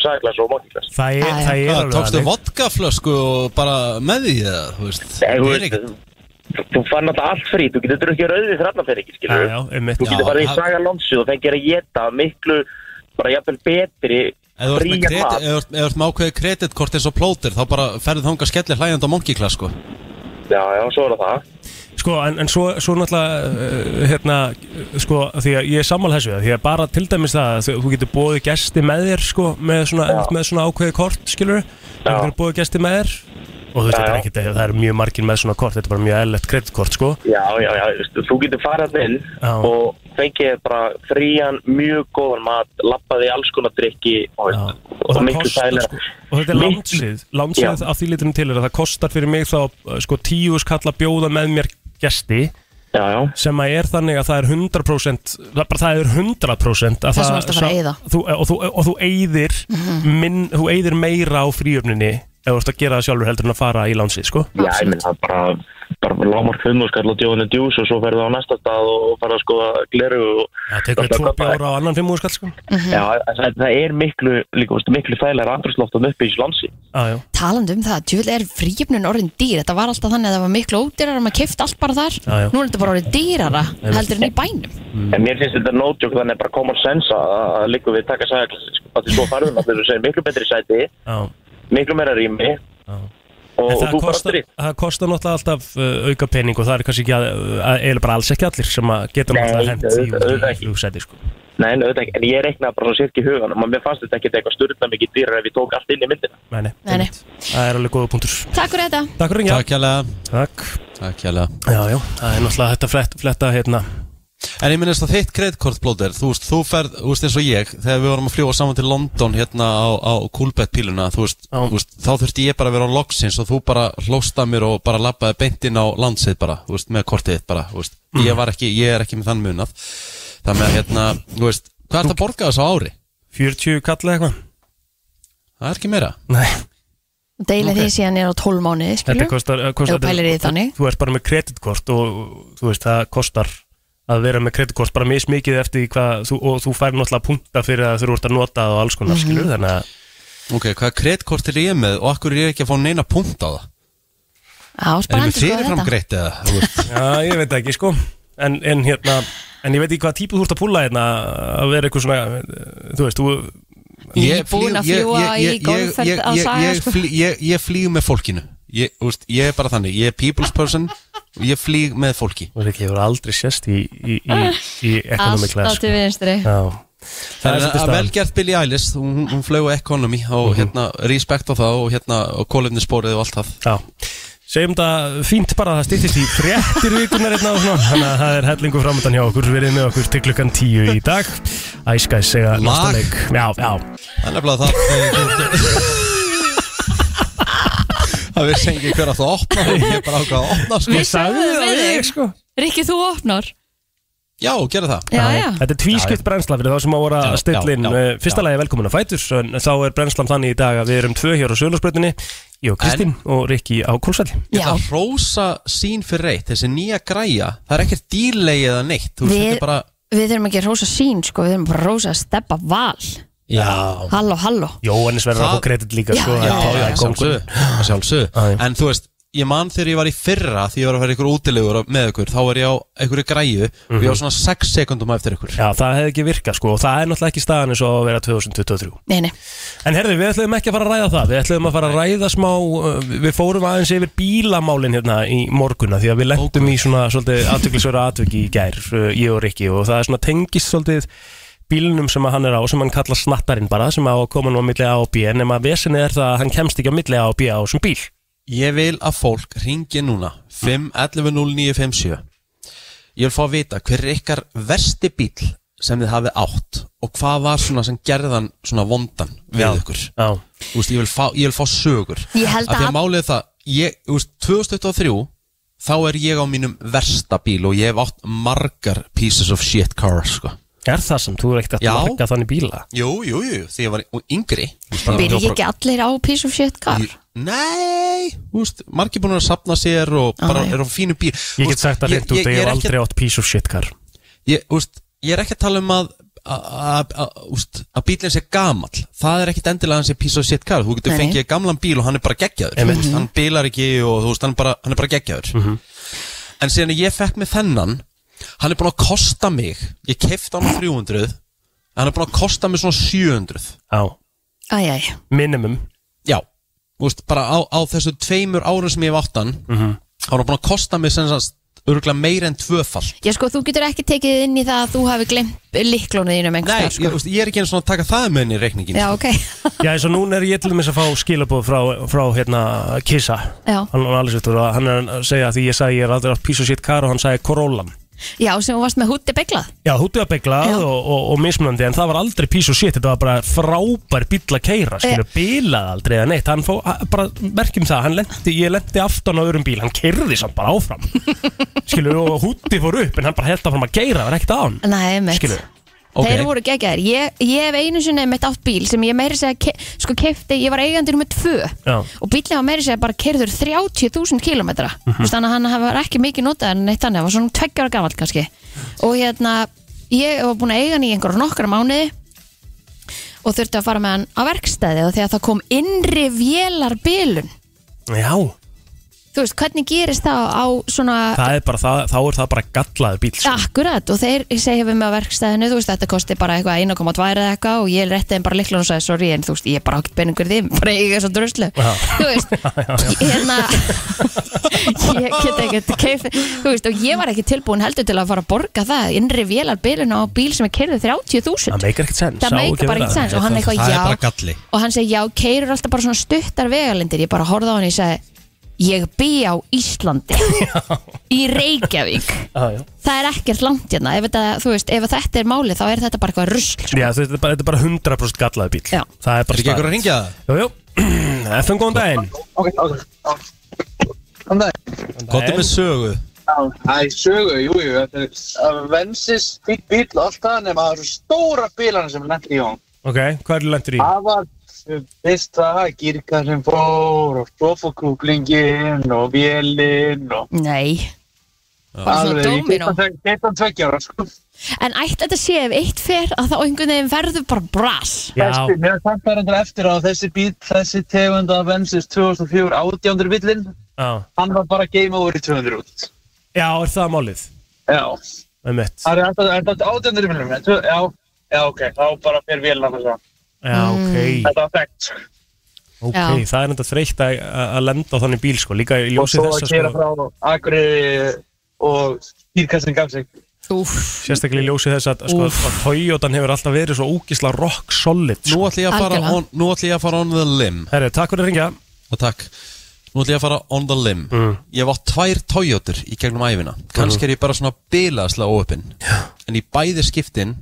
[SPEAKER 7] sagaglas og mókiglas
[SPEAKER 2] það
[SPEAKER 3] Já,
[SPEAKER 2] er,
[SPEAKER 3] já.
[SPEAKER 2] það er
[SPEAKER 1] Hvað,
[SPEAKER 2] alveg
[SPEAKER 1] tókstu
[SPEAKER 2] þannig.
[SPEAKER 1] vodkaflösku og bara með því það, þú veist
[SPEAKER 7] Nei, þú
[SPEAKER 1] Það er
[SPEAKER 7] veist,
[SPEAKER 1] ekkert-
[SPEAKER 7] þú- þú fann þetta allt frí, þú getur drukkið rauðið þrannafyrir,
[SPEAKER 2] Já,
[SPEAKER 7] skilur
[SPEAKER 2] já, einmitt
[SPEAKER 7] Þú
[SPEAKER 1] Já,
[SPEAKER 7] getur bara í
[SPEAKER 1] það-
[SPEAKER 7] saga lónsið og fengir að geta miklu, bara jafnvel betri,
[SPEAKER 1] Ef þú ert með
[SPEAKER 7] frían
[SPEAKER 1] kredi-
[SPEAKER 7] mat.
[SPEAKER 1] ef þú ert- ef þú ert með ákveðið kreditkort eins og plóter þá bara ferðu þangað skellir hlægjand á monkey class sko
[SPEAKER 7] Já, já, svo er það það.
[SPEAKER 2] Sko, en, en svo, svo náttúrulega, uh, hérna, uh, sko, því að ég er sammál þessu, því að bara til dæmis það að þú- þú getur bóðið gesti með þér, sko, með svona,
[SPEAKER 7] Já.
[SPEAKER 2] með svona ákveði kort, skilur, þú
[SPEAKER 7] Já.
[SPEAKER 2] getur bóðið gesti með þér og þú veist,
[SPEAKER 7] Já,
[SPEAKER 2] þetta er
[SPEAKER 7] já.
[SPEAKER 2] ekki, það er mjög margir með svona kort, þetta er bara mjög eðlert kreditkort, sko.
[SPEAKER 7] Já, já, já, þú veist, þú getur farið þarna inn
[SPEAKER 2] Já.
[SPEAKER 7] og fengið bara frían, mjög góðan mat, lappaði alls konar drikki og,
[SPEAKER 2] Já.
[SPEAKER 7] veist, og, og miklu sælir.
[SPEAKER 2] sko, og þetta er
[SPEAKER 7] Miklu-
[SPEAKER 2] landsið landsið
[SPEAKER 7] Já.
[SPEAKER 2] af því litunum til er að það kostar fyrir mig þá uh, sko tíu skall að bjóða með mér gesti
[SPEAKER 7] já, já,
[SPEAKER 2] sem að er þannig að það er 100% það, bara, það er 100% að
[SPEAKER 3] Þess
[SPEAKER 2] það-
[SPEAKER 3] vegna ertu að fara að eyða. Mhm.
[SPEAKER 2] þú, og, þú, og þú eyðir minn, þú eyðir meira á fríöfninni ef þú ert að gera það sjálfur heldur en að fara í lánsi sko.
[SPEAKER 7] já, ég minn það er bara bara lágmark fimm og skall og djóðinu djús og svo ferðu á næsta stað og ferðu að skoða gleru og
[SPEAKER 2] það tekur
[SPEAKER 7] Þetta
[SPEAKER 2] tvo
[SPEAKER 7] er bara-
[SPEAKER 2] bjóra á annan fimmu skall sko.
[SPEAKER 3] Mhm.
[SPEAKER 7] já, það, það er miklu, líka, veist, miklu þægilega andrúsloftum uppi í slansi
[SPEAKER 2] ah, já,
[SPEAKER 3] Talandi um það, tjúvill er fríjöfnun orðin dýr Þetta var alltaf þannig að það var miklu ódýrar maður kefti allt bara þar,
[SPEAKER 2] Já, já.
[SPEAKER 3] nú er þetta bara orðin dýrara heldur en í bænum
[SPEAKER 2] Mm.
[SPEAKER 7] en mér finnst þetta nótjók þannig bara common sense að, að líka við taka sæðaklassi sko, að því svo farðum að þessu segir miklu betri sæti
[SPEAKER 2] já.
[SPEAKER 7] miklu meira rými
[SPEAKER 2] Já.
[SPEAKER 7] og,
[SPEAKER 2] En
[SPEAKER 7] og
[SPEAKER 2] það
[SPEAKER 7] þú bara
[SPEAKER 2] kostar,
[SPEAKER 7] strýtt
[SPEAKER 2] það kostar náttúrulega alltaf uh, auka pening og það er kannski ekki að, að eiginlega bara alls ekki allir sem að geta
[SPEAKER 7] Nei,
[SPEAKER 2] náttúrulega hent í
[SPEAKER 7] auðvitað- auðvitað
[SPEAKER 2] út í
[SPEAKER 7] ekki.
[SPEAKER 2] flugsæti sko.
[SPEAKER 7] Nei, en auðvitað ekki, en ég reiknaði bara svona sérk í huganum og mér fannst þetta ekkert eitthvað styrna mikið dýrar ef ég tók allt inn í myndina.
[SPEAKER 2] Nei, nei,
[SPEAKER 3] Nei, nei.
[SPEAKER 2] einmitt. Það er alveg góða punktur
[SPEAKER 3] Takk fyrir þetta
[SPEAKER 2] Takk fyrir ringja
[SPEAKER 1] Takk hérlega
[SPEAKER 2] Takk
[SPEAKER 1] Takk hérlega
[SPEAKER 2] Já, já, það er náttúrulega þetta flett, fletta hérna
[SPEAKER 1] En ég minnist að þitt kreddkortblóter, þú veist, þú ferð, þú veist eins og ég, þegar við vorum að fljóa saman til London hérna á, á Coolbet píluna, þú veist,
[SPEAKER 2] Já.
[SPEAKER 1] þú veist, þá þurfti ég bara að vera á loksins og þú bara hlósta mér og bara labbaði beint inn á landsið bara, þú veist, með kortið þitt bara, þú veist,
[SPEAKER 2] Mm.
[SPEAKER 1] ég var ekki, ég er ekki með þann munað, þannig að hérna, þú veist, hvað er þetta að borga þess á ári?
[SPEAKER 2] 40 kall eða eitthvað
[SPEAKER 1] Það er ekki meira.
[SPEAKER 2] Nei,
[SPEAKER 3] Deilið því síðan er á 12 mánuði,
[SPEAKER 2] þetta
[SPEAKER 3] skilur
[SPEAKER 2] kostar, eh, kostar
[SPEAKER 3] Ef þú pælir í því þannig.
[SPEAKER 2] Þú ert bara með kreditkort og þú veist, það kostar að vera með kreditkort bara mismikið eftir því hvað þú, og þú fær náttúrulega punta fyrir að þú ert að nota það og alls konar
[SPEAKER 3] Mhm.
[SPEAKER 2] skilur þannig að
[SPEAKER 1] Ok, hvað kreddkort er ég með og akkur er ég ekki að fá neina punkt á það?
[SPEAKER 3] Já,
[SPEAKER 1] Er ég
[SPEAKER 3] spennandi
[SPEAKER 1] með fyrirfram greitt eða, þú veist?
[SPEAKER 2] Já, ég veit það ekki sko En, en hérna, en ég veit ekki hvað típu þú ert að púla hérna að vera eitthvað svona, eh, þú veist, þú,
[SPEAKER 1] Ég
[SPEAKER 3] Búin að
[SPEAKER 1] flýg- ég-
[SPEAKER 3] fljúga
[SPEAKER 1] ég-
[SPEAKER 3] í
[SPEAKER 1] ég-
[SPEAKER 3] golfferð
[SPEAKER 1] ég-
[SPEAKER 3] á
[SPEAKER 1] ég-
[SPEAKER 3] Saga,
[SPEAKER 1] ég
[SPEAKER 3] sko.
[SPEAKER 1] flý- ég- Ég flýg með fólkinu ég, úst, ég er bara þannig, ég er people's person og ég flýg með fólki
[SPEAKER 2] þú veist ekki, ég hefur aldrei sérst í, í, í, í economy
[SPEAKER 3] Alltaf
[SPEAKER 2] class
[SPEAKER 3] til
[SPEAKER 2] sko.
[SPEAKER 3] vinstri
[SPEAKER 2] Já, það er
[SPEAKER 1] Þannig að
[SPEAKER 2] svolítið staðan Mhm.
[SPEAKER 1] velgjart Billie Eilish, hún, hún flög á economy og hérna, respect á það og hérna og kólefnisporið og allt það
[SPEAKER 2] Já, segjum það fínt bara að það stýttist í fréttir vikunar hérna og svona, þannig að það er hellingu framöndan hjá okkur, verið með okkur til klukkan tíu í dag, æskæs segja næsta
[SPEAKER 1] Lag.
[SPEAKER 2] leik, já, já,
[SPEAKER 1] Það er nefnilega það Það vissi ekki hver að það opna ég bara ákvað að opna sko.
[SPEAKER 3] Við sagðum
[SPEAKER 2] það
[SPEAKER 3] við
[SPEAKER 2] ég,
[SPEAKER 3] þig
[SPEAKER 2] sko.
[SPEAKER 3] Rikki, þú opnar
[SPEAKER 1] Já, gera það
[SPEAKER 3] Já, já
[SPEAKER 2] Þetta er tvískipt brennsla fyrir þá sem að voru að
[SPEAKER 1] Já,
[SPEAKER 2] stilla inn
[SPEAKER 1] já, já,
[SPEAKER 2] Eh, Fyrsta
[SPEAKER 1] já.
[SPEAKER 2] lagi velkomin að fætur en þá er brennslan þannig í dag að við erum tvö hér á Sölursbrötinni Ég og Kristín og Rikki á Kólsvelli
[SPEAKER 1] Ég
[SPEAKER 3] Já.
[SPEAKER 1] ætla að hrósa sín fyrir reitt Þessi nýja græja, það er ekkert dýrlegi eða neitt Þú veist,
[SPEAKER 3] Við-
[SPEAKER 1] þetta er bara
[SPEAKER 3] Við þurfum ekki að rósa sín, sko Við þurfum bara að rósa að steppa val
[SPEAKER 1] Já,
[SPEAKER 3] Halló, halló
[SPEAKER 2] Jóhannes verður að
[SPEAKER 1] Það-
[SPEAKER 2] fá kredit líka sko,
[SPEAKER 3] Já,
[SPEAKER 2] hann
[SPEAKER 1] Já,
[SPEAKER 2] tók
[SPEAKER 1] já,
[SPEAKER 2] það í
[SPEAKER 1] að
[SPEAKER 2] kóngurinn.
[SPEAKER 1] sjálfsögðu, að
[SPEAKER 2] Já, já.
[SPEAKER 1] sjálfsögðu En þú veist, ég man þegar ég var í fyrra Því ég var að fara í ykkur útilegur með ykkur Þá var ég á einhverju græju Og ég var svona 6 sekundum á eftir ykkur
[SPEAKER 2] Mhm. Já, það hefði ekki virkað sko og það er náttúrulega ekki staðan eins og að vera 2023
[SPEAKER 3] Nei, nei
[SPEAKER 2] En herðu, við ætlum ekki að fara að ræða það Við ætlum að fara að ræða smá uh, Við fórum aðeins yfir bílamálin hérna í morgunna Því að við lendum í svona svolítið aðtöklisvera atviki í gær uh, Ég og Rikki og það er svona tengist svolítið bílnum sem að hann er á sem hann kallar snattarinn bara sem á að koma nú á milli A og B en nema vesinni er það að hann kemst ekki á milli A og B á sem bíl
[SPEAKER 1] Ég vil að fólk ringi núna 5 11 0957 Ég vil fá að vita hver er ykkar versti bíl sem þið hafið átt og hvað var svona sem gerðan svona vondan við ykkur
[SPEAKER 2] Já,
[SPEAKER 1] Þú veist, ég vil fá, ég vil fá sögur
[SPEAKER 3] Ég held
[SPEAKER 1] Af því
[SPEAKER 3] að-
[SPEAKER 1] að málið er það, ég, þú veist, 2023 þá er ég á mínum versta bíl og ég hef átt margar pieces of shit cars sko.
[SPEAKER 2] er það sem þú er ekkert að
[SPEAKER 1] Já.
[SPEAKER 2] marga þannig bíla
[SPEAKER 1] Jú, jú, jú, því ég var og yngri
[SPEAKER 3] Byrja ekki allir á piece of shit car
[SPEAKER 1] Nei, þú veist, margir búin að sapna sér og bara
[SPEAKER 3] já.
[SPEAKER 1] er á fínu bíl
[SPEAKER 2] Ég get sagt það hreint út að ég hef
[SPEAKER 1] ekki-
[SPEAKER 2] aldrei átt piece of shit car
[SPEAKER 1] ég, úst, ég er ekki að tala um að a- a- a- úst, að bílinn sé gamall það er ekkit endilega að hann sé piece of shit car þú getur
[SPEAKER 3] Nei, nei.
[SPEAKER 1] fengið gamlan bíl og hann er bara geggjaður mm -hmm. hann bílar ekki og þú veist hann, er bara, hann er bara geggjaður
[SPEAKER 2] Mhm.
[SPEAKER 1] en síðan að ég fekk með þennan hann er búin að kosta mig ég kefti hann á 300 en hann er búin að kosta mig svona 700
[SPEAKER 2] Já,
[SPEAKER 3] Æj, æj
[SPEAKER 2] minimum
[SPEAKER 1] já, úst, bara á, á þessu tveimur árum sem ég hef átt hann
[SPEAKER 2] Mhm.
[SPEAKER 1] hann er búin að kosta mig sem sagt örgulega meira en tvöfall
[SPEAKER 3] Já, sko, þú getur ekki tekið inn í það að þú hafi glemt liklónu þínum
[SPEAKER 1] Nei,
[SPEAKER 3] einhvers
[SPEAKER 1] ég,
[SPEAKER 3] staðar, sko.
[SPEAKER 1] úst, ég er ekki einu svona að taka það með henni í reikningin
[SPEAKER 3] Já, ok
[SPEAKER 2] Já, eins og núna er ég til dæmis að fá skilabóð frá, frá hérna, Kissa
[SPEAKER 3] Já.
[SPEAKER 2] hann, hann, hann er að segja að því ég sagði ég er aldrei átt pís og sitt kar og hann sagði Corollan
[SPEAKER 3] Já, sem hún varst með hútti beglað
[SPEAKER 2] Já, hútið að beglað
[SPEAKER 3] Já.
[SPEAKER 2] og, og, og mismunandi en það var aldrei pís og shit, þetta var bara frábær bíll að
[SPEAKER 3] Eh.
[SPEAKER 2] keira, skilur, bílað aldrei eða neitt, hann fó, a- bara merkjum það hann lendi, ég lendi aftan á öðrum bíl hann keirði samt bara áfram skilur, og hútið fór upp en hann bara held áfram að keira, það var ekkert á hann
[SPEAKER 3] Nei, mitt
[SPEAKER 2] skilur,
[SPEAKER 1] Ok.
[SPEAKER 3] Þeir voru geggjaðir Ég, ég hef einu sinni mitt átt bíl sem ég meiri segja ke- sko kefti, ég var eigandi nummer tvö
[SPEAKER 2] Já.
[SPEAKER 3] og bílinn var meiri segja bara kerður 30.000 kilometra mm
[SPEAKER 1] Mhm.
[SPEAKER 3] -hmm. þannig að hann var ekki mikið notað en neitt þannig, hann var svona tveggjara gamall kannski og hérna, ég var búin að eiga hann í einhverjum nokkra mánuði og þurfti að fara með hann á verkstæði og þegar það kom innri vélarbilun
[SPEAKER 2] já,
[SPEAKER 3] þú veist, hvernig gerist það á svona
[SPEAKER 2] það er bara það, þá er það bara gallaður bíl sko.
[SPEAKER 3] Akkurat og þeir segja við mig á verkstæðinu þú veist þetta kosti bara eitthvað 1,2 eða eitthvað og ég rétti þeim bara líklan og sagði sorry en þú veist ég er bara átt peningur í því bara ég er svo druslu
[SPEAKER 2] Já.
[SPEAKER 3] þú veist ég- hérna ég get ekkert keif þú veist og ég var ekki tilbúin heldur til að fara að borga það innri vélar bilinu á bíl sem er kerðið 30.000
[SPEAKER 2] það meikar ekkert sens
[SPEAKER 3] það
[SPEAKER 2] sá
[SPEAKER 3] meika
[SPEAKER 2] ekki
[SPEAKER 3] bara
[SPEAKER 2] verið
[SPEAKER 3] ekki
[SPEAKER 2] það.
[SPEAKER 3] sens og hann
[SPEAKER 1] Það-
[SPEAKER 3] eitthvað
[SPEAKER 1] það er
[SPEAKER 3] já
[SPEAKER 1] bara galli.
[SPEAKER 3] og hann segi já, keirur alltaf bara svona stuttar vegalindir ég bara horfði á hann og ég segi ég bý á Íslandi í Reykjavík
[SPEAKER 2] Já, já.
[SPEAKER 3] það er ekkert langt hérna ef þetta, þú veist, ef þetta er málið þá er þetta bara eitthvað rusl sko.
[SPEAKER 2] Já, þetta er bara- þetta er bara 100% gallaður bíl
[SPEAKER 3] Já.
[SPEAKER 2] það er
[SPEAKER 1] Er
[SPEAKER 2] bara
[SPEAKER 1] ekki ekkur að
[SPEAKER 2] staðan.
[SPEAKER 1] ringja það?
[SPEAKER 2] Jú, jú, FN góðan daginn
[SPEAKER 10] Ok, ok.
[SPEAKER 1] Kottu með sögu
[SPEAKER 10] Æ, sögu, jú, jú, þetta er uh, Vensis bíl, bíl og allt það nema það eru stóra bílarna sem lendi í hún.
[SPEAKER 2] Ok, hvað er lendur í?
[SPEAKER 10] Það var uh, fyrst það að gírka sem fór og stofakúklingin og vélinn og
[SPEAKER 3] nei bara svona dóminó
[SPEAKER 10] Þetta tveggjára, sko.
[SPEAKER 3] en ætti þetta sé ef eitt fer að þá einhvern veginn verður bara bras
[SPEAKER 2] Já,
[SPEAKER 10] Þessi, mér samt það endur eftir á þessi bíl, þessi tegund af Vensis 2004 átjándur bílinn,
[SPEAKER 2] já,
[SPEAKER 10] hann var bara game over í 200 út.
[SPEAKER 2] já, er það málið?
[SPEAKER 10] Já,
[SPEAKER 2] Um
[SPEAKER 10] það er alltaf- er þetta átjándur bílinn, já, já, ok, þá bara fyrir vélina þess að
[SPEAKER 2] Já,
[SPEAKER 3] Mm.
[SPEAKER 2] ok,
[SPEAKER 10] þetta var fægt.
[SPEAKER 2] ok,
[SPEAKER 3] Já.
[SPEAKER 2] það er enda þreytt að, að lenda á þannig bíl sko, líka í
[SPEAKER 10] og
[SPEAKER 2] ljósi
[SPEAKER 10] svo
[SPEAKER 2] þess
[SPEAKER 10] að
[SPEAKER 2] að
[SPEAKER 10] gera
[SPEAKER 2] sko,
[SPEAKER 10] frá Akureyri og skýrkastin gaf sig
[SPEAKER 3] Úff.
[SPEAKER 2] sérstaklega í ljósi þess að, sko, að Toyotan hefur alltaf verið svo ógisla rock solid
[SPEAKER 1] Nú
[SPEAKER 2] sko.
[SPEAKER 1] ætlum ég að fara
[SPEAKER 3] Algjörlega.
[SPEAKER 1] on, Nú ætlum ég að fara on the limb
[SPEAKER 2] Herri, takk fyrir að ringja
[SPEAKER 1] Og takk Nú ætlum ég að fara on the limb
[SPEAKER 2] Mm.
[SPEAKER 1] Ég hef átt tvær Toyotur í gegnum æfina Kannski er ég bara svona bilaðslega óöpinn En í bæði skiptin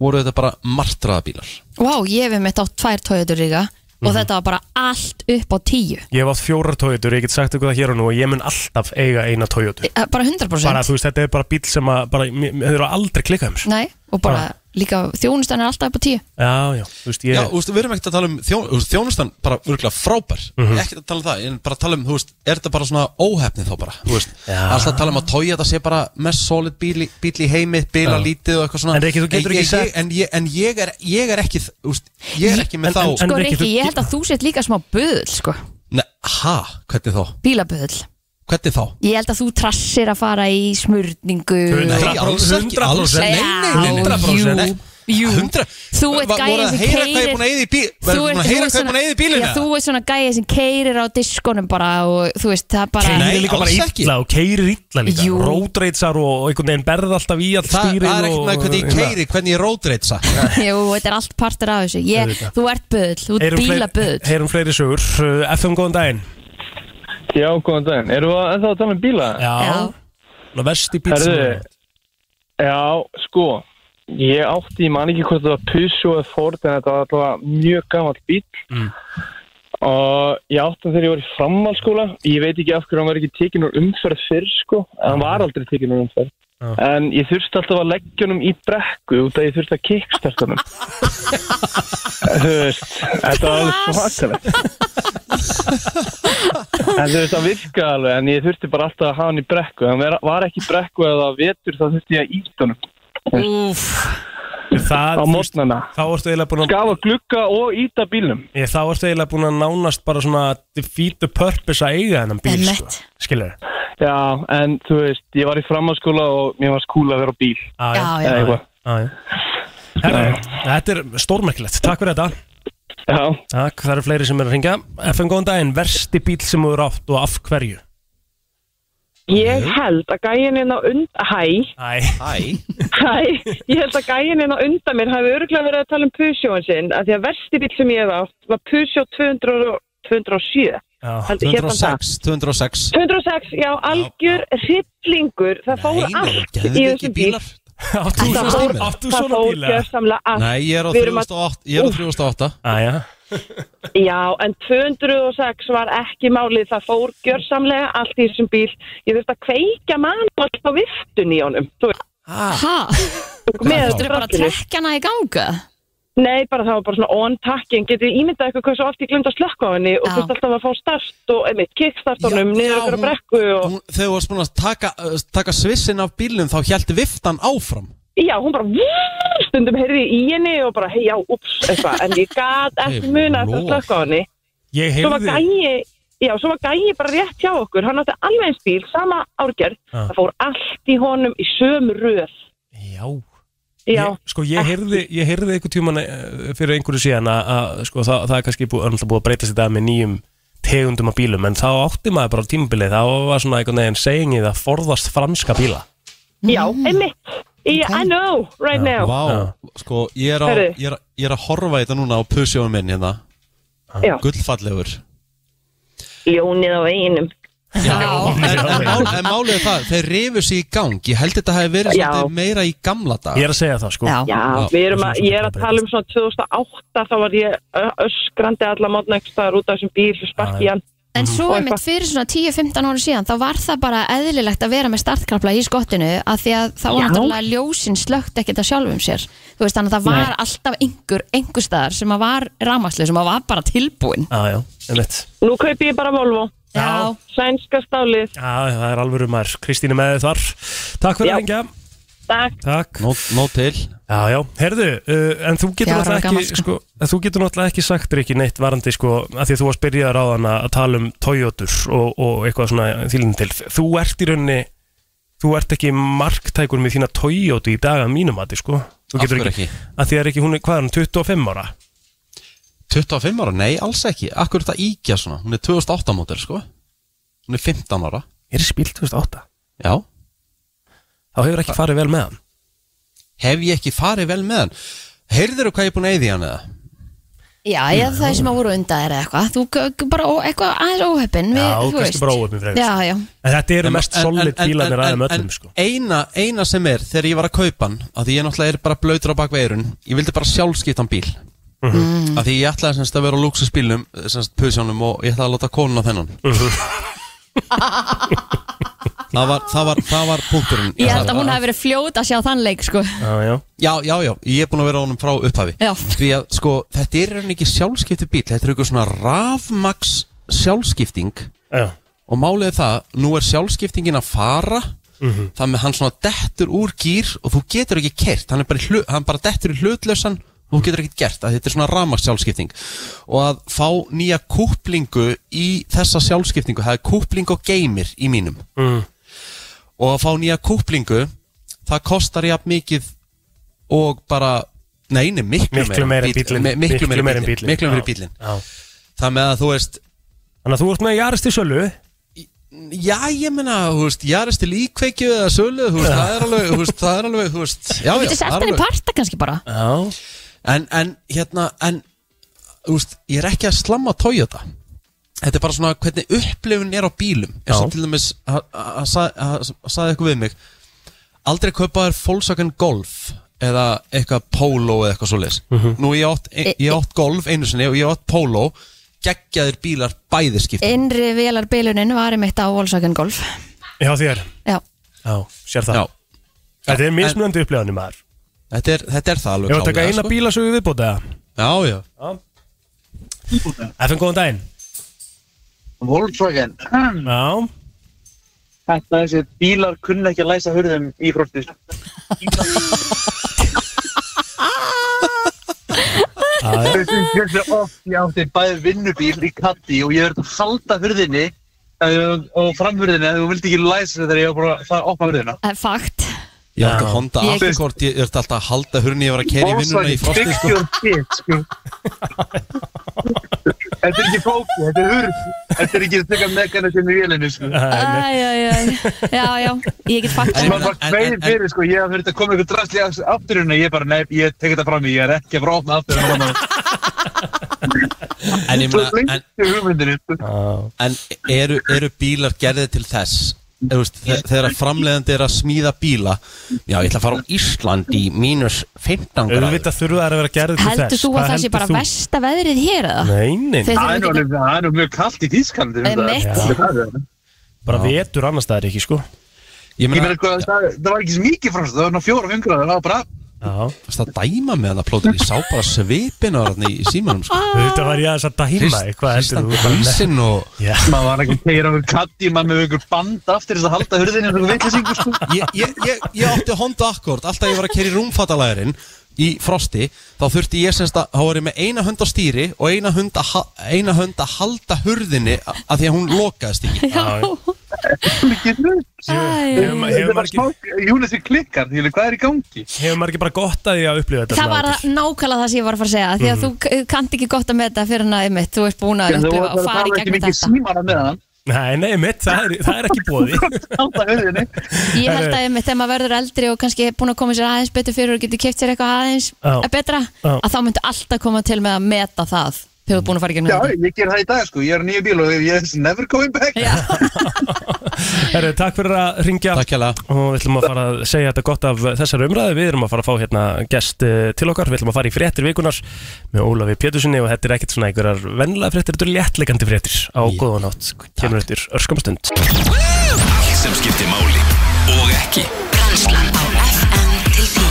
[SPEAKER 1] voru þetta bara martraðabílar
[SPEAKER 3] vá, ég hef mitt átt tvær tójatur líka og þetta var bara allt upp á tíu
[SPEAKER 2] Ég hef átt fjórar Toyotur, ég get sagt ykkur það hér og nú og ég mun alltaf eiga eina Toyotu
[SPEAKER 3] Eh, bara 100%
[SPEAKER 2] bara, þú veist, þetta er bara bíl sem að bara, mér, mér hefur aldrei klikkað um sko.
[SPEAKER 3] nei, og bara líka þjónustan er alltaf upp á tíu
[SPEAKER 2] Já, já, þú veist,
[SPEAKER 1] Já,
[SPEAKER 2] ég,
[SPEAKER 1] þú veist, við erum ekkert að tala um þjón, þú veist, þjónustan bara virkulega frábær
[SPEAKER 2] Mhm.
[SPEAKER 1] ekkert að tala um það, en bara að tala um, þú veist er þetta bara svona óhefni þá bara, þú veist alltaf að tala um að tója þetta sé bara mest solid bíl, í- bíl í heimi, bíla
[SPEAKER 2] Já.
[SPEAKER 1] lítið og eitthvað svona
[SPEAKER 2] En Riki, þú getur
[SPEAKER 1] En
[SPEAKER 2] ekki
[SPEAKER 1] ég-
[SPEAKER 2] sagt-
[SPEAKER 1] ég- En, ég, en ég, er, ég er ekki þú veist, ég er ekki með
[SPEAKER 2] En-
[SPEAKER 1] þá
[SPEAKER 2] en-
[SPEAKER 3] sko
[SPEAKER 2] Rikki,
[SPEAKER 3] Rikki,
[SPEAKER 2] þú-
[SPEAKER 3] ég held að þú sett líka smá böðl sko,
[SPEAKER 1] Nei, ha, hvernig þá?
[SPEAKER 3] bílaböðl
[SPEAKER 1] Hvernig þá?
[SPEAKER 3] ég held að þú trassir að fara í smurningu
[SPEAKER 2] Nei,
[SPEAKER 3] og-
[SPEAKER 1] Nei, alls ekki,
[SPEAKER 2] 100%.
[SPEAKER 1] alls ekki, nei, nei, nei, nei,
[SPEAKER 3] Já,
[SPEAKER 1] 100%
[SPEAKER 3] jú,
[SPEAKER 1] nei.
[SPEAKER 3] jú.
[SPEAKER 1] 100
[SPEAKER 3] Þú ert
[SPEAKER 1] Va-
[SPEAKER 3] gæinn
[SPEAKER 1] voru að
[SPEAKER 3] sem
[SPEAKER 1] heyra hvað ég er
[SPEAKER 3] keyrir-
[SPEAKER 1] búin að eyða í bíl
[SPEAKER 3] Þú
[SPEAKER 1] Voru búin
[SPEAKER 3] ert-
[SPEAKER 1] að
[SPEAKER 3] þú ert
[SPEAKER 1] heyra hvað ég er
[SPEAKER 3] svona-
[SPEAKER 1] búin að eyða í bílinu
[SPEAKER 3] Já, þú ert svona gæja sem keirir á diskonum bara og þú veist, það bara
[SPEAKER 1] Keyrir-
[SPEAKER 2] Keirir líka bara
[SPEAKER 1] alls ekki.
[SPEAKER 2] illa og keirir illa líka
[SPEAKER 3] Jú.
[SPEAKER 2] Rótreitsar og og einhvern veginn berð alltaf í allt
[SPEAKER 1] Þa,
[SPEAKER 2] stýrið
[SPEAKER 1] það er ekkert
[SPEAKER 2] og-
[SPEAKER 1] með hvernig ég keiri, hvernig ég rótreitsa
[SPEAKER 3] Jú, þetta er allt partur af þessu ég,
[SPEAKER 2] Auðvitað.
[SPEAKER 3] Þú ert böðl, þú ert
[SPEAKER 2] Heyrum fleiri-
[SPEAKER 3] bílaböðl
[SPEAKER 2] Heyrum fleiri sögur Uh, FM góðan daginn
[SPEAKER 8] Já, góðan daginn. Erum við ennþá að tala um bíla?
[SPEAKER 3] Já.
[SPEAKER 2] Ná verst í bíl sem
[SPEAKER 8] Herðu.
[SPEAKER 2] er
[SPEAKER 8] Já, sko, ég átti, ég man ekki hvort það var Peugeot eða Ford en þetta var alltaf mjög gammal bíl
[SPEAKER 1] Mm.
[SPEAKER 8] og ég átti hann þegar ég var í framhalskóla ég veit ekki af hverju hann var ekki tekin úr umferð fyrr, sko, hann var aldrei tekin úr umferð
[SPEAKER 2] Já.
[SPEAKER 8] En ég þurfti alltaf að leggja honum í brekku út að ég þurfti að kickstarta honum Þú veist, þetta var alveg svakalegt En þú veist, það virkaði alveg En ég þurfti bara alltaf að hafa hann í brekku Hann vera- var ekki í brekku eða vetur þá þurfti ég að íta honum
[SPEAKER 3] Úf,
[SPEAKER 8] á
[SPEAKER 2] Það, þú veist,
[SPEAKER 8] mótnana
[SPEAKER 2] þá ertu eiginlega búin að
[SPEAKER 8] skafa glugga og íta bílnum
[SPEAKER 2] ég, Þá ertu eiginlega búin að nánast bara svona defeat the purpose að eiga þennan bíl sko.
[SPEAKER 3] Emmett.
[SPEAKER 2] Skilur þið?
[SPEAKER 8] já, en þú veist, ég var í framhanskóla og mér var skúla að vera á bíl
[SPEAKER 3] já, já
[SPEAKER 8] eða eitthvað
[SPEAKER 2] já Herra, þetta er stórmerkilegt, takk fyrir þetta
[SPEAKER 8] já,
[SPEAKER 2] Takk, það eru fleiri sem er að ringa FM góðan daginn, versti bíl sem þú eru átt og af hverju?
[SPEAKER 11] Ég held að gæinin á undan, hæ,
[SPEAKER 2] Æ,
[SPEAKER 1] Æ,
[SPEAKER 11] hæ, ég held að gæinin á undan mér hafi örgulega verið að tala um Peugeot sinn, að því að versti bíl sem ég hef átt var Peugeot 200 og- 207. Held- hét hann það?
[SPEAKER 1] 206 206
[SPEAKER 11] 206, já, algjör hryllingur Það fór
[SPEAKER 1] Nei, nei,
[SPEAKER 11] allt í
[SPEAKER 1] geðveiki
[SPEAKER 11] þessum bíl
[SPEAKER 1] bílar.
[SPEAKER 2] Áttu
[SPEAKER 11] Það
[SPEAKER 1] svona
[SPEAKER 11] fór-
[SPEAKER 1] bíla?
[SPEAKER 2] Áttu
[SPEAKER 11] Það
[SPEAKER 2] svona
[SPEAKER 11] fór
[SPEAKER 2] bíla?
[SPEAKER 11] gjörsamlega allt
[SPEAKER 1] Nei, ég er á
[SPEAKER 11] Við erum að-
[SPEAKER 1] 308 Ég er á
[SPEAKER 11] Úff.
[SPEAKER 1] 308
[SPEAKER 2] Æja
[SPEAKER 11] Já, en 206 var ekki málið, það fór gjörsamlega allt í þessum bíl. Ég þurfti að kveikja mann alltaf á viftun í honum. Þú veist,
[SPEAKER 3] Hæ?
[SPEAKER 11] með
[SPEAKER 3] Þú eru bara að
[SPEAKER 11] rallinu.
[SPEAKER 3] trekja hana í ganga?
[SPEAKER 11] Nei, bara það var bara svona on takking. Getið þið ímyndað ykkur hversu oft ég glemt að slökka á henni og
[SPEAKER 3] Já.
[SPEAKER 11] þurfti alltaf að fá start og, einmitt, kickstart honum,
[SPEAKER 1] Já,
[SPEAKER 11] niður ykkur
[SPEAKER 1] hún-
[SPEAKER 11] að brekku og...
[SPEAKER 1] Hún- Þegar þú varst búin að taka, uh, taka svissin af bílum þá hjælti viftan áfram
[SPEAKER 11] Já, hún bara vúr, stundum heyrði í henni og bara, hei, já, ups, eitthvað. En ég gat
[SPEAKER 1] Nei,
[SPEAKER 11] ekki muna eftir að
[SPEAKER 1] lof.
[SPEAKER 11] slökka á henni.
[SPEAKER 2] Ég
[SPEAKER 11] svo var
[SPEAKER 2] heyrði
[SPEAKER 11] gæi já, svo var gæi bara rétt hjá okkur hann átti alveg eins bíl, sama árgerð
[SPEAKER 2] Ah.
[SPEAKER 11] það fór allt í honum í sömu röð
[SPEAKER 2] Já
[SPEAKER 11] já,
[SPEAKER 2] Ég, sko ég heyrði, ég heyrði einhver tíman fyrir einhverju síðan að, að sko, það, það er kannski búið, önnlega búið að breytast í dag með nýjum tegundum af bílum en þá átti maður bara á tímabilið þá var svona einhvern veginn segingið að forðast franska bíla
[SPEAKER 11] já, einmitt yeah, I know, right now Ah.
[SPEAKER 1] Vá,
[SPEAKER 2] Já.
[SPEAKER 1] sko ég er, á,
[SPEAKER 11] Heyrðu.
[SPEAKER 1] ég, er, ég er að horfa í þetta núna á pusjóðum minn hérna
[SPEAKER 11] Já.
[SPEAKER 1] Gullfallegur
[SPEAKER 11] ljónið á veginum
[SPEAKER 1] En, en, mál, en málið er það, þeir rifu sig í gang Ég held þetta hefði verið
[SPEAKER 11] Já.
[SPEAKER 1] svolítið meira í gamla dag
[SPEAKER 2] Ég er að segja það sko
[SPEAKER 3] Já.
[SPEAKER 11] já,
[SPEAKER 1] Já,
[SPEAKER 11] við erum að,
[SPEAKER 2] það er
[SPEAKER 11] ég er að
[SPEAKER 2] svona
[SPEAKER 11] tala um svona 2008 þá var ég ö- öskrandi alla mótna ekki staðar út af þessum bíl og sparki í hann
[SPEAKER 3] En svo
[SPEAKER 11] Og
[SPEAKER 3] einmitt
[SPEAKER 11] eitthvað.
[SPEAKER 3] fyrir svona 10-15 ára síðan þá var það bara eðlilegt að vera með startkrafla í skottinu að því að það var
[SPEAKER 11] Já.
[SPEAKER 3] náttúrulega ljósin slögt ekkert á sjálfum sér þú veist þannig að það var alltaf einhver einhver staðar sem að var rámakslega sem að var bara tilbúin
[SPEAKER 2] Já, já, einmitt
[SPEAKER 11] nú kaupi ég bara Volvo,
[SPEAKER 3] Já,
[SPEAKER 11] sænska stálið
[SPEAKER 2] Já, það er alveg um maður, Kristín er með þér þar Takk fyrir
[SPEAKER 11] Já.
[SPEAKER 2] að ringja
[SPEAKER 11] takk
[SPEAKER 2] Takk
[SPEAKER 1] Nó, nó til
[SPEAKER 2] Já, já, herðu, uh, en þú getur
[SPEAKER 3] Fjár ára
[SPEAKER 2] náttúrulega
[SPEAKER 3] gamall,
[SPEAKER 2] ekki, sko, en þú getur náttúrulega ekki sagt Rikki neitt varandi, sko, að því að þú varst byrjaður á þann að tala um Toyotur og, og eitthvað svona þýlinn til. Þú ert í rauninni, þú ert ekki marktækur með þína Toyotu í dag að mínum að sko. Þú
[SPEAKER 1] Af
[SPEAKER 2] getur
[SPEAKER 1] hverju ekki?
[SPEAKER 2] Að því að Rikki, hún er, hvað er hún, 25 ára?
[SPEAKER 1] 25 ára, nei alls ekki Akkur er þetta íkja svona, hún er 2008 mótil sko Hún er 15 ára
[SPEAKER 2] Er spil 2008?
[SPEAKER 1] Já,
[SPEAKER 2] Þá hefur ekki farið vel með hann.
[SPEAKER 1] hef ég ekki farið vel með hann Heyrðirðu hvað ég er búin að eyða í hann eða?
[SPEAKER 3] já, já það er sem að voru undan þér eða eitthvað þú g- g- bara ó- eitthvað aðeins óheppin við-
[SPEAKER 2] Já,
[SPEAKER 3] þú
[SPEAKER 2] kannski
[SPEAKER 3] veist.
[SPEAKER 2] bara óheppin frekar.
[SPEAKER 3] Já, já,
[SPEAKER 2] En þetta eru
[SPEAKER 1] En-
[SPEAKER 2] mest
[SPEAKER 1] en-
[SPEAKER 2] solid
[SPEAKER 1] en- en-
[SPEAKER 2] bílarnir
[SPEAKER 1] en-
[SPEAKER 2] aðeim
[SPEAKER 1] en-
[SPEAKER 2] öllum, sko.
[SPEAKER 1] eina, eina sem er, þegar ég var að kaupa hann að því ég náttúrulega er bara blöytur á bakveirun ég vildi bara sjálfskiptan bíl
[SPEAKER 2] Mhm.
[SPEAKER 3] Mm.
[SPEAKER 1] að því ég ætlaði semst að vera á luxusbílnum semst pusjónum og ég ætlaði að láta konuna þennan
[SPEAKER 2] Mhm.
[SPEAKER 1] það var, það var, það var punkturinn
[SPEAKER 3] ég held að hún hafi verið fljót að sjá þann leik sko.
[SPEAKER 2] Já, já.
[SPEAKER 1] já, já, já, ég er búin að vera á honum frá upphafi
[SPEAKER 3] Já.
[SPEAKER 1] því að sko, þetta er í rauninni ekki sjálfskipti bíl þetta er eitthvað svona rafmax sjálfskipting
[SPEAKER 2] Já.
[SPEAKER 1] og málið er það, nú er sjálfskiptingin að fara mm
[SPEAKER 2] Mhm.
[SPEAKER 1] -hmm. þannig að hann svona dettur úr gýr og þú getur ekki kert, hann, er bara, í hlu, hann bara dettur í hlutlausan og þú getur ekki gert, að þetta er svona ramast sjálfskipting og að fá nýja kúplingu í þessa sjálfskiptingu það er kúpling og geimir í mínum
[SPEAKER 2] Mm.
[SPEAKER 1] og að fá nýja kúplingu það kostar jafn mikið og bara, nei, nei, miklu,
[SPEAKER 2] Miklu meira en
[SPEAKER 1] bíll-
[SPEAKER 2] bílinn.
[SPEAKER 1] me- miklu meira en bílinn miklu meira en
[SPEAKER 2] Já,
[SPEAKER 1] bílinn
[SPEAKER 2] já.
[SPEAKER 1] þannig að þú veist,
[SPEAKER 2] Þannig að þú ert með Jaris til sölu.
[SPEAKER 1] Já, ég menna, þú veist, ég er til íkveikju eða sölu, þú veist, það er alveg, þú veist, það er alveg, þú veist,
[SPEAKER 3] þú
[SPEAKER 1] já, já,
[SPEAKER 3] getur
[SPEAKER 1] það
[SPEAKER 3] sett
[SPEAKER 1] er
[SPEAKER 3] hann í
[SPEAKER 1] alveg.
[SPEAKER 3] parta kannski bara
[SPEAKER 2] Já.
[SPEAKER 1] En, en, hérna, en, þú veist, ég er ekki að slamma Toyota. Þetta er bara svona hvernig upplifun er á bílum. Ég svo
[SPEAKER 2] Já.
[SPEAKER 1] til dæmis, að- að- að sa- að- að saði eitthvað við mig, aldrei kaupa þér Volkswagen Golf eða eitthvað Polo eða eitthvað svoleiðis.
[SPEAKER 2] Mhm.
[SPEAKER 1] Nú, ég átt, ég átt Golf einu sinni og ég átt Polo, geggjaðir bílar bæði skipt.
[SPEAKER 3] innri velar var einmitt á Volkswagen Golf
[SPEAKER 2] Já, þér.
[SPEAKER 3] já,
[SPEAKER 2] Já, sér það.
[SPEAKER 1] Já,
[SPEAKER 2] Þetta er mismunandi upplifanir maður.
[SPEAKER 1] þetta er, þetta er það alveg
[SPEAKER 2] Ég var að taka
[SPEAKER 1] klárlega,
[SPEAKER 2] eina
[SPEAKER 1] sko.
[SPEAKER 2] bílasögu viðbóta eða?
[SPEAKER 1] Já, já
[SPEAKER 2] FM, góðan daginn
[SPEAKER 10] Volkswagen
[SPEAKER 2] Já,
[SPEAKER 10] Þetta þessi bílar kunna ekki að læsa hurðum í sko. fróttis
[SPEAKER 2] já,
[SPEAKER 10] Þessi oft ég átti bæði vinnubíl í katti og ég verði að halda hurðinni eh, og framhurðinni að þú vildi ekki læsa þegar ég var bara það að opna hurðina
[SPEAKER 3] það er fakt
[SPEAKER 1] Ég átti að honda
[SPEAKER 3] Ég-
[SPEAKER 1] afturkort, ég ert alltaf að halda hurni Ég var að keira í vinnuna í frosti sko.
[SPEAKER 10] Volkswagen byggjur sko Þetta er ekki fóki, þetta er hurð Þetta er ekki að taka megana sinni í vélinu sko
[SPEAKER 3] Æ, æ, æ. já, já, ég get fakt
[SPEAKER 1] En-
[SPEAKER 10] Ég var bara
[SPEAKER 1] en-
[SPEAKER 10] kveðin
[SPEAKER 1] en-
[SPEAKER 10] fyrir sko, ég hef verið að koma ykkur hérna, drastli hérna, afturinn og ég bara, nei, ég tek þetta fram í, ég er ekki að fara að opna afturinn
[SPEAKER 1] En ég meina- en-
[SPEAKER 10] hugmyndinu
[SPEAKER 3] sko.
[SPEAKER 1] En eru, eru bílar gerðið til þess Er, þú veist, þe- þegar að framleiðandi er að smíða bíla Já, ég ætla að fara á Ísland í mínus 15 gráður
[SPEAKER 2] Auðvitað þurfa þær að vera gerðið til
[SPEAKER 3] Heldur
[SPEAKER 2] þess
[SPEAKER 3] þú að það sé bara
[SPEAKER 2] heldur þú?
[SPEAKER 3] versta veðrið hér eða?
[SPEAKER 2] Nei, nei,
[SPEAKER 3] Þeir
[SPEAKER 10] Það er
[SPEAKER 3] þurfa
[SPEAKER 10] nú- það er nú mjög kallt í Þýskalandi um
[SPEAKER 3] Einmitt.
[SPEAKER 10] þetta.
[SPEAKER 3] Já.
[SPEAKER 10] Það er-
[SPEAKER 2] bara vetur annars það er ekki sko
[SPEAKER 1] Ég
[SPEAKER 10] Ég
[SPEAKER 1] meina,
[SPEAKER 10] meina, hvað, það, það var ekki svo mikið frá það var ná fjóra fengur það var bara
[SPEAKER 2] Já,
[SPEAKER 1] fannst að dæma með hann að plóta Ég sá bara svipin á hann í símanum sko.
[SPEAKER 2] þetta var ég aðeins að dæma þig, Hvað heldur
[SPEAKER 1] Hristandi
[SPEAKER 2] þú?
[SPEAKER 1] hausinn og
[SPEAKER 2] Já,
[SPEAKER 10] maður var ekki að tegja okkur katti maður með okkur band aftur þess að halda hurðinu og vitlisingu sko
[SPEAKER 1] ég, ég, ég, ég átti Honda Accord Alltaf ég var að keri rúmfattalæðurinn í frosti Þá þurfti ég semst að Há var ég með eina hönd á stýri Og eina hönd að, ha- eina hönd að halda hurðinni a- Að því að hún lokaðist ekki
[SPEAKER 2] hefur ma- hefur
[SPEAKER 10] Þetta var
[SPEAKER 2] margir-
[SPEAKER 10] smá- Júnus er klikkar, ég veit hvað er í gangi
[SPEAKER 2] hefur maður ekki bara gott að því að upplifa þetta
[SPEAKER 3] Það
[SPEAKER 2] svona
[SPEAKER 3] var
[SPEAKER 2] áður?
[SPEAKER 3] það- nákvæmlega það sem ég var að fara að segja Því að þú k- kannt ekki gott að með þetta fyrir að einmitt Þú ert búin að
[SPEAKER 10] Þú
[SPEAKER 3] upplifa
[SPEAKER 10] voru
[SPEAKER 3] og
[SPEAKER 10] að
[SPEAKER 3] fara í
[SPEAKER 10] tala ekki
[SPEAKER 3] gegnum
[SPEAKER 10] mikið
[SPEAKER 3] þetta
[SPEAKER 10] símana með hann
[SPEAKER 2] Nei, nei, mitt, það er, það er ekki bóði
[SPEAKER 10] halda hurðinu
[SPEAKER 3] Ég held að einmitt þegar maður verður eldri og kannski er búin að koma sér aðeins betur fyrir og getur keft sér eitthvað aðeins
[SPEAKER 2] Já.
[SPEAKER 3] betra
[SPEAKER 2] Já.
[SPEAKER 3] að þá myndi alltaf koma til með að meta það þegar þú ert búin að fara í gegnum
[SPEAKER 10] Já,
[SPEAKER 3] þetta
[SPEAKER 10] ég ger það í dag sko, ég er á nýju bíl og ég er never going back
[SPEAKER 2] Herru, takk fyrir að ringja
[SPEAKER 1] Takk hérlega
[SPEAKER 2] og við ætlum að fara að segja þetta gott af þessar umræði við erum að fara að fá hérna gest eh, til okkar við ætlum að fara í fréttir vikunar með Ólafi Pétursinni og þetta er ekkert svona einhverjar venlega fréttir, þetta eru léttlegandi fréttir á yeah. góðanátt,
[SPEAKER 1] Sko,
[SPEAKER 2] kemur eftir örskamstund
[SPEAKER 12] Allt sem skiptir máli og ekki
[SPEAKER 5] Brennslan á FM til 10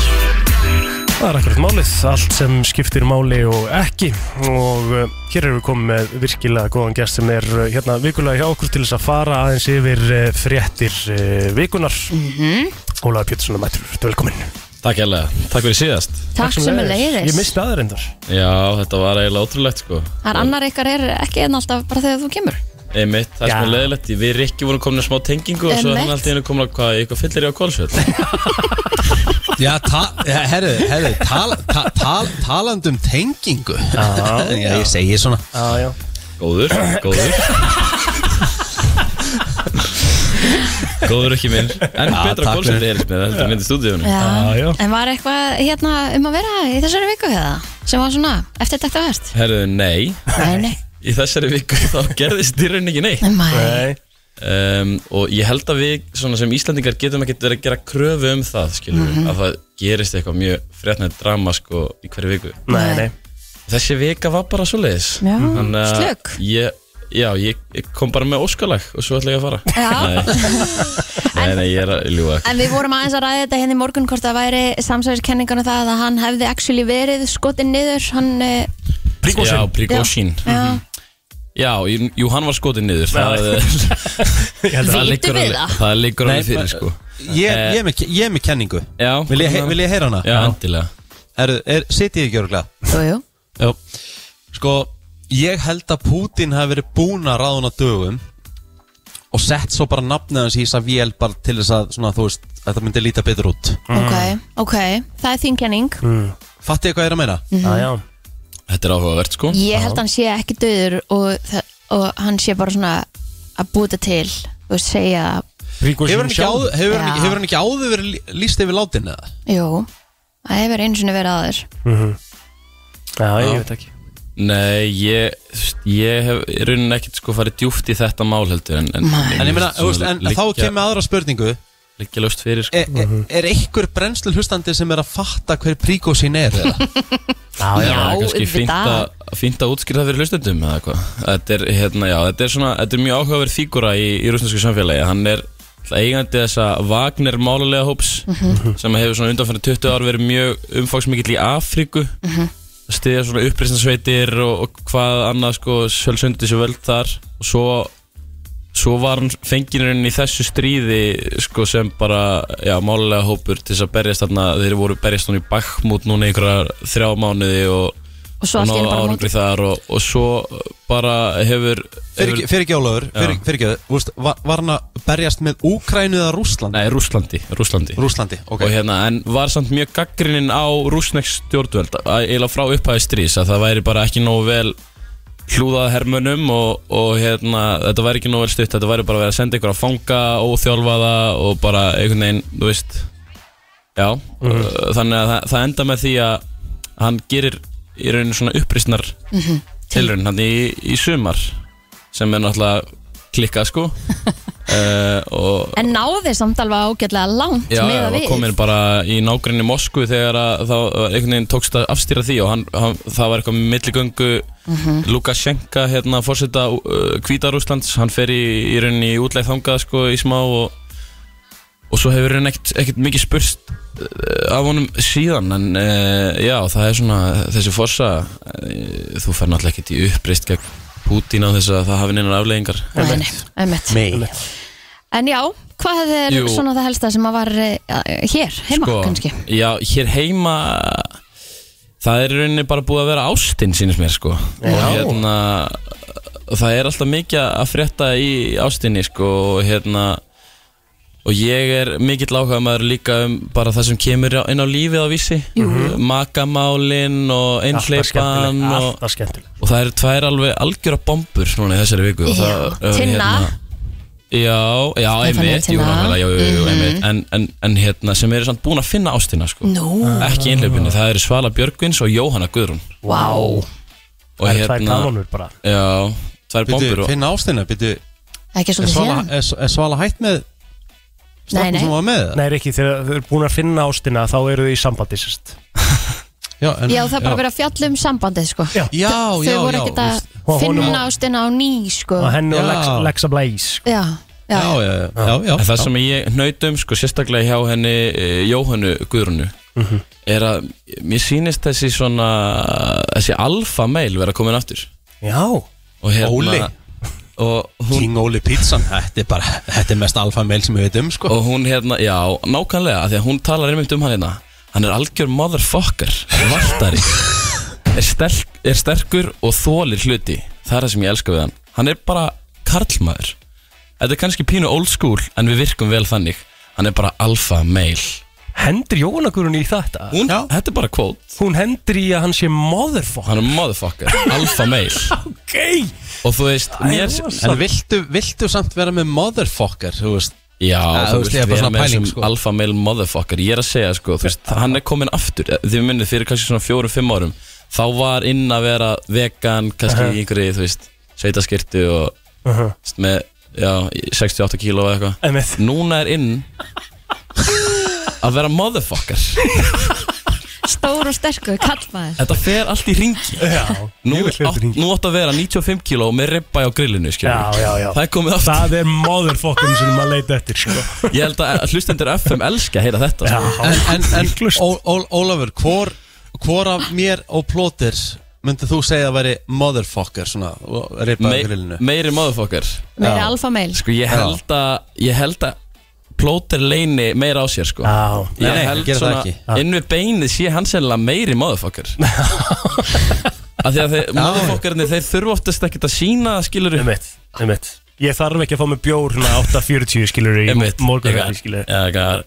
[SPEAKER 2] það er akkurat málið, allt sem skiptir máli og ekki og eh, hér erum við komið með virkilega góðan gest sem er eh, hérna vikulega hjá okkur til þess að fara aðeins yfir eh, fréttir eh, vikunar mm -hmm. Ólafi Pétursinni mættur, þetta er velkomin
[SPEAKER 4] Takk hérlega, takk fyrir síðast
[SPEAKER 3] Takk sem er leiðis
[SPEAKER 2] Ég misti aðeins reyndar
[SPEAKER 4] Já, þetta var eiginlega ótrúlegt sko
[SPEAKER 3] Það er annar ykkar er ekki enn alltaf bara þegar þú kemur
[SPEAKER 4] Einmitt, það er
[SPEAKER 2] Já.
[SPEAKER 4] svona leðilegt Við erum ekki voru komin að smá tengingu og svo er
[SPEAKER 3] Einmitt.
[SPEAKER 4] hann alltaf einu komin að hvað, eitthvað fyllir ég á kólsvöld
[SPEAKER 1] Já, ta, herru, herru tal, ta, tal, Talandum tengingu Já, ég segi svona
[SPEAKER 2] Já, já
[SPEAKER 4] Góður, góður Góður ekki minn En
[SPEAKER 1] Já,
[SPEAKER 4] betra
[SPEAKER 1] takk
[SPEAKER 4] kólsvöld
[SPEAKER 1] fyrir.
[SPEAKER 4] er þetta heldur en myndi stúdíunum
[SPEAKER 3] Já.
[SPEAKER 2] já.
[SPEAKER 3] En var eitthvað hérna um að vera í þessari viku eða? Sem var svona eftirtaktavert?
[SPEAKER 4] Herðu, nei
[SPEAKER 3] Nei, nei.
[SPEAKER 4] Í þessari viku þá gerðist í raun ekki neitt
[SPEAKER 3] Nei.
[SPEAKER 2] Nei,
[SPEAKER 4] um, og ég held að við svona sem Íslandingar getum ekkert verið að gera kröfu um það skilur
[SPEAKER 3] Mhm.
[SPEAKER 4] að það gerist eitthvað mjög frétnætt drama sko í hverju viku
[SPEAKER 2] nei, nei
[SPEAKER 4] þessi vika var bara svo leiðis
[SPEAKER 3] Já, slök.
[SPEAKER 4] ég, já, ég, ég kom bara með óskalag og svo ætla ég að fara
[SPEAKER 3] Já.
[SPEAKER 4] nei, nei, nei, ég er að ljúga
[SPEAKER 3] En við vorum aðeins að ræða þetta hérna í morgun hvort það væri samsæðiskenningan og það að hann hefði actually verið skotin niður hann, eh,
[SPEAKER 4] Príkósín já, Príkósín
[SPEAKER 3] já,
[SPEAKER 4] já, jú, jú, hann var skotin niður það,
[SPEAKER 2] Ég held að
[SPEAKER 3] Vitum
[SPEAKER 4] liggur
[SPEAKER 3] við
[SPEAKER 4] alveg,
[SPEAKER 3] það?
[SPEAKER 4] það liggur alveg
[SPEAKER 1] Nei,
[SPEAKER 4] fyrir
[SPEAKER 1] ma-
[SPEAKER 4] sko
[SPEAKER 1] Ég, ég, er með, ég er með kenningu
[SPEAKER 4] já,
[SPEAKER 1] Vil ég, vil ég heyra hana?
[SPEAKER 4] já, endilega
[SPEAKER 1] Herru, er, sitið ekki örglega?
[SPEAKER 3] jú, jú.
[SPEAKER 1] Já Sko, ég held að Putin hafi verið búin að ráðuna dögum og sett svo bara nafnið hans í þess að vél bara til þess að, svona, þú veist, þetta myndi líta betur út
[SPEAKER 3] Ok,
[SPEAKER 4] Mm.
[SPEAKER 3] ok, það er þín kenning
[SPEAKER 1] Fattið ég hvað ég er að meina?
[SPEAKER 2] Mm. Já, já
[SPEAKER 4] þetta er áhugavert sko
[SPEAKER 3] Mhm. Ég held hann sé ekki döður og, það- og hann sé bara svona að búta til og segja,
[SPEAKER 1] Hefur
[SPEAKER 2] Príkósín
[SPEAKER 1] hann ekki, áður, hefur hann ekki,
[SPEAKER 3] Já.
[SPEAKER 1] hefur hann ekki áður verið lí- lýst yfir látin eða?
[SPEAKER 3] jú það hefur einu sinni verið aður
[SPEAKER 2] Mhm. Já, ég veit ekki
[SPEAKER 4] Nei, ég, þú veist, ég hef í rauninni ekkert sko farið djúft í þetta mál heldur En, en,
[SPEAKER 3] Nei.
[SPEAKER 1] En ég meina, þú veist, en þá kemur aðra spurningu Eh,
[SPEAKER 4] Liggja löst fyrir sko
[SPEAKER 1] Er, er,
[SPEAKER 2] Mhm.
[SPEAKER 1] E- er einhver brennslu hlustandi sem er að fatta hver príkósin er eða?
[SPEAKER 2] Já, já
[SPEAKER 4] Það er kannski
[SPEAKER 3] auðvitað.
[SPEAKER 4] fínt að- fínt að útskýra það fyrir hlustendum eða eitthvað Þetta er, hérna, já, þetta er svona, þetta er mjög áhugaverð fígura í, í rúsnesku samfélagi Hann er náttúrulega eigandi þessa Wagner málulega hóps Sem hefur svona undanfæri 20 ár verið mjög umfangsmikill í Afríku mm Stiðja svona uppreisnarsveitir og, og hvað annað sko, sjálfsundi sér völd þar Og svo svo var hann fenginurinn í þessu stríði sko, sem bara já, málulega hópur til þess að berjast þarna þeir voru berjast hann í Bakhmut núna í einhverja þrjá mánuði og,
[SPEAKER 3] og svo allt í einu
[SPEAKER 4] náðu
[SPEAKER 3] bara móti
[SPEAKER 4] árangri þar og, og svo bara hefur,
[SPEAKER 1] Fyrir
[SPEAKER 4] hefur
[SPEAKER 1] ekki- fyrir ekki Ólafur, fyrir- fyrir ekki, þú veist, var, var hann að berjast með Úkrænu eða Rússlandi?
[SPEAKER 4] nei, Rúslandi, Rúslandi.
[SPEAKER 1] Rússlandi, ok
[SPEAKER 4] og hérna, en var samt mjög gaggrininn á rúsnesk stjórnvöld að- eiginlega frá upphæði strís að það væri bara ekki nógu vel hlúðað hermönum og, og hérna, þetta væri ekki nógu vel stutt þetta væri bara verið að senda ykkur að fanga óþjálfaða og bara einhvern veginn, þú veist já, uh, þannig að það, það enda með því að hann gerir í rauninu svona upprýstnar tilraun hann í, í sumar sem er náttúrulega klikkað sko uh, og
[SPEAKER 3] En náði samt alveg ágætlega langt
[SPEAKER 4] Já,
[SPEAKER 3] með
[SPEAKER 4] já,
[SPEAKER 3] að
[SPEAKER 4] var
[SPEAKER 3] við
[SPEAKER 4] komin bara í nágrinni Moskvu þegar að þá eh, einhvern veginn tókst að afstýra því og hann, hann, það var eitthvað milligöngu
[SPEAKER 3] Mhm.
[SPEAKER 4] Lukashenka, hérna, fórseta uh, Hvítarúslands, hann fer í, í rauninni í útleið þangað, sko, í smá og, og svo hefur hann ekkert, ekkert mikið spurst uh, af honum síðan, en uh, já, það er svona, þessi fórsa uh, þú fer náttúrulega ekkert í uppreist gegn Pútín á þess að það hafi neinar afleggingar
[SPEAKER 3] Nei, nei, einmitt.
[SPEAKER 4] Nei,
[SPEAKER 3] En já, hvað er
[SPEAKER 4] Jú.
[SPEAKER 3] svona það helsta sem að var uh, hér, heima kannski
[SPEAKER 4] Sko, Já, hér heima Það er í rauninni bara búið að vera ástinn sínist mér sko Og hérna og Það er alltaf mikið að frétta í ástinni sko Og hérna Og ég er mikill áhuga maður líka um bara það sem kemur á- inn á lífið á vísi
[SPEAKER 3] Mhm.
[SPEAKER 4] Makamálin og einhleipan og,
[SPEAKER 2] Alltaf skemmtileg
[SPEAKER 4] og það eru tvær alveg algjöra bombur núna í þessari viku og það,
[SPEAKER 3] Já,
[SPEAKER 4] uh,
[SPEAKER 3] Tinna.
[SPEAKER 4] Já, já,
[SPEAKER 3] Stefanía
[SPEAKER 4] einmitt, jú,
[SPEAKER 3] Tinna.
[SPEAKER 4] nákvæmlega, jú, jú, jú,
[SPEAKER 3] Mhm.
[SPEAKER 4] einmitt en, en, en hérna, sem eru samt búin að finna ástina, sko
[SPEAKER 3] Nú.
[SPEAKER 2] Ah,
[SPEAKER 4] Ekki einhlaupinu, það eru Svala Björgvins og Jóhanna Guðrún
[SPEAKER 3] Vá.
[SPEAKER 4] Og hérna-
[SPEAKER 2] Það eru tvær kanónur bara.
[SPEAKER 4] Já, tvær
[SPEAKER 1] Bíddu,
[SPEAKER 4] bombur og,
[SPEAKER 1] Finna ástina, byrju
[SPEAKER 3] Ekki svolítið síðan.
[SPEAKER 1] Er er Svala hætt með
[SPEAKER 3] Nei, nei.
[SPEAKER 1] sem var með
[SPEAKER 2] Nei, Rikki, þegar þau eru búin að finna ástina þá eru þau í sambandi sérst
[SPEAKER 1] Já,
[SPEAKER 3] Já, það er bara verið að fjalla um sambandið sko Já,
[SPEAKER 1] já,
[SPEAKER 3] Þau voru ekkert að
[SPEAKER 2] Og honum
[SPEAKER 3] finna
[SPEAKER 2] og-
[SPEAKER 3] ástina á ný sko
[SPEAKER 2] Og henni og
[SPEAKER 4] Já.
[SPEAKER 2] Lex- Lexa Blaze sko.
[SPEAKER 3] Já, já,
[SPEAKER 1] já, já, já, já
[SPEAKER 4] En það sem ég naut um, sko, sérstaklega hjá henni eh, Jóhannu Guðrúnu
[SPEAKER 2] Mhm.
[SPEAKER 4] Er að, mér sýnist þessi svona, þessi alfa meil vera komin aftur
[SPEAKER 2] Já
[SPEAKER 4] Og hérna
[SPEAKER 1] Óli.
[SPEAKER 4] og hún,
[SPEAKER 1] King Oli Pizzan, þetta er bara þetta er mest alfa meil sem við veitum sko
[SPEAKER 4] og hún hérna, já, nákvæmlega af því að hún talar einmitt um hann hérna hann er algjör motherfucker, valtari er, sterk, er sterkur og þólir hluti, það er það sem ég elska við hann hann er bara karlmaður þetta er kannski pínu old school en við virkum vel þannig, hann er bara alfa meil
[SPEAKER 2] Hendur Jóhanna Guðrún í þetta?
[SPEAKER 4] hún, þetta er bara kvót
[SPEAKER 2] Hún hendur í að hann sé motherfucker
[SPEAKER 4] hann er motherfucker, alfa meil
[SPEAKER 2] Ok
[SPEAKER 4] og þú veist, mér
[SPEAKER 1] En viltu, viltu samt vera með motherfucker, þú veist
[SPEAKER 4] Já,
[SPEAKER 1] Að,
[SPEAKER 4] þú veist,
[SPEAKER 1] ég
[SPEAKER 4] við
[SPEAKER 1] er bara
[SPEAKER 4] erum
[SPEAKER 1] svona
[SPEAKER 4] með
[SPEAKER 1] pæling
[SPEAKER 4] þessum
[SPEAKER 1] sko
[SPEAKER 4] alfa male motherfucker Ég er að segja, sko, þú veist, hann er komin aftur Eh, Þið minnið fyrir kannski svona fjórum, fimm árum Þá var inn að vera vegan, kannski
[SPEAKER 2] Uh-huh.
[SPEAKER 4] í einhverju, þú veist, sveitaskirtu og uh
[SPEAKER 2] Uh-huh.
[SPEAKER 4] með, já, í 68 kíló eða eitthvað
[SPEAKER 2] Einmitt.
[SPEAKER 4] Núna er inn að vera motherfucker
[SPEAKER 3] stór og sterkur, kallmaður
[SPEAKER 4] Þetta fer allt í ringi
[SPEAKER 2] Já,
[SPEAKER 4] Nú, átt, nú átt að vera 95 kíló með ribba á grillinu, skilur
[SPEAKER 2] Já, já, já
[SPEAKER 4] Það er komið aftur
[SPEAKER 2] Það er motherfuckerinn sem maður leita eftir sko.
[SPEAKER 4] Ég held að hlustendur FM elska að heyra þetta sko.
[SPEAKER 1] En, en, en Ó- Ó- Ólafur, hvor, hvor af mér og plótir myndið þú segja að veri motherfucker svona, og ripa
[SPEAKER 4] Me-
[SPEAKER 1] á grillinu
[SPEAKER 4] Meiri motherfucker
[SPEAKER 3] Meiri alfa meil
[SPEAKER 4] Sko ég held að Ég held að Plóter leini meira á sér sko
[SPEAKER 2] Já.
[SPEAKER 1] Nei, nei,
[SPEAKER 4] Ég
[SPEAKER 1] hann
[SPEAKER 4] held
[SPEAKER 1] gerir það
[SPEAKER 4] svona
[SPEAKER 1] ekki.
[SPEAKER 4] Inn við beinið sé hann sennilega meiri motherfucker Af því að þeir Motherfuckerinni þeir þurfa oftast ekkert að sína Skilur upp
[SPEAKER 2] Einmitt, einmitt Ég þarf ekki að fá mig bjór hérna 8.40 skilur í
[SPEAKER 4] Einmitt
[SPEAKER 2] morgunræði skilur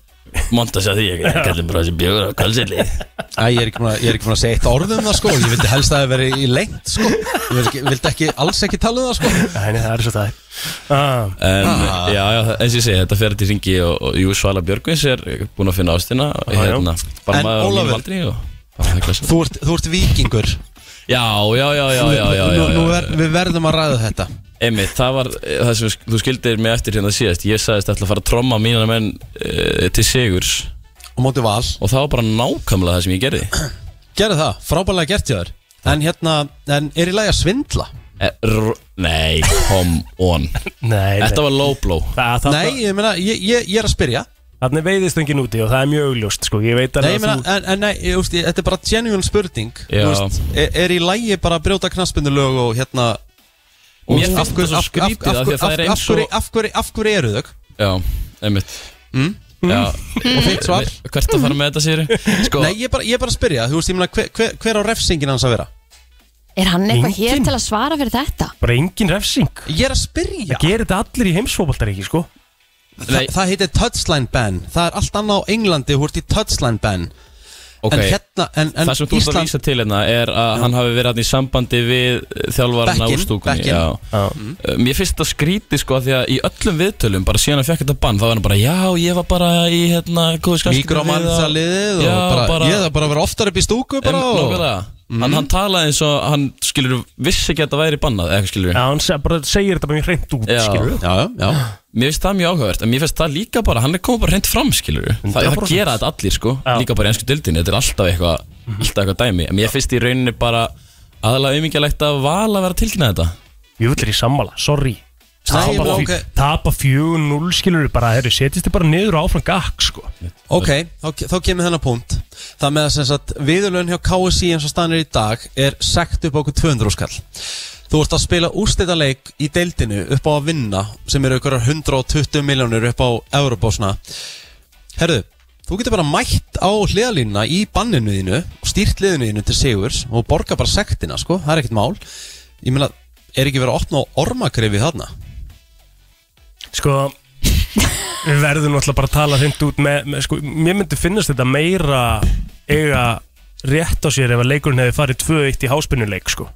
[SPEAKER 4] Monta sér því Ég kallum bara þessi bjögur á kvöldseli
[SPEAKER 1] Æ, ég er ekki búin að- ég er ekki búin að segja eitt orð um það sko Ég vildi helst að það veri í lengt sko Ég vildi ekki, vildi ekki alls ekki tala um það sko
[SPEAKER 2] Nei, nei, það er svo það er ah,
[SPEAKER 4] En eh,
[SPEAKER 1] Ah.
[SPEAKER 4] já, já, eins og ég segi Þetta fer til ringi og, og Jú Svala Björgvins er búin að finna ástina
[SPEAKER 2] Já, já.
[SPEAKER 4] hérna, Bara
[SPEAKER 1] En
[SPEAKER 4] maður á mínum
[SPEAKER 1] Ólafur-
[SPEAKER 4] aldri og bara það er klassa.
[SPEAKER 1] Þú ert, þú ert vikingur
[SPEAKER 4] Já, já, já, já, já, já, já,
[SPEAKER 1] Nú, nú
[SPEAKER 4] já.
[SPEAKER 1] ver, Við verðum að ræða þetta
[SPEAKER 4] Einmitt, það var eh, það sem sk- þú skildir mig eftir hérna síðast Ég sagðist ætla að fara að tromma mínar menn e, til sigurs
[SPEAKER 1] Og móti val
[SPEAKER 4] Og það var bara nákvæmlega það sem ég gerði
[SPEAKER 1] Gerðu það, frábælega gert hjá þér En hérna, en er í lagi að svindla?
[SPEAKER 4] e, r- Nei, come on
[SPEAKER 2] Nei, nei
[SPEAKER 4] Þetta var low blow
[SPEAKER 2] Það, það,
[SPEAKER 1] Nei, ég meina, ég, ég, ég er að spyrja
[SPEAKER 2] Þannig veiðistöngin úti og það er mjög augljóst sko. Ég veit
[SPEAKER 1] Nei,
[SPEAKER 2] alveg
[SPEAKER 1] ég meina,
[SPEAKER 2] að þú
[SPEAKER 1] en, en nei, ég, úst, ég, þetta er bara genuine spurning
[SPEAKER 4] Já.
[SPEAKER 1] Þú veist, er, er í lagi bara að brjóta knaspindulög og hérna
[SPEAKER 4] Mér
[SPEAKER 1] úst,
[SPEAKER 4] finnst
[SPEAKER 1] af hverju-
[SPEAKER 4] það svo
[SPEAKER 1] af- af-
[SPEAKER 4] skrítið,
[SPEAKER 1] af
[SPEAKER 4] af því að það er
[SPEAKER 1] hverju-
[SPEAKER 4] eins
[SPEAKER 1] af hverju-
[SPEAKER 4] og-
[SPEAKER 1] Af hverju- af hverju eru þau?
[SPEAKER 4] Já, einmitt
[SPEAKER 1] Mm.
[SPEAKER 4] Já,
[SPEAKER 1] Og þitt svar?
[SPEAKER 4] Hvert að fara með þetta sér Sko,
[SPEAKER 1] Nei, ég er bara, ég er bara að spyrja, þú veist, ég meina, hver, hver, hver á refsingin hans að vera?
[SPEAKER 3] Er hann eitthvað hér
[SPEAKER 2] Engin.
[SPEAKER 3] til að svara fyrir þetta?
[SPEAKER 2] Bara engin refsing
[SPEAKER 1] Ég er að spyrja
[SPEAKER 2] Það gerir þetta allir í heimsfóbaltaríki sko.
[SPEAKER 1] Þa,
[SPEAKER 4] Nei.
[SPEAKER 1] Það heitir touchline ban Það er allt annað á Englandi, þú ert í touchline ban
[SPEAKER 4] ok
[SPEAKER 1] En hérna, en, en
[SPEAKER 4] Það sem þú ert að vísa til hérna er að hann hafi verið hann í sambandi við þjálfarna
[SPEAKER 1] Bekkinn,
[SPEAKER 4] úr stúkunni
[SPEAKER 1] bekkinn.
[SPEAKER 4] já. Uh, Mér finnst þetta skrítið sko af því að í öllum viðtölum bara síðan að fekk þetta bann þá var hann bara já ég var bara í hérna góðu skastum
[SPEAKER 1] Mikromansa liðið og
[SPEAKER 4] Já,
[SPEAKER 1] bara,
[SPEAKER 4] bara- Mm.
[SPEAKER 1] Ég það bara að vera oftar upp í stúku bara
[SPEAKER 4] Em,
[SPEAKER 1] og
[SPEAKER 4] nákvæmlega. hann, hann talaði eins og hann skilur vissi ekki að þetta væri bannað eða skilur
[SPEAKER 2] Já, hann se- bara segir þetta bara mjög hreint út, skilur
[SPEAKER 4] já, já Mér finnst það mjög áhugavert, en mér finnst það líka bara, hann er komið bara hreint fram, skilur Það, það
[SPEAKER 2] 100%.
[SPEAKER 4] gera þetta allir, sko, líka bara í ennsku dildinni, þetta er alltaf eitthvað,
[SPEAKER 2] Mhm.
[SPEAKER 4] alltaf eitthvað dæmi En mér finnst í rauninni bara aðalega auðmingjalegt að vala að vera að tilkynna þetta
[SPEAKER 2] Jú, þetta er í sammála, sorry
[SPEAKER 4] Nei,
[SPEAKER 2] Tapa,
[SPEAKER 4] ok.
[SPEAKER 2] okay. tapa 4-0 skilur bara, herri, setjist þið bara niður og áfram gakk sko.
[SPEAKER 1] Ok, þá, þá kemur þennan punkt Það með að sem sagt, viðurlun hjá KSI eins og stannir í dag er sekt upp á okkur 200 skall Þú ert að spila úrstættaleik í deildinu upp á að vinna sem eru ykkur 120 miljónir upp á Európásna Herðu, þú getur bara mætt á hliðalínuna í banninu þínu og stýrt liðinu þínu til sigurs og borga bara sektina, sko, það er ekkert mál Ég meina, er ekki verið að opna á ormakrefi þarna?
[SPEAKER 2] Sko Við verðum náttúrulega bara að tala hreint út með, með, sko, Mér myndi finnast þetta meira eiga rétt á sér ef að leikurinn hefði farið 2-1 í háspinnuleik sko.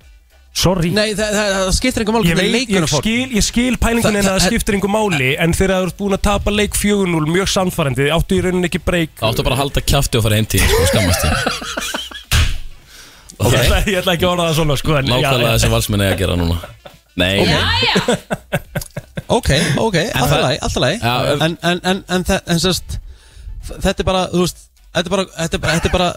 [SPEAKER 2] Sorry
[SPEAKER 1] Nei, það, það, það skiptir einhver mál
[SPEAKER 2] Ég,
[SPEAKER 1] hvernig
[SPEAKER 2] veit,
[SPEAKER 1] leikurinn
[SPEAKER 2] ég,
[SPEAKER 1] fór.
[SPEAKER 2] skil, ég skil pælingin
[SPEAKER 1] Það-
[SPEAKER 2] en að
[SPEAKER 1] það-
[SPEAKER 2] það skiptir einhver máli en þegar þú ert búin að tapa leik 4-0 mjög samfærandi, áttu í rauninni ekki breyk
[SPEAKER 4] Það áttu bara að halda kjafti og fara heim til, þín, sko, skammast þín
[SPEAKER 2] ég, ætla, ég ætla ekki að orða það svona sko, en,
[SPEAKER 4] Nákvæmlega það sem valsmenn eiga að gera núna Nei,
[SPEAKER 1] Ok, ok, alltaf
[SPEAKER 4] það-
[SPEAKER 1] læg, alltaf læg
[SPEAKER 4] Já, um- ef-
[SPEAKER 1] En, en, en, en, þe- en sérst Þetta er bara, þú veist Þetta er bara, þetta er bara, þetta er bara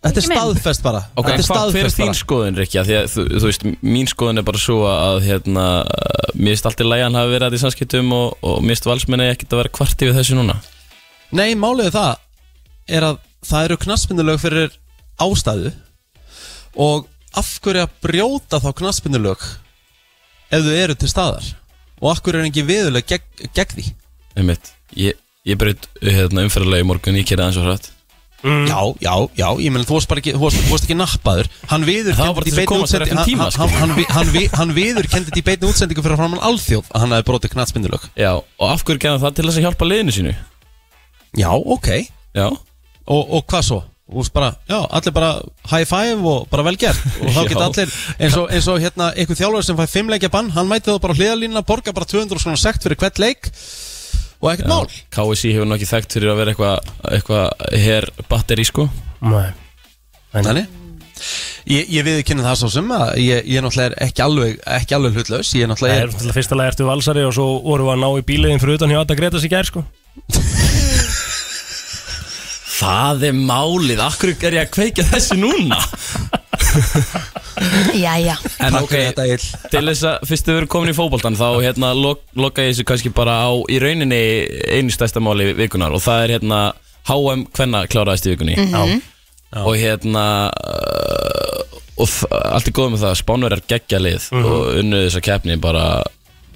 [SPEAKER 1] Þetta er
[SPEAKER 4] Ekki minn.
[SPEAKER 1] staðfest bara
[SPEAKER 4] Ok,
[SPEAKER 1] Þetta er
[SPEAKER 4] hva, hver er
[SPEAKER 1] staðfest
[SPEAKER 4] þín
[SPEAKER 1] bara
[SPEAKER 4] skoðun, Rikki? Af Því að þú, þú veist, mín skoðun er bara svo að hérna, uh, mér finnst allt í lægan hafi verið að því samskiptum og, og mér finnst valsmenni ekkert að vera kvarti við þessu núna
[SPEAKER 1] Nei, málið er það Er að það eru knaspindulög fyrir ástæðu Og af hverju að brjóta þá knaspindulög Ef þau eru til staðar Og af hverju er engin viðuleg gegn, gegn því
[SPEAKER 4] Einmitt, ég, ég braut hérna, umferðarlega í morgun, ég kerði aðeins og hratt
[SPEAKER 1] Já, já, já, ég meðan þú varst bara ekki, þú varst, þú varst ekki nappaður Hann viður
[SPEAKER 4] Það var bara til þess að komast þér eftir tíma, sko.
[SPEAKER 1] Hann, hann, hann, hann, vi- hann viður kendið í beinni útsendingu fyrir framann alþjóð að hann hefði brotið knatsmyndulög
[SPEAKER 4] Já, og af hverju gerði hann það til þess að hjálpa liðinu sínu?
[SPEAKER 1] Já, ok
[SPEAKER 4] Já
[SPEAKER 1] Og, og hvað svo? Þú veist bara, já, allir bara high five og bara vel gert Og þá
[SPEAKER 4] Já.
[SPEAKER 1] geta allir, eins og, eins og hérna einhver þjálfur sem fæ fimmleikja bann Hann mæti þá bara á hliðalínuna, borga bara 200 svona sekt fyrir hvert leik Og ekkert mál
[SPEAKER 4] KSI hefur nokkið þekkt fyrir að vera eitthvað eitthva, her batteri, sko
[SPEAKER 2] Nei
[SPEAKER 1] Þannig Ég, ég viðkynna það svo sem að ég, ég náttúrulega er ekki alveg, ekki alveg hlutlaus Ég náttúrulega
[SPEAKER 2] Það er náttúrulega fyrsta lagi ertu valsari og svo voru að ná í bíliðin fyrir utan hjá Adda Gretas í gær sko
[SPEAKER 4] Það er málið, af hverju er ég að kveikja þessu núna?
[SPEAKER 5] Jæja
[SPEAKER 4] En ok, til þess að fyrst þau verið komin í fótboltan þá hérna lok, loka ég þessu kannski bara á í rauninni einu stærsta máli vikunar og það er hérna HM hvenna kláraðist í vikunni
[SPEAKER 5] Mhm.
[SPEAKER 4] og hérna uh, og þ- allt er góð með það spánverjar geggja lið og unnuð þessa keppni bara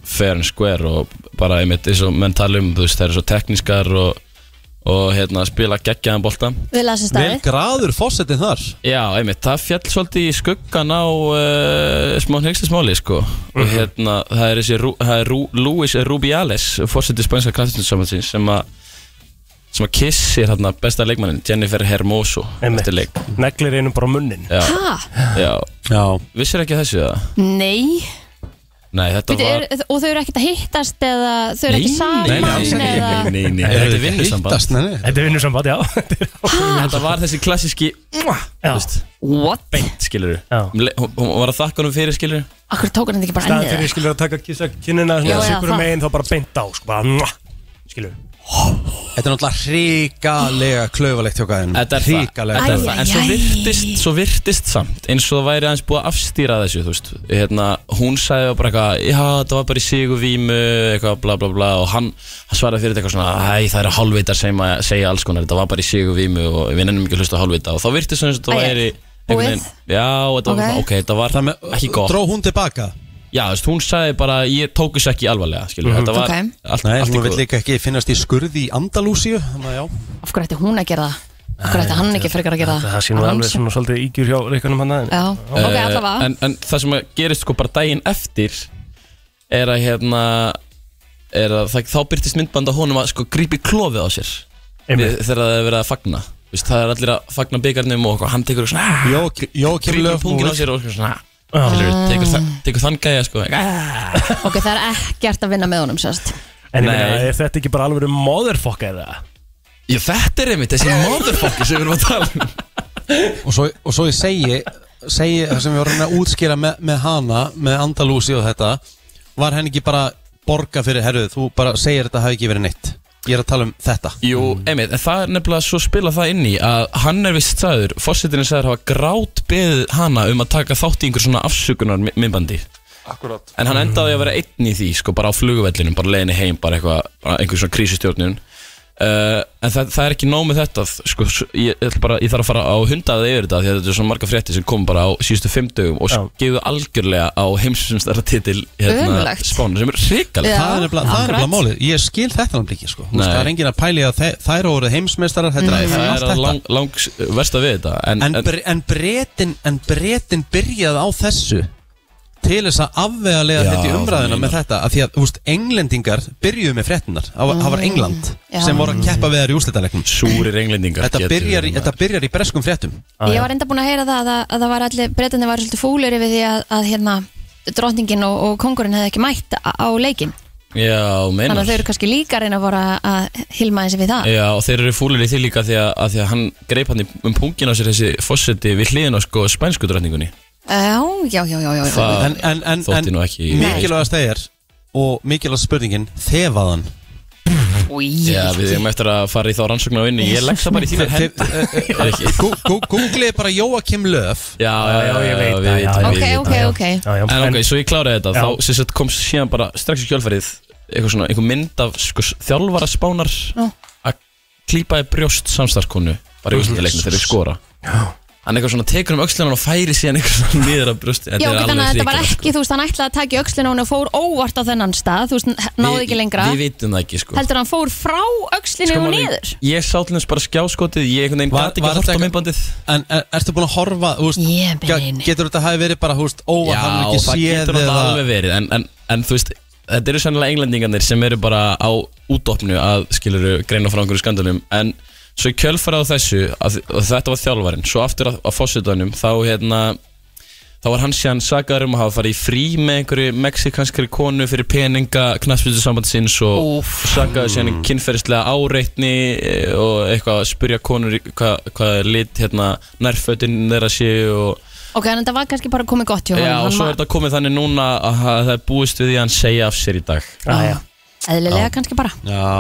[SPEAKER 4] fair and square og bara einmitt eins og menn tala um þú veist það eru svo teknískar og, og hérna spila geggjaðan bolta
[SPEAKER 3] Við lasum staðið. Vel
[SPEAKER 1] graður fósettin þar
[SPEAKER 4] Já, einmitt, það fjall svolítið í skuggan á uh, smá hnyggstismáli sko.
[SPEAKER 2] Mhm.
[SPEAKER 4] og hérna, það er þessi Ru- það er Ru- Luis Rubiales fórsetið spænska kraftstundsamhansins sem að sem að kissir hérna besta leikmannin Jennifer Hermoso
[SPEAKER 2] Einmitt.
[SPEAKER 4] eftir leik
[SPEAKER 2] neglir einum bara á munnin
[SPEAKER 4] Já,
[SPEAKER 3] Ha?
[SPEAKER 4] já.
[SPEAKER 1] já.
[SPEAKER 4] Vissir ekki þessu það?
[SPEAKER 3] Nei
[SPEAKER 4] Nei, þetta
[SPEAKER 3] Bíddu,
[SPEAKER 4] var
[SPEAKER 3] er, Og þau eru ekkert að hittast eða þau eru ekki saman
[SPEAKER 4] nei, nei, nei,
[SPEAKER 3] eða...
[SPEAKER 4] nei, nei, nei,
[SPEAKER 2] Eru
[SPEAKER 4] Þetta
[SPEAKER 2] þau
[SPEAKER 4] er
[SPEAKER 2] ekki
[SPEAKER 4] vinnusamband
[SPEAKER 2] hittast, Þetta er vinnusamband, já
[SPEAKER 4] Þetta
[SPEAKER 1] Ah.
[SPEAKER 4] var þessi klassíski
[SPEAKER 3] What?
[SPEAKER 4] Beint, skilur Hún hún var að þakka honum fyrir, skilur
[SPEAKER 3] Akkur tók hann þetta ekki bara
[SPEAKER 2] Staðan
[SPEAKER 3] ennið
[SPEAKER 2] fyrir skilur að taka kissa kinnina
[SPEAKER 4] Já,
[SPEAKER 2] svona
[SPEAKER 4] já,
[SPEAKER 2] sikur
[SPEAKER 4] það.
[SPEAKER 2] megin þá bara beint á sko bara mwah, skilur
[SPEAKER 1] Þetta er náttúrulega hrikalega klaufalegt hjá gæðin
[SPEAKER 4] Þetta er það,
[SPEAKER 1] Hrikalega
[SPEAKER 4] þetta er það. En svo
[SPEAKER 1] klaufalegt.
[SPEAKER 4] virtist, svo virtist samt eins og það væri aðeins búið að afstýra þessu þú veist. hérna, Hún sagði bara eitthvað Já, þetta var bara í sig og vímu eitthvað, bla, bla, bla, og hann, hann svaraði fyrir þetta eitthvað svona Æ, það eru hálfvitar sem að segja alls konar Þetta var bara í sig og vímu og við nennum ekki að hlusta á hálfvita og þá virtist eins og
[SPEAKER 1] Æ,
[SPEAKER 4] þetta væri einhvern
[SPEAKER 1] búið?
[SPEAKER 4] veginn- Já, þetta var,
[SPEAKER 1] Ok.
[SPEAKER 4] ok, þetta var ekki gott
[SPEAKER 1] Dró hún tilbaka
[SPEAKER 4] Já, þú veist, hún sagði bara, ég tók þessu ekki alvarlega skilur,
[SPEAKER 1] Mhm.
[SPEAKER 4] Þetta var
[SPEAKER 1] Ok.
[SPEAKER 4] allt,
[SPEAKER 1] Nei,
[SPEAKER 4] allt í
[SPEAKER 1] hún vil
[SPEAKER 4] góðu.
[SPEAKER 1] líka ekki finnast í skurði í Andalúsíu
[SPEAKER 3] Af hverju ætti hún að gera það? Af hverju ætti hann ekki frekar að gera það?
[SPEAKER 2] Það sé nú
[SPEAKER 3] Hann
[SPEAKER 2] alveg
[SPEAKER 3] sem-
[SPEAKER 2] svona svolítið ígjur hjá reikunum hann aðeins
[SPEAKER 3] Já, ok,
[SPEAKER 4] Eh,
[SPEAKER 3] allavega
[SPEAKER 4] en, en það sem að gerist sko bara daginn eftir Er að hérna er að það, Þá byrtist myndbanda honum að sko grípi klofið á sér við,
[SPEAKER 2] Einmitt.
[SPEAKER 4] Þegar það er verið að fagna Vist, Það er allir að fagna byggarnum og eitthvað, hann tekur svona
[SPEAKER 1] Jó, jó,
[SPEAKER 4] Grípur pungin á sér og svona
[SPEAKER 2] Já.
[SPEAKER 4] Skilur, tekur, þa tekur þann gæja sko
[SPEAKER 3] Ok, það er ekkert að vinna með honum sérst
[SPEAKER 2] En ég
[SPEAKER 4] Nei.
[SPEAKER 2] meina, er þetta ekki bara alveg motherfuck eða?
[SPEAKER 4] Já, þetta er einmitt þessi motherfucker sem við erum að tala
[SPEAKER 1] og, svo, og svo ég segi segja, það sem við vorum að útskýra með, með hana, með Andalúsi og þetta var henni ekki bara borga fyrir herruð, þú bara segir þetta hafi ekki verið neitt ég er að tala um þetta
[SPEAKER 4] Jú, einmitt, en það er nefnilega svo spila það inn í að hann er vist sagður, fórsetinni sagður hafa grát beðið hana um að taka þátt í einhver svona afsökunar minnbandi
[SPEAKER 13] Akkurat
[SPEAKER 4] En hann endaði að vera einn í því, sko, bara á flugvellinum, bara leiðinni heim, bara eitthvað, bara einhver svona krísustjórnun uh, En það, það er ekki nóg með þetta, sko, s- ég, ég, ætla bara, ég þarf að fara á hundaðið yfir þetta því að þetta er svona marga frétti sem kom bara á síðustu fimm dögum og skefuðu algjörlega á heimsinsumstæra titil hérna,
[SPEAKER 1] Ömurlegt.
[SPEAKER 4] Spánar sem er hrikalegt
[SPEAKER 1] það er nefnilega, það er nefnilega málið, ég skil þetta náttúrulega ekki sko, Þú veist,
[SPEAKER 4] Nei. Mm.
[SPEAKER 1] það er engin að pæli að þe- þær eru heimsmeistarar, þetta er- það er allt
[SPEAKER 4] það er
[SPEAKER 1] þetta
[SPEAKER 4] lang, lang versta við þetta en,
[SPEAKER 1] en, bre, en, bretin, en bretin byrjaði á þessu til þess að afvegalega
[SPEAKER 4] Já,
[SPEAKER 1] þetta í umræðina
[SPEAKER 4] það
[SPEAKER 1] með þetta af því að úst, englendingar byrjuðu með fréttinar það var- það var England
[SPEAKER 3] Mm, Já.
[SPEAKER 1] sem voru að keppa við þær í úrslitalegnum
[SPEAKER 4] Súrir englendingar
[SPEAKER 1] þetta
[SPEAKER 4] getur
[SPEAKER 1] byrjar, í-
[SPEAKER 4] verið.
[SPEAKER 1] þetta byrjar í breskum fréttum
[SPEAKER 4] Ah,
[SPEAKER 3] Ég var enda búin að heyra það að, að það var allir, breytandi var svolítið fúlir yfir því að, að hérna, drottningin og, og kongurinn hefði ekki mætt á, á leikin.
[SPEAKER 4] Já,
[SPEAKER 3] Þannig
[SPEAKER 4] meinar
[SPEAKER 3] að þau eru kannski líka að reyna að voru að hilma eins við það.
[SPEAKER 4] Já, og þeir eru fúlir í því líka því að, að því að hann greip hann í- um pungin á sér þessi fósetti við hliðin á sko spænsku drætningunni
[SPEAKER 3] Já, Eh, já, já, já, já.
[SPEAKER 4] Það
[SPEAKER 1] en, en, en,
[SPEAKER 4] þótti
[SPEAKER 1] en
[SPEAKER 4] nú ekki sko.
[SPEAKER 1] mikilvægast það er og mikilvægast spurningin þefaðan
[SPEAKER 4] Já, við erum eftir að fara í þá rannsóknu á inni Ég legg það bara í þínar hend
[SPEAKER 1] Eh, Google bara Jóakim Löf
[SPEAKER 4] Já, já, já, ég veit það já,
[SPEAKER 3] Ok,
[SPEAKER 4] ég veit
[SPEAKER 3] ok,
[SPEAKER 4] það, já.
[SPEAKER 3] ok.
[SPEAKER 4] En ok, svo ég kláraði þetta
[SPEAKER 2] Já.
[SPEAKER 4] Þá sem sagt, kom síðan bara strax í kjölfærið Eitthvað svona, einhver mynd af sko, þjálfara spánar
[SPEAKER 3] Já.
[SPEAKER 4] Að klípa í brjóst samstarkonu Bara í úrslutaleikinu þegar við skora Hann eitthvað svona tekur um öxlunan og færi síðan eitthvað svona niður af brjóst
[SPEAKER 3] Já, ok, þannig að þetta var ekki,
[SPEAKER 4] sko.
[SPEAKER 3] þú veist, hann ætlaði að taka í öxlina og hún og fór óvart á þennan stað, þú veist, náði ekki lengra.
[SPEAKER 4] Við vitum það ekki, sko
[SPEAKER 3] Heldur hann fór frá öxlinu og
[SPEAKER 4] máli,
[SPEAKER 3] niður?
[SPEAKER 4] Ég sá til þess bara skjáskotið Ég einhvern veginn gæti ekki að horta á myndbandið
[SPEAKER 1] En er, ertu búin að horfa, úst,
[SPEAKER 3] yeah,
[SPEAKER 1] getur þetta hafi verið bara úst, ó,
[SPEAKER 4] Já,
[SPEAKER 1] hann ekki
[SPEAKER 4] það
[SPEAKER 1] séð
[SPEAKER 4] getur þetta alveg verið en, en, en þú veist, þetta eru sennilega englendingarnir sem eru bara á útopnu að skiluru greina frá einhverju skandalum en svo í kjölfarið á þessu að, að þetta var þjálfarinn, svo aftur að, að fósitanum þá hérna þá var hann síðan sagaður um að hafa farið í frí með einhverju mexikanskari konu fyrir peninga knassbyrðusambandsins og sagaður síðan kynferðislega áreitni eh, og eitthvað að spurja konur í hvað hva lit hérna, nærfötin þeirra séu og
[SPEAKER 3] Ok, en þetta var kannski bara komið gott hjá
[SPEAKER 4] Já,
[SPEAKER 3] honum,
[SPEAKER 4] og svo er
[SPEAKER 3] hann,
[SPEAKER 4] þetta komið þannig núna að það er búist við því að hann segja af sér í dag
[SPEAKER 2] Já,
[SPEAKER 3] var eðlilega kannski bara.
[SPEAKER 1] Já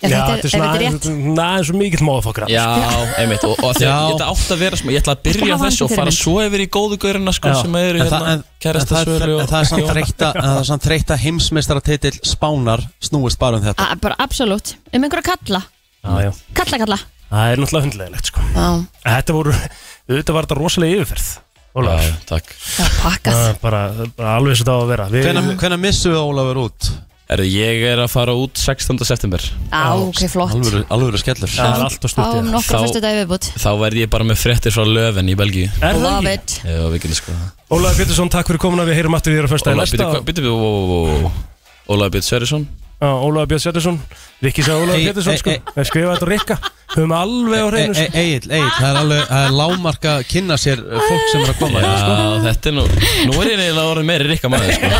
[SPEAKER 3] Ef þetta er- ef þetta er rétt.
[SPEAKER 2] aðeins og mikill móðfokkar
[SPEAKER 4] Já, einmitt, og, og
[SPEAKER 2] Já.
[SPEAKER 4] þegar þetta átt að vera sem, ég ætla að byrja á
[SPEAKER 2] hafa
[SPEAKER 4] þessu og
[SPEAKER 2] hann
[SPEAKER 4] fara
[SPEAKER 2] fyrir
[SPEAKER 4] svo yfir í góðu gaurina sko, sem eru
[SPEAKER 1] En það-
[SPEAKER 4] hérna
[SPEAKER 1] en- en
[SPEAKER 4] kærasta
[SPEAKER 1] það er-
[SPEAKER 4] svölu og
[SPEAKER 1] en það er samt þreytt að- en það er samt þreytt að heimsmeistaratitill spánar snúist bara um þetta
[SPEAKER 3] A, bara absolutt, um einhverja kalla,
[SPEAKER 2] Já, já.
[SPEAKER 3] kalla, kalla.
[SPEAKER 2] Það er náttúrulega hundlegilegt sko
[SPEAKER 3] Já.
[SPEAKER 2] Þetta voru, auðvitað var þetta rosalega yfirferð Ólafur Já,
[SPEAKER 4] takk
[SPEAKER 3] Það var pakkað
[SPEAKER 2] bara, bara alveg svo það á að vera Við-
[SPEAKER 1] Hvenær- Hvenær missum við Ólafur út?
[SPEAKER 4] Erðu, ég er að fara út 16. september
[SPEAKER 3] Á, ok, flott.
[SPEAKER 1] Alvöru- Alvöru skellur
[SPEAKER 3] Það er allt of stutt í Á, það. nokkra föstu daga í viðbót.
[SPEAKER 4] Þá verð ég bara með fréttir frá löfin í Belgíu
[SPEAKER 2] Er það
[SPEAKER 3] Love
[SPEAKER 2] ekki?
[SPEAKER 3] it.
[SPEAKER 4] Já, við getum sko það
[SPEAKER 2] Ólafur Pétursson, takk fyrir komuna, við heyrum aftur í þér á fyrsta
[SPEAKER 4] Ólaði Byrju, byrju, byrju Ólaði Byrju Sverjesson
[SPEAKER 2] Ólafur Björn Sjöttersson Rikki sagði Ólafur
[SPEAKER 1] Ey,
[SPEAKER 2] Pétursson
[SPEAKER 1] ey,
[SPEAKER 2] sko
[SPEAKER 1] ey.
[SPEAKER 2] Við skrifaði þetta á Rikka Höfum alveg á hreinu sko.
[SPEAKER 1] Egil, Egil, það er alveg það er lágmark að kynna sér eh, fólk sem er að koma
[SPEAKER 4] Já, þetta er nú Nú er ég eiginlega orðin meiri rikka maður sko.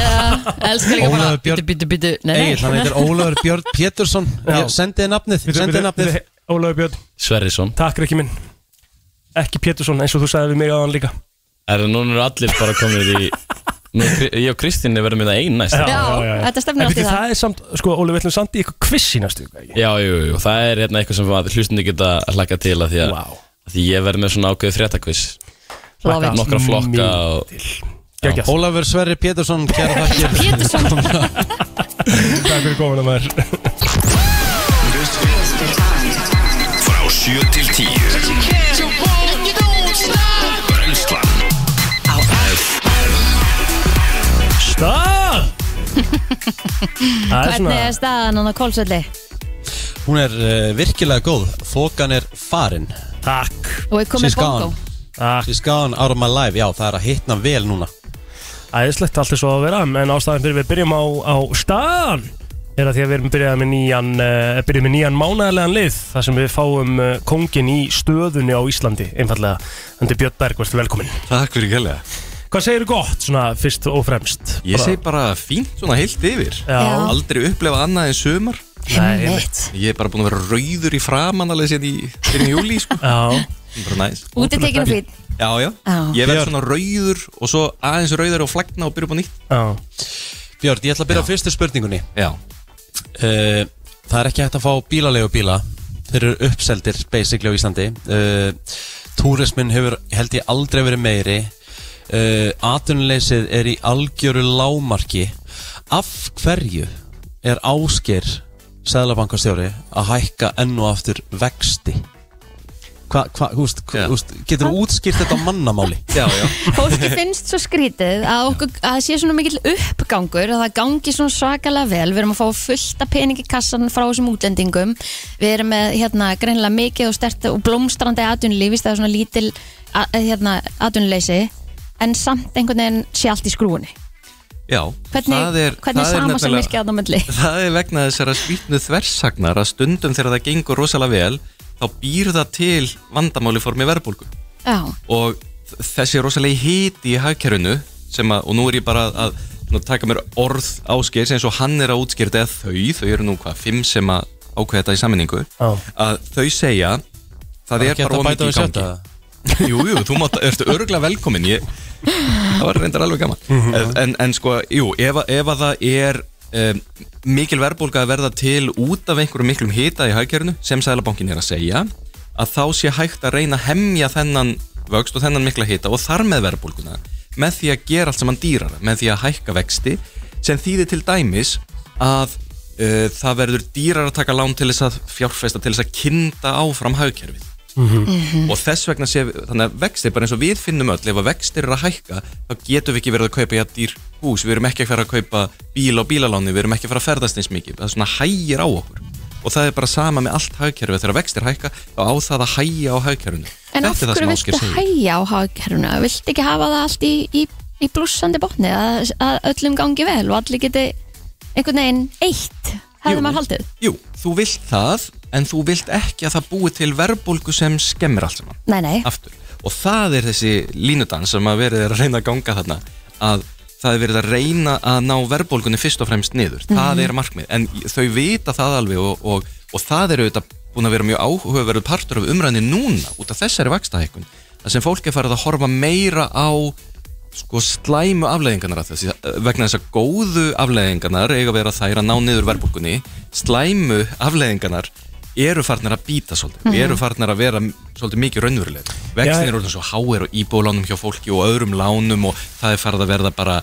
[SPEAKER 3] Elskar líka bara, bítu, bítu, bítu, nei, nei.
[SPEAKER 1] Egil, hann heitir Ólafur Björn Pétursson
[SPEAKER 2] Já.
[SPEAKER 1] Sendiði nafnið,
[SPEAKER 2] Bíddu,
[SPEAKER 1] sendiði
[SPEAKER 2] bíddu,
[SPEAKER 1] nafnið
[SPEAKER 2] bíddu, Ólafur Björn,
[SPEAKER 4] Sverjesson
[SPEAKER 2] takk Rikki minn Ekki Pétursson, eins og þú sagði við mig á hann líka
[SPEAKER 4] Er það núna eru allir bara komnir í nú, er Kri- Ég og Kristín verðum í það einn næst
[SPEAKER 3] þetta stefnir
[SPEAKER 2] En
[SPEAKER 3] allt í
[SPEAKER 2] bíddu,
[SPEAKER 3] það.
[SPEAKER 2] Það er samt, sko, Ólafur, við ætlum samt í eitthvað kviss í næstu viku, ekki?
[SPEAKER 4] Já, jú, jú, það er hérna eitthvað sem að hlustundi geta hlaka til að því að, að því ég verð með svona ákveðu fréttakviss
[SPEAKER 1] Love it.
[SPEAKER 4] Nokkra flokka og
[SPEAKER 1] Já. Ólafur Sverri Pétursson, kæra þakkir
[SPEAKER 3] Pétursson
[SPEAKER 2] Takk fyrir komuna maður
[SPEAKER 12] Frá 7 til 10 Brenslan Á
[SPEAKER 2] Stað
[SPEAKER 3] Hvernig er staðan hann á kólsvelli?
[SPEAKER 1] Hún er uh, virkilega góð Þokan er farin
[SPEAKER 2] Takk
[SPEAKER 3] Og er komið bongo?
[SPEAKER 1] She's gone out of my life Já, það er að hitna vel núna
[SPEAKER 2] Æðislegt allt er svo að vera En ástæðan fyrir við byrjum á, á staðan Er að því að við erum byrjað með nýjan uh, Byrjum með nýjan mánæðarlegan lið Þar sem við fáum uh, kongin í stöðunni á Íslandi Einfallega Þannig Björn Berg, verður velkomin
[SPEAKER 14] Takk fyrir kjærlega
[SPEAKER 2] Hvað segir þú gott svona fyrst og fremst?
[SPEAKER 14] Ég segi bara fínt svona heilt yfir
[SPEAKER 2] Já.
[SPEAKER 14] Aldrei upplefa annað en sumar
[SPEAKER 2] Nei, einmitt.
[SPEAKER 13] Ég er bara búin að vera rauður í framan alveg sér í fyrir júli sko.
[SPEAKER 2] Já
[SPEAKER 13] Bara næst
[SPEAKER 3] Útitekinn og fínn.
[SPEAKER 13] Já, já
[SPEAKER 3] Já.
[SPEAKER 13] Ég verð
[SPEAKER 3] Björn.
[SPEAKER 13] svona rauður og svo aðeins rauður og flagna og byrja upp á nýtt
[SPEAKER 2] Já
[SPEAKER 1] Björn, ég ætla að byrja á fyrstu spurningunni Eh,
[SPEAKER 13] Já
[SPEAKER 1] Það er ekki hægt að fá bílalegu bíla Þeir eru uppseldir basically á Íslandi uh, Túrismin hefur held ég aldrei verið meiri uh, Atvinnuleysið er í algjöru lámarki Af hverju er ásker Sæðlabankastjóri að hækka enn og aftur vexti? Hva, hva, húst, hva, húst, getur þú útskýrt þetta á mannamáli?
[SPEAKER 13] Já, já
[SPEAKER 3] Fólki finnst svo skrítið að, okkur, að það sé svona mikill uppgangur að það gangi svona svakalega vel við erum að fá fullt af peningi kassan frá þessum útlendingum við erum með hérna greinilega mikið og stert og blómstrandi atvinnulífist það er svona lítil a- hérna, atvinnuleysi en samt einhvern veginn sé allt í skrúinni
[SPEAKER 13] Já
[SPEAKER 3] Hvernig- hvernig
[SPEAKER 13] það
[SPEAKER 3] sama sem
[SPEAKER 13] nefnilega-
[SPEAKER 3] virkið þarna á milli?
[SPEAKER 13] Það er vegna þessara skrýtnu þversagnar að stundum þegar það gengur rosalega vel þá býr það til vandamáli formi verðbólgu
[SPEAKER 3] Já,
[SPEAKER 13] og þ- þessi rosalegi hiti í hagkerfinu sem að, og nú er ég bara að svona, taka mér orð áskers eins og hann er að útskýrta eða þau, þau eru nú hvað, fimm sem að ákveða þetta í sammenningu
[SPEAKER 2] Já.
[SPEAKER 13] að þau segja það
[SPEAKER 1] Það er
[SPEAKER 13] er
[SPEAKER 1] ekki hægt
[SPEAKER 13] bara
[SPEAKER 1] að
[SPEAKER 13] ómikið í
[SPEAKER 1] bæta við sjötta,
[SPEAKER 13] gangi Jú, jú, þú mátt, ertu örgulega velkomin ég, það var reyndar alveg gaman en, en sko, jú, ef, að- ef að það er um, mikil verðbólga að verða til út af einhverjum miklum hita í hagkerfinu sem sælabankin er að segja að þá sé hægt að reyna að hemja þennan vöxt og þennan mikla hita og þar með verðbólguna með því að gera allt saman dýrara með því að hækka vexti sem þýðir til dæmis að uh, það verður dýrar að taka lán til þess að fjárfesta til þess að kynda áfram hagkerfið
[SPEAKER 2] Mhm.
[SPEAKER 13] og þess vegna sé þannig að vextir bara eins og við finnum öll ef að vextir eru að hækka þá getum við ekki verið að kaupa jafn dýr hús við erum ekki að fara að kaupa bíl á bílaláni við erum ekki að fara að ferðast eins mikið það er svona hægir á okkur og það er bara sama með allt hagkerfið þegar vextir hækka þá á það að hægja á hagkerfinu
[SPEAKER 3] en af hverju viltu hæja á hagkerfuna? Viltu ekki hafa það allt í, í, í blússandi botni að, að öllum gangi vel og allir geti einhvern veginn eitt hefði maður haldið?
[SPEAKER 13] Jú, þú vilt það en þú vilt ekki að það búi til verðbólgu sem skemmir allt saman
[SPEAKER 3] Nei, nei.
[SPEAKER 13] aftur og það er þessi línudans sem að verið er að reyna að ganga þarna að það er verið að reyna að ná verðbólgunni fyrst og fremst niður, það
[SPEAKER 12] Mhm.
[SPEAKER 13] er markmið en þau vita það alveg og, og, og það er auðvitað búin að vera mjög áhugaverðu partur af umræðinni núna út af þessari vakstahækun þar sem fólk er farið að horfa meira á sko slæmu afleðingarnar af þessi, vegna þess að góðu afleðingarnar eiga að vera þær að ná niður verðbólgunni slæmu afleðingarnar eru farnar að býta svolítið
[SPEAKER 2] Mhm.
[SPEAKER 13] eru farnar að vera svolítið mikið raunverulega vextin
[SPEAKER 2] Já.
[SPEAKER 13] eru orðin svo háir og íbúlánum hjá fólki og öðrum lánum og það er farið að verða bara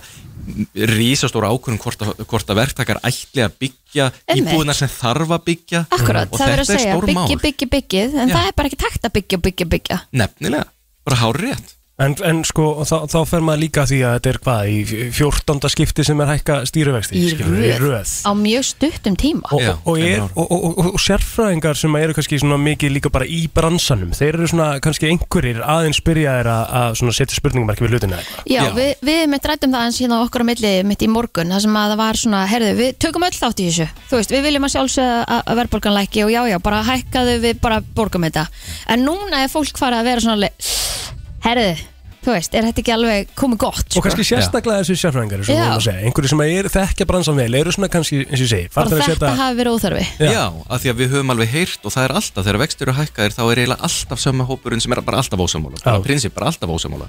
[SPEAKER 13] rísastóra ákvörðum hvort, að- hvort að verktakar ætli að byggja
[SPEAKER 3] Einmitt.
[SPEAKER 13] íbúðina sem þarf að byggja
[SPEAKER 3] Akkurat,
[SPEAKER 13] og
[SPEAKER 3] það verður að
[SPEAKER 13] þetta er
[SPEAKER 3] segja
[SPEAKER 13] stór mál
[SPEAKER 3] byggi, byggi, byggið en
[SPEAKER 13] Já.
[SPEAKER 3] það er bara ekki takt að byggja, byggja, byggja
[SPEAKER 13] nefnilega, bara hár rétt
[SPEAKER 2] En, en sko, þá, þá fer maður líka að því að þetta er hvað, í 14. skipti sem er hækka stýruvexti
[SPEAKER 3] í
[SPEAKER 2] skilurðu,
[SPEAKER 3] röð á mjög stuttum tíma
[SPEAKER 2] og, og, er, og, og, og, og sérfræðingar sem eru kannski svona mikið líka bara í bransanum þeir eru svona kannski einhverjir aðeins byrjaðir að, að svona setja spurningmarki við hlutina eða eitthvað.
[SPEAKER 3] Já, við, við mitt rættum það eins hérna á okkur á milli mitt í morgun, það sem að það var svona herðu, við tökum öll þátt í þessu, þú veist, við viljum að sjálfsögða að- að verðbólgan lækki og já, já, bara hækkaðu við bara borgum þetta en núna er fólk farið að vera svona alveg, herðu, þú veist, er þetta ekki alveg komið gott, sko?
[SPEAKER 2] og kannski sérstaklega þessi sérfræðingar eins og
[SPEAKER 3] Já.
[SPEAKER 2] við vorum að segja, einhverjir sem er, þekkja bransan vel eru svona kannski, eins og ég segi
[SPEAKER 3] bara
[SPEAKER 2] farnir að
[SPEAKER 3] þetta
[SPEAKER 2] setja-
[SPEAKER 3] hafi verið óþörfi
[SPEAKER 13] Já. af því að við höfum alveg heyrt og það er alltaf, þegar vextur eru hækkaðir þá er eiginlega alltaf sömu hópurinn sem er bara alltaf ósamála, bara
[SPEAKER 2] Já.
[SPEAKER 13] prinsip, bara alltaf ósamála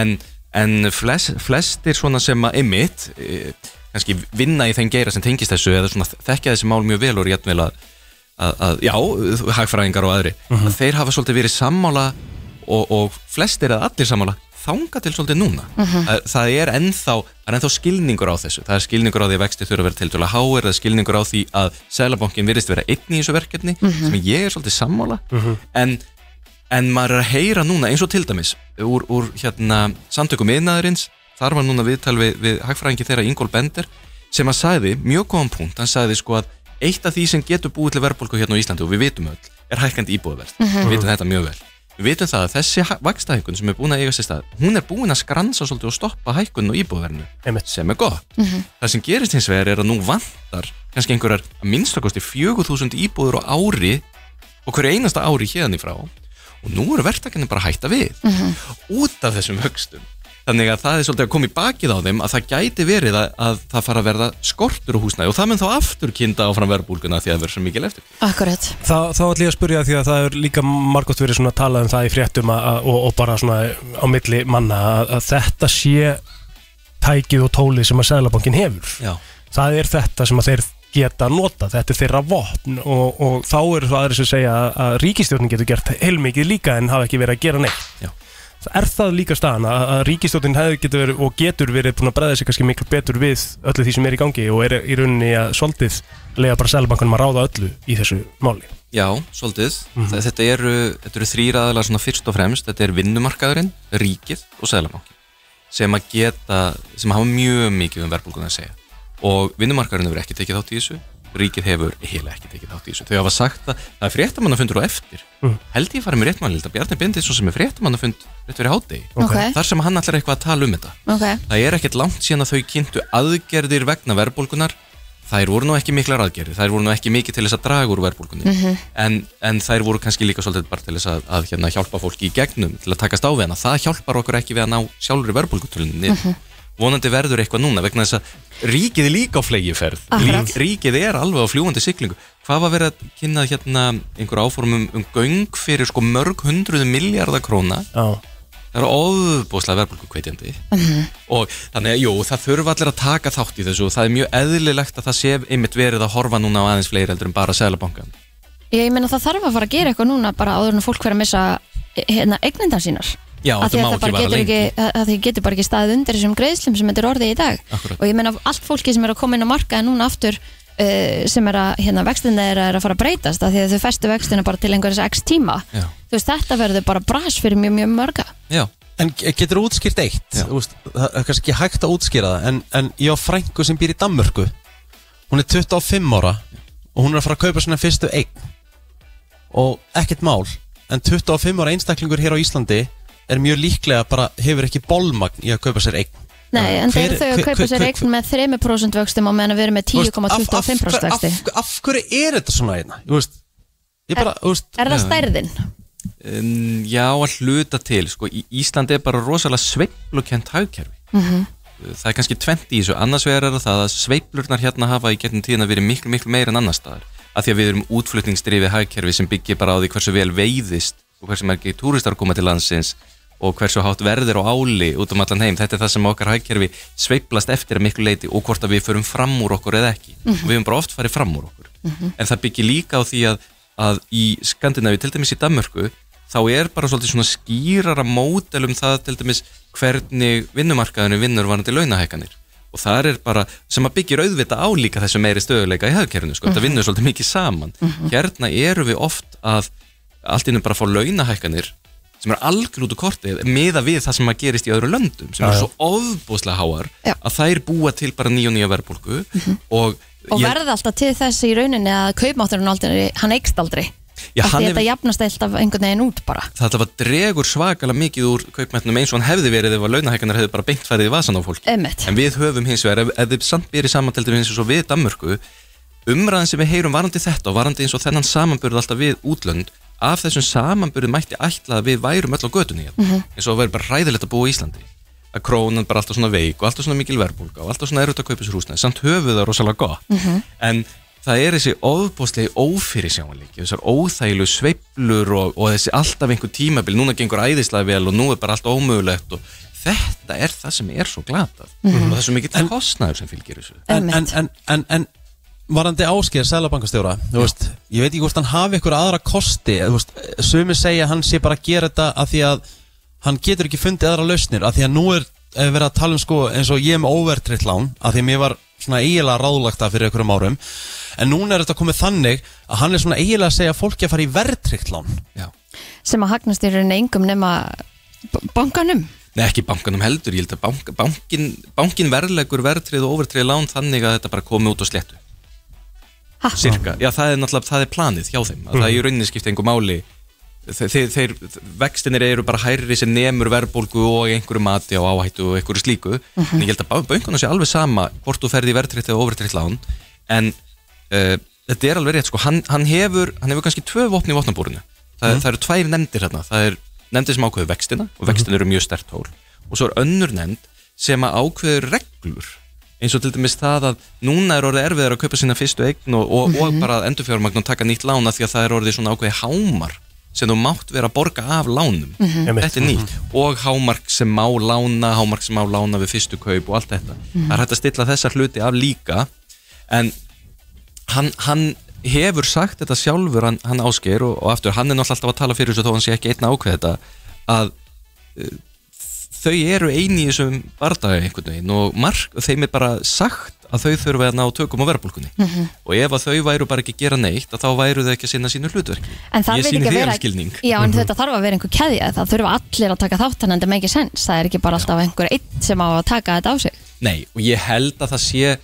[SPEAKER 13] en, en flest, flestir svona sem að emitt e, kannski vinna í þeim geira sem tengist þessu eða svona þekkja þessi mál mjög vel og réttvel að, að, að já, hagfræðingar og aðri að þeir hafa svolítið verið sammála og, og flestir eða allir sammála þanga til svolítið núna
[SPEAKER 12] Mhm.
[SPEAKER 13] það, það er ennþá, það er ennþá skilningur á þessu það er skilningur á því að vexti þurfa að vera til dæla háir það er skilningur á því að sælabankin virðist vera einn í þessu verkefni
[SPEAKER 12] Mhm.
[SPEAKER 13] sem ég er svolítið sammála
[SPEAKER 14] Mhm.
[SPEAKER 13] en, en maður er að heyra núna eins og til dæmis úr, úr hérna samtökum yðnaðurins þar var núna viðtal við, við hagfræðingi þeirra Ingól Bender sem að sagði mjög góðan punkt, hann sagði sko að eitt af því sem getur búið til verðbólku hérna á Íslandi og við vitum öll er hækkandi íbúðverð
[SPEAKER 12] Mhm.
[SPEAKER 13] við vitum þetta mjög vel við vitum það að þessi vakstahækun sem er búin að eiga sér stað hún er búin að skransa svolítið og stoppa hækkun og íbúðverðinu sem er gott
[SPEAKER 12] Mhm.
[SPEAKER 13] það sem gerist hins vegar er að nú vantar kannski einhverjar að minnstakosti 4000 íbúður á ári og hverju einasta ári hérðan í frá og nú eru verktakarnir bara að hætta við út af þessum högstum Þannig að það er svolítið að koma í bakið á þeim að það gæti verið að, að það fara að verða skortur á húsnæði og það mun þá aftur kynda áfram verðbólguna því að það verður svo mikil eftir.
[SPEAKER 3] Akkurat
[SPEAKER 2] Þá, þá ætlum ég að spurja því að það er líka margótt verið svona talað um það í fréttum að, að, og, og bara svona á milli manna að, að þetta sé tækið og tólið sem að Sæðlabankin hefur
[SPEAKER 13] Já.
[SPEAKER 2] það er þetta sem að þeir geta nota, þetta er þeirra vopn og, og þá eru svo aðri sem segja að, að ríkistjórnin getur gert heilmikið líka en hafa ekki verið að gera neitt
[SPEAKER 13] Já.
[SPEAKER 2] Er það líka staðan að, að ríkistjórnin hefur getur verið og getur verið búin að bregða sig kannski miklu betur við öllu því sem er í gangi og er í rauninni að svolítið lega bara Sæðlabankunum að ráða öllu í þessu máli?
[SPEAKER 13] Já, svolítið. Þa- Þetta eru, þetta eru þrýr aðalega svona fyrst og fremst. Þetta er vinnumarkaðurinn, ríkið og seðlabankin sem að geta, sem hafa mjög mikið um verðbólguna að segja. Og vinnumarkaðurinn hefur ekki tekið þátt í þessu, ríkið hefur heila ekki tekið þátt í þessu. Þau hafa sagt að það er fréttamannafundur á eftir.
[SPEAKER 2] Mhm.
[SPEAKER 13] Held ég farið með rétt mannlita, Bjarni Bindisson sem er fréttamannafund rétt fyrir hátegi.
[SPEAKER 3] Ok.
[SPEAKER 13] Þar sem hann allar eitthvað að tala um þetta.
[SPEAKER 3] Ok,
[SPEAKER 13] Það er ekkert langt síðan að þau kynntu aðgerðir vegna verðbólgunar. Þær voru nú ekki miklar aðgerðir, þær voru nú ekki mikið til þess að draga úr verðbólgunni.
[SPEAKER 3] Mhm.
[SPEAKER 13] en, en þær voru kannski líka svolítið bara til þess að, að hérna, hjálpa fólki í gegnum til að takast á við hana. Það hjálpar okkur ekki við að ná sjálfur verðbólgutöluninni.
[SPEAKER 3] Mhm.
[SPEAKER 13] Vonandi verður eitthvað núna vegna þess að ríkið er líka á flegiferð.
[SPEAKER 3] Akkurat.
[SPEAKER 13] Rík, ríkið er alveg á fljúandi siglingu. Hvað var verið að kynna hérna einhver áformum um göng fyrir sko mörg hundruð miljardar króna?
[SPEAKER 2] Já.
[SPEAKER 13] Það eru óbúslega verðbólgu kveitjandi
[SPEAKER 3] Mhm.
[SPEAKER 13] og þannig að jú, það þurfa allir að taka þátt í þessu og það er mjög eðlilegt að það sé einmitt verið að horfa núna á aðeins fleiri heldur en bara Sælabankan.
[SPEAKER 3] ég meina það þarf að fara að gera eitthvað núna bara áður en að fólk vera að missa eh, hérna, eignindar sínar
[SPEAKER 13] Já,
[SPEAKER 3] Af því að
[SPEAKER 13] þetta má
[SPEAKER 3] það
[SPEAKER 13] ekki
[SPEAKER 3] bara
[SPEAKER 13] vara
[SPEAKER 3] getur
[SPEAKER 13] lengi.
[SPEAKER 3] ekki, að að því getur bara ekki staðið undir þessum greiðslum sem þetta er orðið í dag
[SPEAKER 13] Akkúrat.
[SPEAKER 3] og ég meina allt fólki sem er að koma inn á markaði núna aftur uh, sem er að hérna, vextina er að, er að fara að breytast af því að þau festu vextina bara til einhverjus x tíma
[SPEAKER 13] Já.
[SPEAKER 3] þú veist þetta verður bara bras fyrir mjög mjög mörga
[SPEAKER 13] Já.
[SPEAKER 1] En ge- getur útskýrt eitt úst, Það er kannski ekki hægt að útskýra það En, en ég á frængu sem býr í Danmörku Hún er 25 ára Og hún er að fara að kaupa svona fyrstu eign Og ekkert mál En 25 ára einstaklingur hér á Íslandi Er mjög líklega bara Hefur ekki bólmagn í að kaupa sér eign
[SPEAKER 3] Nei, en
[SPEAKER 1] Hver-
[SPEAKER 3] þeir eru þau að
[SPEAKER 1] hver-
[SPEAKER 3] kaupa
[SPEAKER 1] hver-
[SPEAKER 3] sér
[SPEAKER 1] hver-
[SPEAKER 3] eign með 3% vöxtum á meðan við erum með
[SPEAKER 1] Þú veist, af-
[SPEAKER 3] 10,25%
[SPEAKER 1] af-
[SPEAKER 3] vöxti
[SPEAKER 1] af, af hverju er þetta svona einna? Þú veist Ég bara, þú veist
[SPEAKER 3] Er það stærðin?
[SPEAKER 13] Um, já, að hluta til. Sko, Í- Ísland er bara rosalega sveiflukent hagkerfi.
[SPEAKER 3] Mhm.
[SPEAKER 13] það er kannski tvent í þessu, annars vegar er það að sveiflurnar hérna hafa í gegnum tíðina verið miklu, miklu meira en annars staðar af því að við erum útflutningsdrifið hagkerfi sem byggir bara á því hversu vel veiðist og hversu margir túristar koma til landsins og hversu hátt verðir og áli út um allan heim, þetta er það sem okkar hagkerfi sveiflast eftir að miklu leiti og hvort að við förum fram úr okkur eða ekki
[SPEAKER 12] Mhm.
[SPEAKER 13] við höfum bara oft farið fram úr okkur en það byggir líka á því að, að í Skandinavíu, til dæmis í Danmörku þá er bara svolítið svona skýrara mótel um það til dæmis hvernig vinnumarkaðinu vinnur varandi launahækanir og það er bara, sem að byggir auðvita á líka þessu meiri stöðuleika í hafkerfinu sko,
[SPEAKER 12] Mhm.
[SPEAKER 13] það vinnur svolítið mikið saman
[SPEAKER 12] Mhm.
[SPEAKER 13] hérna eru við oft að allt innum bara fá launahækanir sem er algjör út úr kortið meða við það sem að gerist í öðru löndum sem
[SPEAKER 12] Já,
[SPEAKER 13] eru
[SPEAKER 12] já.
[SPEAKER 13] svo ofbúslega háar að þær búa til bara nýja og nýja verðbólku
[SPEAKER 12] Mhm.
[SPEAKER 13] og,
[SPEAKER 3] Og
[SPEAKER 13] ég-
[SPEAKER 3] verða alltaf til þess í rauninni að kaupmátturinn aldrei, hann eikst aldrei
[SPEAKER 13] Já,
[SPEAKER 3] Af
[SPEAKER 13] hann
[SPEAKER 3] Því þetta
[SPEAKER 13] hefur-
[SPEAKER 3] jafnast alltaf einhvern veginn út bara
[SPEAKER 13] það alltaf dregur svakalega mikið úr kaupmætnum eins og hann hefði verið ef að launahækkanar hefði bara beint farið í vasan á fólki
[SPEAKER 3] Einmitt.
[SPEAKER 13] en við höfum hins vegar, ef, ef þið samt byrjið samanteldir eins og svo við Danmörku umræðan sem við heyrum varandi þetta og varandi eins og þennan samanburð alltaf við útlönd af þessum samanburð mætti ætla að við værum öll á götunni hérna
[SPEAKER 12] Mhm.
[SPEAKER 13] eins og það væri bara ræðilegt að búa í Íslandi að krónan bara alltaf svona veik og alltaf svona mikil verðbólga og alltaf svona erut að kaupa sér húsnæði samt höfuð það rosalega gott
[SPEAKER 12] Mhm.
[SPEAKER 13] en það er þessi óbóðslegi ófyrir sjáanleiki þessar óþægilu sveiflur og, og þessi alltaf einhver tímabil núna gengur æðislega vel og nú er bara allt ómögulegt og þetta er það sem er svo glatað
[SPEAKER 1] Mhm.
[SPEAKER 13] og það er svo mikill kostnæður sem fylgir þessu
[SPEAKER 1] en, en, en, en, en varandi ásker sælabankastjóra, þú veist ég veit ekki hvort hann hafi ykkur aðra kosti eða, þú veist, sumi segja að hann sé bara að gera þetta af því að hann getur ekki fundið aðra lausnir, af því að nú er ef verið að tala um sko eins og ég er með óvertritt lán af því að mér var svona eiginlega ráðlagt það fyrir einhverjum árum, en núna er þetta komið þannig að hann er svona eiginlega að segja fólki að fara í verðtritt lán
[SPEAKER 3] sem að hagnast í rauninni engum nema b- bankanum
[SPEAKER 13] Nei, ekki bankanum heldur, ég held að bank, bankin, bankin verðlegur verðtrið og overtrið lán þannig að þetta bara komi út á sléttu
[SPEAKER 3] ha?
[SPEAKER 13] Cirka, já það er náttúrulega, það er planið hjá þeim að það er í rauninni skipta einhver máli Þe- þeir, þeir, vextinir eru bara hærri sem nemur verðbólgu og einhverju mati og áhættu og einhverju slíku en ég held að bankunum sé alveg sama hvort þú ferði í verðtrið eða overtrið lán en uh, þetta er alveg rétt sko, hann, hann, hefur, hann hefur kannski tvö vopni í vopnabúrinu Þa,
[SPEAKER 12] Mhm.
[SPEAKER 14] Mhm.
[SPEAKER 13] það eru tvær nefndir hérna það er nefndir sem ákveður vextina og vextin eru mjög stert hól og svo er önnur nefnd sem að ákveður reglur eins og til dæmis það að núna er orðið erfiðar að kaupa sína fyrstu eign og, og, og
[SPEAKER 14] Mhm.
[SPEAKER 13] bara endurfjármagn og taka nýtt lána því að það er orðið svona ákveði hámar sem þú mátt vera að borga af lánum
[SPEAKER 14] Mhm. Einmitt.
[SPEAKER 13] þetta er nýtt og hámark sem má lána, hámark sem má lána við fyrstu kaup og allt þetta
[SPEAKER 14] Mhm.
[SPEAKER 13] það er hægt að stilla þessa hluti af líka en hann, hann hefur sagt þetta sjálfur hann, hann ásker og, og aftur hann er náttúrulega alltaf að tala fyrir þessu þó hann sé ekki einn ákveð þetta að uh, þau eru eini í þessum bardagi einhvern veginn og mark, þeim er bara sagt að þau þurfa að ná tökum á verðbólkunni
[SPEAKER 3] Mhm.
[SPEAKER 13] og ef að þau væru bara ekki að gera neitt að þá væru þau ekki að sinna sínu hlutverki
[SPEAKER 3] En það
[SPEAKER 13] ég
[SPEAKER 3] veit
[SPEAKER 13] sýni Mhm.
[SPEAKER 3] ekki að
[SPEAKER 13] þér
[SPEAKER 3] vera
[SPEAKER 13] skilning
[SPEAKER 3] Já, en þetta þarf að vera einhver keðja Það þurfa allir að taka þátt Þannig að það með ekki sens Það er ekki bara alltaf einhver einn sem á að taka þetta á sig
[SPEAKER 13] Nei, og ég held að það sé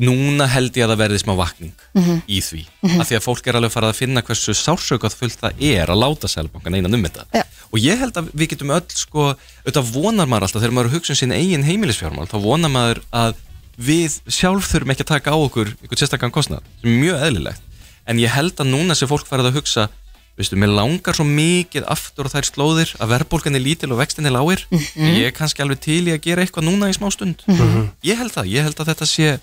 [SPEAKER 13] núna held ég að það verði smá vakning
[SPEAKER 3] Mhm.
[SPEAKER 13] í því,
[SPEAKER 3] Mhm.
[SPEAKER 13] af því að fólk er alveg farið að finna hversu sársökað fullt það er að láta sælbankan einan um þetta
[SPEAKER 3] Já.
[SPEAKER 13] og ég held að við getum öll sko, auðvitað vonar maður alltaf þegar maður er að hugsa um sín eigin heimilisfjármál, þá vonar maður að við sjálf þurfum ekki að taka á okkur einhvern sérstakann kostnað, sem er mjög eðlilegt en ég held að núna sé fólk farið að hugsa veistu, mér langar svo mikið aftur á þær slóðir að verðbólgan er lítil og vextin er lágir
[SPEAKER 14] Mhm.
[SPEAKER 13] ég er kannski alveg til í að gera eitthvað núna í smá stund
[SPEAKER 14] Mhm.
[SPEAKER 13] ég held það, ég held að þetta sé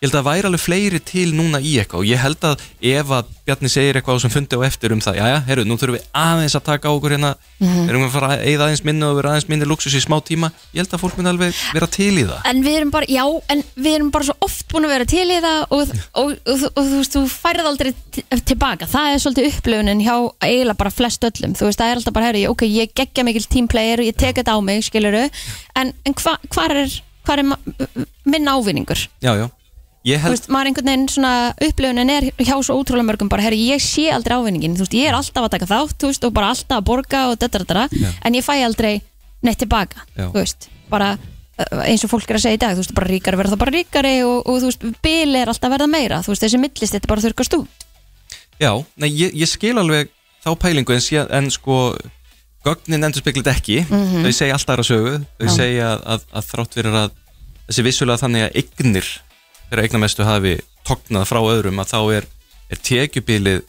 [SPEAKER 13] ég held að væri alveg fleiri til núna í eitthvað og ég held að ef að Bjarni segir eitthvað sem fundi á eftir um það, já já, herru, nú þurfum við aðeins að taka á okkur hérna,
[SPEAKER 3] Mhm.
[SPEAKER 13] erum við að fara að eigða aðeins minni og vera aðeins minni luxus í smá tíma ég held að fólk minn alveg vera til í það
[SPEAKER 3] En við erum bara, já, en við erum bara svo oft búin að vera til í það og, og, og, og, þú veist, þú færið aldrei t- tilbaka. Það er svolítið upplöfunin hjá eiginlega bara flest öllum. Þú veist, það er alltaf bara, herri, ok, ég geggja mikil tímplayer og ég tek þetta á mig, skiluru, en, en hva, hvar er, hvar er ma- minn ávinningur?
[SPEAKER 13] já, já, ég
[SPEAKER 3] Þú
[SPEAKER 13] held
[SPEAKER 3] veist, maður einhvern veginn svona upplifunin er hjá svo ótrúlega mörgum bara, herri, ég sé aldrei ávinningin, þú veist, ég er alltaf að taka þátt, þú veist, og bara alltaf að borga og þetta, þetta, þetta, en ég fæ aldrei neitt tilbaka,
[SPEAKER 13] Já.
[SPEAKER 3] þú veist, bara uh, eins og fólk er að segja í dag, þú veist, bara ríkari verða þá bara ríkari og, og þú veist, bil er alltaf að verða meira, þú veist, þessi millist, þetta bara þurrkast út.
[SPEAKER 13] Já, nei, ég, ég skil alveg þá pælingu en, síðan, en sko gögnin endur speklit ekki
[SPEAKER 14] Mhm.
[SPEAKER 13] þau segja allt aðra sögu þau
[SPEAKER 14] Já.
[SPEAKER 13] segja að, að, að þrátt fyrir að þessi vissulega þannig að eignir þegar eignamestu hafi tognað frá öðrum að þá er, er tekjubilið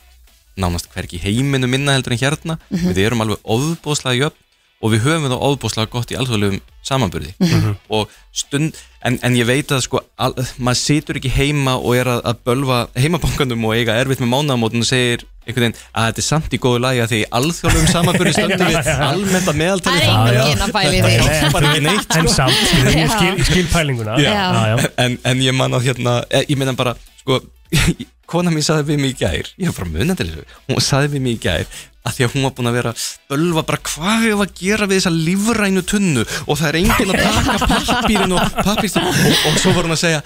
[SPEAKER 13] nánast hvergi í heiminu minna heldur en hérna
[SPEAKER 14] Mhm.
[SPEAKER 13] við erum alveg ofbóðslega jöfn og við höfum það ofbóðslega gott í alþjóðlegum samanburði
[SPEAKER 14] Mhm.
[SPEAKER 13] og stund en, en ég veit að sko al, maður situr ekki heima og er að, að bölva heimabankanum og eiga erfitt með mánamótin og segir einhvern veginn að þetta er samt í góðu lagi að því í alþjóðlegum um samanburði stöndum við almennt að meðaltali
[SPEAKER 14] Það er enginn að pæla í því.
[SPEAKER 13] Þetta hjálpar ekki neitt sko.
[SPEAKER 2] En samt, skilur, ég skil- ég skil pælinguna.
[SPEAKER 13] Já.
[SPEAKER 2] Já. Já, já.
[SPEAKER 13] En, en ég man að hérna, eh, ég meina bara sko, kona mín saði við mig í gær ég var bara munandi þessu, hún saði við mig í gær að því að hún var búin að vera bölva bara hvað hefur að gera við þessa lífrænu tunnu og það er enginn að taka pappirinn og pappirinn og, og svo var hún að segja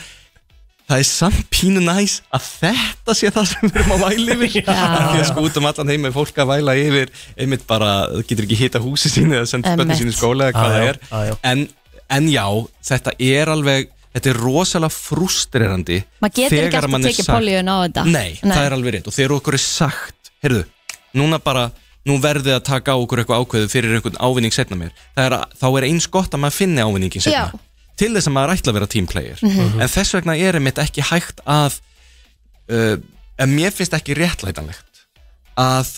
[SPEAKER 13] það er samt pínu næs að þetta sé það sem við erum að væla yfir
[SPEAKER 14] Já.
[SPEAKER 13] Af því að sko út um allan heim er fólk að væla yfir einmitt bara, það getur ekki hita húsi sínu eða senda
[SPEAKER 14] Einmitt.
[SPEAKER 13] spönni sínu í skóla eða hvað
[SPEAKER 14] Já,
[SPEAKER 13] það
[SPEAKER 14] já,
[SPEAKER 13] er en, en já, þetta er alveg þetta er rosalega frustrerandi
[SPEAKER 3] Maður getur ekki
[SPEAKER 13] þegar
[SPEAKER 3] alltaf
[SPEAKER 13] manni er
[SPEAKER 3] tekið
[SPEAKER 13] sagt-
[SPEAKER 3] políun á þetta.
[SPEAKER 13] Nei, það er alveg rétt og þegar okkur er sagt heyrðu, núna bara nú verðið að taka á okkur eitthvað ákveðu fyrir einhvern ávinning setna mér, Það er, að- þá er eins gott að maður finni
[SPEAKER 3] Já.
[SPEAKER 13] ávinningin setna til þess að maður ætla að vera teamplayer
[SPEAKER 14] Mhm.
[SPEAKER 13] en þess vegna er einmitt ekki hægt að uh, en mér finnst ekki réttlætanlegt að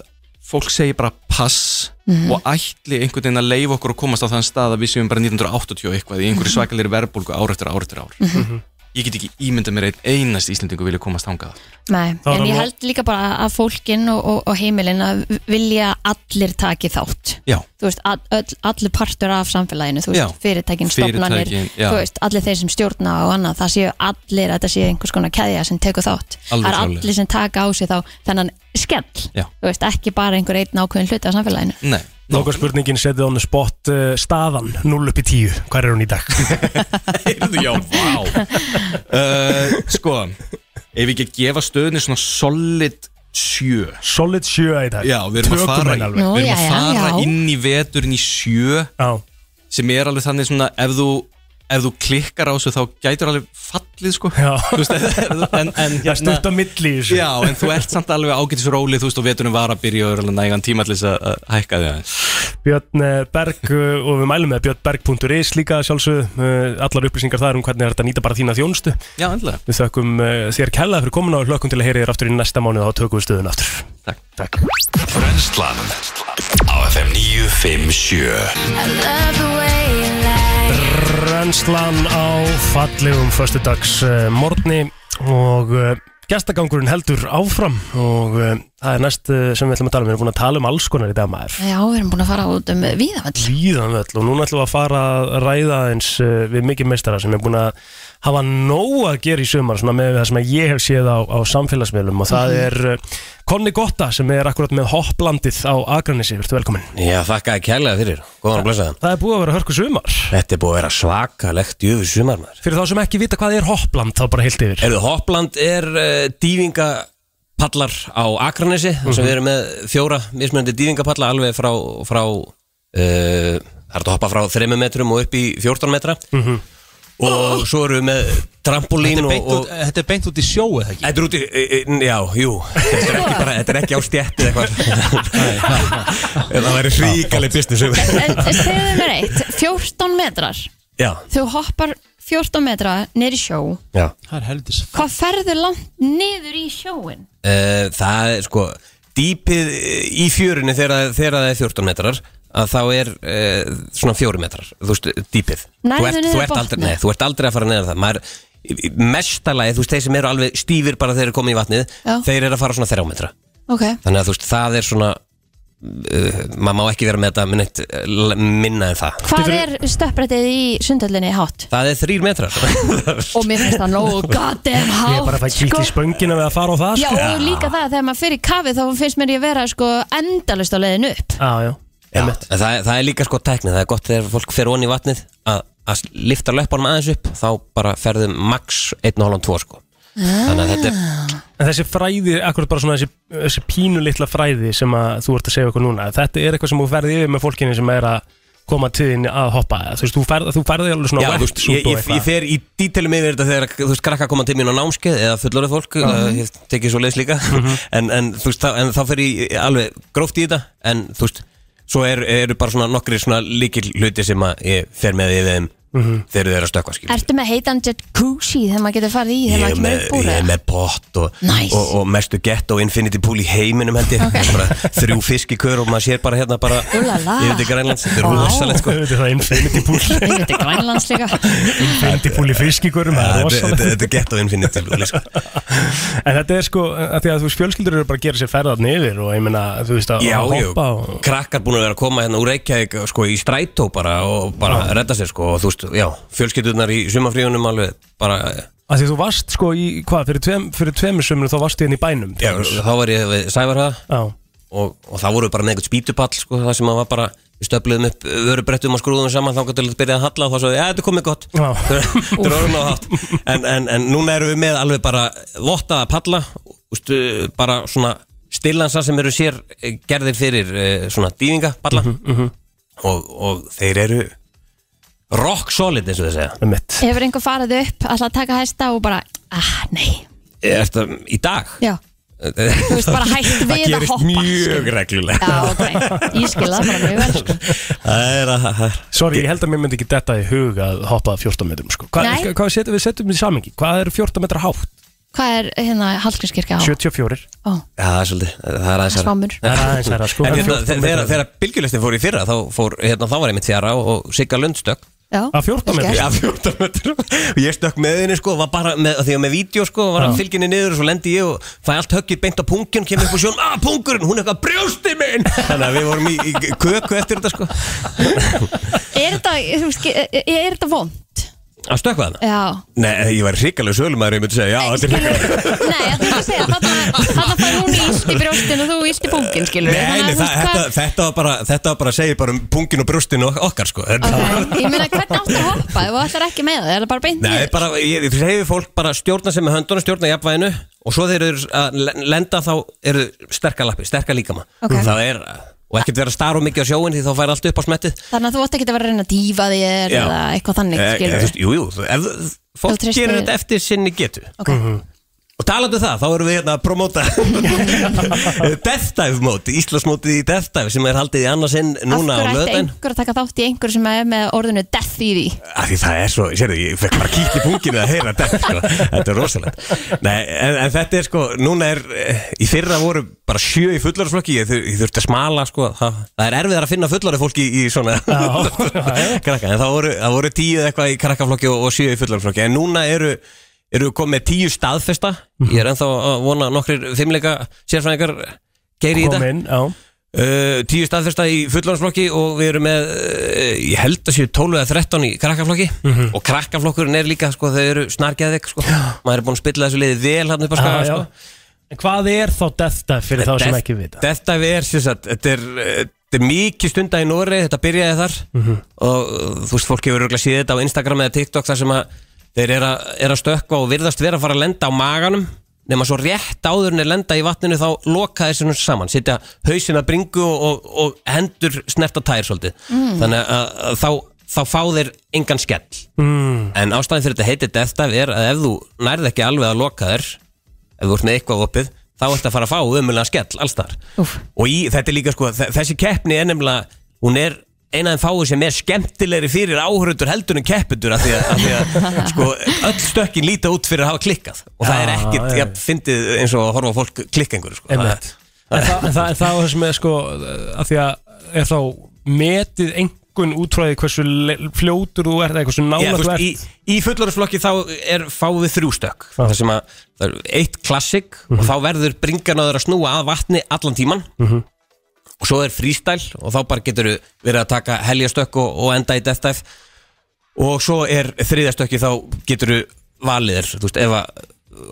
[SPEAKER 13] fólk segir bara pass
[SPEAKER 14] Mhm.
[SPEAKER 13] og ætli einhvern veginn að leifa okkur að komast á þann stað að við séum bara 1980 og eitthvað í einhverju svakalir verðbólgu ár eftir ár eftir ár
[SPEAKER 3] Mhm.
[SPEAKER 13] ég get ekki ímyndað mér einn einast Íslendingu vilja komast hangað
[SPEAKER 3] Nei,
[SPEAKER 13] Það er
[SPEAKER 3] en ég
[SPEAKER 13] alveg-
[SPEAKER 3] held líka bara að fólkin og, og, og heimilin að vilja allir taki þátt.
[SPEAKER 13] Já,
[SPEAKER 3] þú veist, all, öll- allir partur af samfélaginu, þú veist,
[SPEAKER 13] Já.
[SPEAKER 3] fyrirtækin, stofnanir,
[SPEAKER 13] Fyrirtækin, já.
[SPEAKER 3] þú veist, allir þeir sem stjórna og annað, það séu allir, þetta séu einhvers konar keðja sem tekur þátt.
[SPEAKER 13] Alveg
[SPEAKER 3] það er
[SPEAKER 13] klárlega.
[SPEAKER 3] allir sem taka á sig þá þennan skell,
[SPEAKER 13] Já.
[SPEAKER 3] þú veist, ekki bara einhver einn ákveðin hluti af samfélaginu.
[SPEAKER 13] Nei
[SPEAKER 2] Nóka spurningin setið on the spot uh, staðan 0 upp í 10, hvað er hún í dag?
[SPEAKER 13] Já, vá uh, Sko, ef ekki að gefa stöðunni svona solid sjö
[SPEAKER 2] Solid sjö í dag
[SPEAKER 13] Já, við erum
[SPEAKER 2] Tökum
[SPEAKER 13] að fara,
[SPEAKER 2] henni
[SPEAKER 13] við
[SPEAKER 2] alveg.
[SPEAKER 13] erum
[SPEAKER 2] Nú,
[SPEAKER 13] að
[SPEAKER 2] jæja,
[SPEAKER 13] fara
[SPEAKER 2] já.
[SPEAKER 13] inn í veturinn í sjö
[SPEAKER 2] já.
[SPEAKER 13] sem er alveg þannig svona ef þú, ef þú klikkar á þessu þá gætur alveg fallið sko Þú veist, ef- ef þú- en, hérna- en
[SPEAKER 2] Það er stutt á milli í þessu.
[SPEAKER 13] Já, en þú ert samt alveg ágætis rólið þú veist og veturinn var að byrja og er alveg nægan tíma til þess að- að hækka því aðeins
[SPEAKER 2] Björn eh, Berg uh, og við mælum með björnberg.is líka sjálfsög allar upplýsingar þar um hvernig er þetta að nýta bara þína þjónustu
[SPEAKER 13] Já, endlega
[SPEAKER 2] Við þökkum uh, þér kella fyrir komuna og hlökkum til að heyri þér aftur í næsta mánuð og þá tökum við stöðun aftur
[SPEAKER 13] Takk,
[SPEAKER 2] Takk.
[SPEAKER 12] Brennslan á FM 957
[SPEAKER 5] I love the way you lie
[SPEAKER 2] Brennslan á fallegum föstudags uh, morgni og uh, gestagangurinn heldur áfram og uh, það er næst uh, sem við ætlum að tala um, við erum búin að tala um alls konar í dag maður
[SPEAKER 3] Já, við erum búin að fara út um viðamöll
[SPEAKER 2] Líðan öll og núna ætlum við að fara að ræða eins uh, við mikið meistara sem er búin að hafa nóg að gera í sumar svona með það sem að ég hef séð á, á samfélagsmiðlum og það
[SPEAKER 14] Mhm.
[SPEAKER 2] er uh, Konni Gotta sem er akkurat með hopplandið á Akranesi, verður velkomin
[SPEAKER 14] Já, þakkaði kærlega fyrir, góðan og blessaðan
[SPEAKER 2] Það er búið að vera hörku sumar
[SPEAKER 14] Þetta er búið að vera svakalegt jöfu sumar maður
[SPEAKER 2] Fyrir þá sem ekki vita hvað er hoppland þá bara heilt yfir
[SPEAKER 14] Erðu, Hoppland er uh, dývingapallar á Akranesi þar sem
[SPEAKER 2] Mhm.
[SPEAKER 14] við erum með fjóra mismunandi dývingapalla alveg frá, frá uh, Það er hægt að hoppa frá 3 metrum og upp í 14 metra
[SPEAKER 2] Mhm.
[SPEAKER 14] Og svo erum við með trampolín
[SPEAKER 1] Þetta er beint
[SPEAKER 14] og,
[SPEAKER 1] út- þetta er beint út í sjóu eða ekki?
[SPEAKER 14] Þetta er út í, e- e- já, jú Þetta er ekki, bara, þetta er ekki á stjætti eða eitthvað En Það væri hríkali business
[SPEAKER 3] En segðu mér eitt, 14 metrar
[SPEAKER 14] Já,
[SPEAKER 3] Þú hoppar 14 metra niður í sjó
[SPEAKER 14] já
[SPEAKER 1] Það er heldis
[SPEAKER 3] Hvað ferður langt niður í sjóin?
[SPEAKER 14] Eh, Það er sko Dýpið í fjörunni þegar, þegar það er 14 metrar að þá er uh, svona 4 metrar þú veist, dýpið
[SPEAKER 3] Nærðu
[SPEAKER 14] þú, ert,
[SPEAKER 3] niður
[SPEAKER 14] þú, ert
[SPEAKER 3] botni?
[SPEAKER 14] aldrei, nei, þú ert aldrei að fara neðar það Maður, mestalagi, þú veist, þeir sem eru alveg stífir bara þeir eru komið í vatnið
[SPEAKER 3] Já.
[SPEAKER 14] þeir eru að fara svona 3 metra
[SPEAKER 3] Ok,
[SPEAKER 14] þannig að þú veist, það er svona uh, maður má ekki vera með þetta með neitt, eh, l- minna en það
[SPEAKER 3] hvað er stöpprættið í sundhöllinni hátt?
[SPEAKER 14] það er 3 metrar
[SPEAKER 3] Og mér finnst það nógu goddamn hátt sko.
[SPEAKER 2] Ég er bara að fæ kýtt í spöngina við að fara á það sko.
[SPEAKER 3] Já, og líka það að þegar maður fyrir kafið þá finnst mér ég vera sko endalust á leiðin upp
[SPEAKER 2] Já, já
[SPEAKER 14] Já, en það, er- það er líka sko tæknið, það er gott þegar fólk fer onni í vatnið að, að lifta löpunum aðeins upp þá bara ferðum max 1,5-2 sko Þannig að þetta er
[SPEAKER 2] En þessi fræði, akkurat bara svona þessi, þessi pínu litla fræði sem að þú ert að segja okkur núna Þetta er eitthvað sem þú ferði yfir með fólkinu sem er að koma til þín að hoppa eða, Þú veist, þú ferði, þú ferði alveg svona
[SPEAKER 14] Já, þú veist, ég,
[SPEAKER 2] wetsuit og
[SPEAKER 14] ég, ég
[SPEAKER 2] eitthvað.
[SPEAKER 14] fer í dítelum yfir þetta þegar þú veist, krakka koma til mín á námskeið eða fullorðið fólk,
[SPEAKER 2] Já. Mhm.
[SPEAKER 14] uh, ég tekið svo leiðis líka en, en þú veist, þá, en þá fer ég alveg gróft í þetta, en þú veist svo er, eru bara svona nokkri svona líkil hluti sem að ég fer með í þeim
[SPEAKER 2] Mhm.
[SPEAKER 14] þegar þau eru að stökkva skil
[SPEAKER 3] Ertu með heitan jacuzzi þegar maður getur farið í þegar
[SPEAKER 14] Ég er
[SPEAKER 3] maður kemur
[SPEAKER 14] með,
[SPEAKER 3] upp úr
[SPEAKER 14] ég er
[SPEAKER 3] það?
[SPEAKER 14] með pott og,
[SPEAKER 3] Nice.
[SPEAKER 14] og, og mestu gett og infinity pool í heiminum held ég okay. bara, Þrjú fiskikör og maður sér bara hérna bara
[SPEAKER 3] Úlala.
[SPEAKER 14] Ég veit ekki grænlands, þetta er
[SPEAKER 2] Vá.
[SPEAKER 14] rosalegt sko
[SPEAKER 2] Þetta er það infinity pool
[SPEAKER 3] Ég veit grænlands líka
[SPEAKER 2] Infinity pool í fiskikurum, það
[SPEAKER 14] Þetta
[SPEAKER 2] er
[SPEAKER 14] þetta-
[SPEAKER 2] rosalegt
[SPEAKER 14] þetta er gett og infinity pool sko.
[SPEAKER 2] En þetta er sko, að því að þú veist, fjölskyldur eru bara að gera sér ferðar niður og ég meina, þú veist, að,
[SPEAKER 14] Já,
[SPEAKER 2] að
[SPEAKER 14] jú,
[SPEAKER 2] hoppa og...
[SPEAKER 14] krakkar búin að vera að koma hérna úr Reykjavík sko, í strætó bara og bara redda sér sko, og þú veist, já, fjölskyldurnar í sumafríunum alveg bara
[SPEAKER 2] Að því þú varst sko í, hvað, fyrir, tveim, fyrir tveimur sömur þá varst ég inn í bænum
[SPEAKER 14] já, þá var ég við Sævarhaga
[SPEAKER 2] og,
[SPEAKER 14] og þá voru við bara með einhvern spítupall sko, það sem að var bara við stöfluðum upp vörubrettum og skrúðum saman þá gæti að byrja að halla og þá svo, já, þetta er komið gott
[SPEAKER 2] Já.
[SPEAKER 14] þetta er orðin á hátt en, en, en núna erum við með alveg bara vottaða palla ústu, bara svona stillansa sem eru sér eh, gerðir fyrir eh, svona dývinga palla og, og þeir eru rock solid eins og þið segja
[SPEAKER 2] Mitt.
[SPEAKER 3] Hefur einhver farið upp, alltaf að taka hæsta og bara, ah, nei,
[SPEAKER 14] Er þetta í dag?
[SPEAKER 3] já,
[SPEAKER 14] Þú
[SPEAKER 3] veist, bara hætt við að hoppa,
[SPEAKER 14] Það gerist mjög reglulega
[SPEAKER 3] já, ok, ég skil það bara mjög vel, sko.
[SPEAKER 14] Það er að
[SPEAKER 2] Sorry, ég held að mér myndi ekki detta í hug að hoppa 14 metrum sko. Hva,
[SPEAKER 3] Nei.
[SPEAKER 2] hva, hvað setjum við setjum við í samengi? Hvað er 14 metra hátt?
[SPEAKER 3] Hvað er hérna Hallgrímskirkja á?
[SPEAKER 2] 74
[SPEAKER 3] Ó,
[SPEAKER 14] Já, það er svolítið, það er aðeins
[SPEAKER 3] Svammur.
[SPEAKER 14] Það
[SPEAKER 2] er aðeins hærra, sko.
[SPEAKER 14] En hérna,
[SPEAKER 2] 14
[SPEAKER 14] þegar- þegar þegar bylgjulestin fór í fyrra þá, fór, hérna, þá var ég með tjara og, og Sigga Lundstökk
[SPEAKER 3] já.
[SPEAKER 2] Að 14
[SPEAKER 14] Já,
[SPEAKER 2] metrum?
[SPEAKER 14] 14 metrum Og ég stökk með henni sko, var bara með, því að með vídeo sko, var að
[SPEAKER 2] Já.
[SPEAKER 14] fylginni niður og svo lendi ég og fæ allt höggið beint á punkin, kemur upp á sjón, að punkurinn, hún er eitthvað brjósti minn Þannig að við vorum í, í köku eftir þetta sko
[SPEAKER 3] Er þetta, þú veist, er, er þetta vond?
[SPEAKER 14] Að stökkva það?
[SPEAKER 3] Já,
[SPEAKER 14] Nei, ég var hrikalega sölumæður, ég myndi segja, já, þetta er hrikalega
[SPEAKER 3] nei, að þú veist að segja, þarna þarna fær hún illt í brjóstin og þú illt í búkin, skilur við.
[SPEAKER 14] Nei, nei,
[SPEAKER 3] Þannig að, þú
[SPEAKER 14] það,
[SPEAKER 3] veist, hvað-
[SPEAKER 14] þetta, þetta var bara, þetta var bara að segja bara um pungin og brjóstin og okkar sko
[SPEAKER 3] Ég meina, hvernig áttu að hoppa ef þú ætlar ekki með það? Er það bara beint
[SPEAKER 14] Nei,
[SPEAKER 3] niður?
[SPEAKER 14] bara, ég, ég reyfi fólk bara stjórna sem með höndunum, stjórna jafnvæginu og svo þeir eru að le- lenda þá eru sterkar lappi, sterkar líkama
[SPEAKER 3] Ok.
[SPEAKER 14] Það er, og ekkert vera að stara of mikið á sjóin því þá fær allt upp á smettið
[SPEAKER 3] Þannig að þú ætti ekki að vera að reyna að dífa þér
[SPEAKER 14] Já.
[SPEAKER 3] eða eitthvað þannig,
[SPEAKER 14] Eh,
[SPEAKER 3] skilur
[SPEAKER 14] þú veist, Jú, jú, ef,
[SPEAKER 3] Þú
[SPEAKER 14] fólk
[SPEAKER 3] treystir
[SPEAKER 14] gerir
[SPEAKER 3] þér.
[SPEAKER 14] þetta eftir sinni getu Mhm.
[SPEAKER 3] Ok.
[SPEAKER 14] Og talandu það, þá erum við hérna að promóta Death Dive mót Íslandsmótið í Death Dive sem er haldið í annarsinn núna á
[SPEAKER 3] Af hverju ætti
[SPEAKER 14] löðin
[SPEAKER 3] einhver að taka þátt í einhver sem er með orðinu death í því
[SPEAKER 14] Af því það er svo, sérðu, ég fekk bara kýtt í punginu að heyra þetta, sko, þetta er rosalegt Nei, en, en þetta er sko, núna er eh, í fyrra voru bara sjö í fullorðsflokki, ég, þur, ég þurfti að smala sko, það, það er erfiðar að finna fullorði fólki í, í svona krakka, en það voru, það voru tíu eða eitthvað í krakkaflokki og, og sjö í fullorðsflokki, en núna eru eru komið tíu staðfesta ég er ennþá að vona að nokkrir fimmleika sérfræðingar geiri í þetta
[SPEAKER 2] Kom inn, já
[SPEAKER 14] Uh, tíu staðfesta í fullorðansflokki og við erum með, uh, ég held að séu 12 eða 13 í krakkaflokki
[SPEAKER 2] Mhm.
[SPEAKER 14] og krakkaflokkurinn er líka, sko, þau eru snargeðvik sko. maður er búin að spilla þessu liði vel hann upp á
[SPEAKER 2] Já,
[SPEAKER 14] skaga,
[SPEAKER 2] Ah, já.
[SPEAKER 14] sko
[SPEAKER 2] En Hvað er þá death dive fyrir þá sem ekki vita?
[SPEAKER 14] Þetta er, sem sagt, þetta er, uh, þetta er mikið stunda í Nóri, þetta byrjaði þar
[SPEAKER 2] Mhm.
[SPEAKER 14] og uh, þú veist, fólk hefur örugglega séð þetta á Instagram eða TikTok þar sem að þeir eru að, er að stökkva og virðast vera að fara að lenda á maganum nema svo rétt áður en þeir lenda í vatninu þá loka þessunum saman, sitja hausina bringu og, og, og hendur snerta tær svolítið,
[SPEAKER 2] Mm.
[SPEAKER 14] þannig að, að þá, þá fá þeir engan skell
[SPEAKER 2] Mm.
[SPEAKER 14] En ástæðin fyrir þetta heitir Death Dive er að ef þú nærð ekki alveg að loka þér ef þú ert með eitthvað opið þá ert að fara að fá umulega skell alls þar og í, þetta er líka sko, þe- þessi keppni er nefnilega, hún er eina en fáið sem er skemmtilegri fyrir áhörundur heldur en keppendur af því að, af því að sko, öll stökkin líta út fyrir að hafa klikkað og það er
[SPEAKER 2] Já,
[SPEAKER 14] ekkit,
[SPEAKER 2] já.
[SPEAKER 14] ég fyndið eins og að horfa á fólk klikka einhverju sko. það,
[SPEAKER 2] Einmitt. En það, en það, en það var það sem er sko að því að er þá metið engun útráði hversu le- fljótur þú ert eða hversu
[SPEAKER 14] Já,
[SPEAKER 2] nála
[SPEAKER 14] þú
[SPEAKER 2] þú
[SPEAKER 14] veist,
[SPEAKER 2] ert
[SPEAKER 14] í, í fullorðsflokki þá er fáum við þrjú stökk það sem að það er eitt klassik og þá verður bringarnáður að snúa að vatni allan tíman
[SPEAKER 2] Mhm.
[SPEAKER 14] og svo er freestyle og þá bara getur verið að taka helgastökk og, og enda í death dive og svo er þriðastökki þá getur valið þér, þú veist, ef að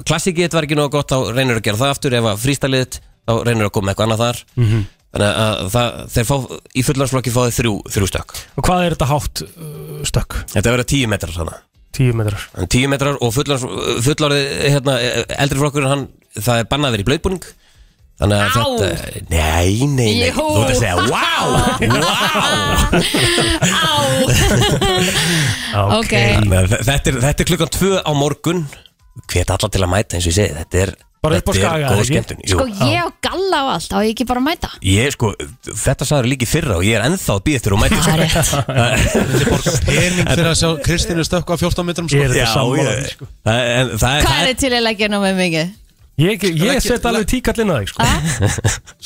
[SPEAKER 14] klassikið þitt var ekki nógu gott þá reynir að gera það aftur ef að freestyle þitt þá reynir að koma með eitthvað annað þar
[SPEAKER 2] Mhm.
[SPEAKER 14] þannig að það, þeir fá, í fullorðsflokki fá þið þrjú, þrjú stökk
[SPEAKER 2] Og hvað er þetta hátt uh, stökk?
[SPEAKER 14] þetta verður tíu metrar þannig
[SPEAKER 2] 10 metrar
[SPEAKER 14] Hann er 10 metrar og fullorð, fullorði hérna, eldri flokkurinn hann, það er bannað að vera í blöðbúning Þannig að
[SPEAKER 2] Á.
[SPEAKER 14] þetta, nei, nei, nei,
[SPEAKER 2] Jú.
[SPEAKER 14] þú ert að segja, wow, wow
[SPEAKER 3] Ok.
[SPEAKER 14] Þannig að þetta, er, þetta er klukkan 2 á morgun, hvet alla til að mæta eins og ég segi, þetta er,
[SPEAKER 2] Bara upp á
[SPEAKER 14] þetta er
[SPEAKER 2] Skaga,
[SPEAKER 14] góð
[SPEAKER 2] ekki?
[SPEAKER 14] skemmtun Jú.
[SPEAKER 3] Sko ég á galla á allt, á ég ekki bara að mæta
[SPEAKER 14] Ég sko, þetta sagður líki fyrra og ég er ennþá að býða þér og mæta
[SPEAKER 3] Það er
[SPEAKER 1] Pening fyrir að sjá Kristínu stökku á 14 metrum sko.
[SPEAKER 2] Ég er þetta sammála því,
[SPEAKER 14] sko. Það, en, það,
[SPEAKER 3] Hvað er þið til að leggja nú með mikið?
[SPEAKER 2] Ég, ég set alveg tíkall inn á þig sko.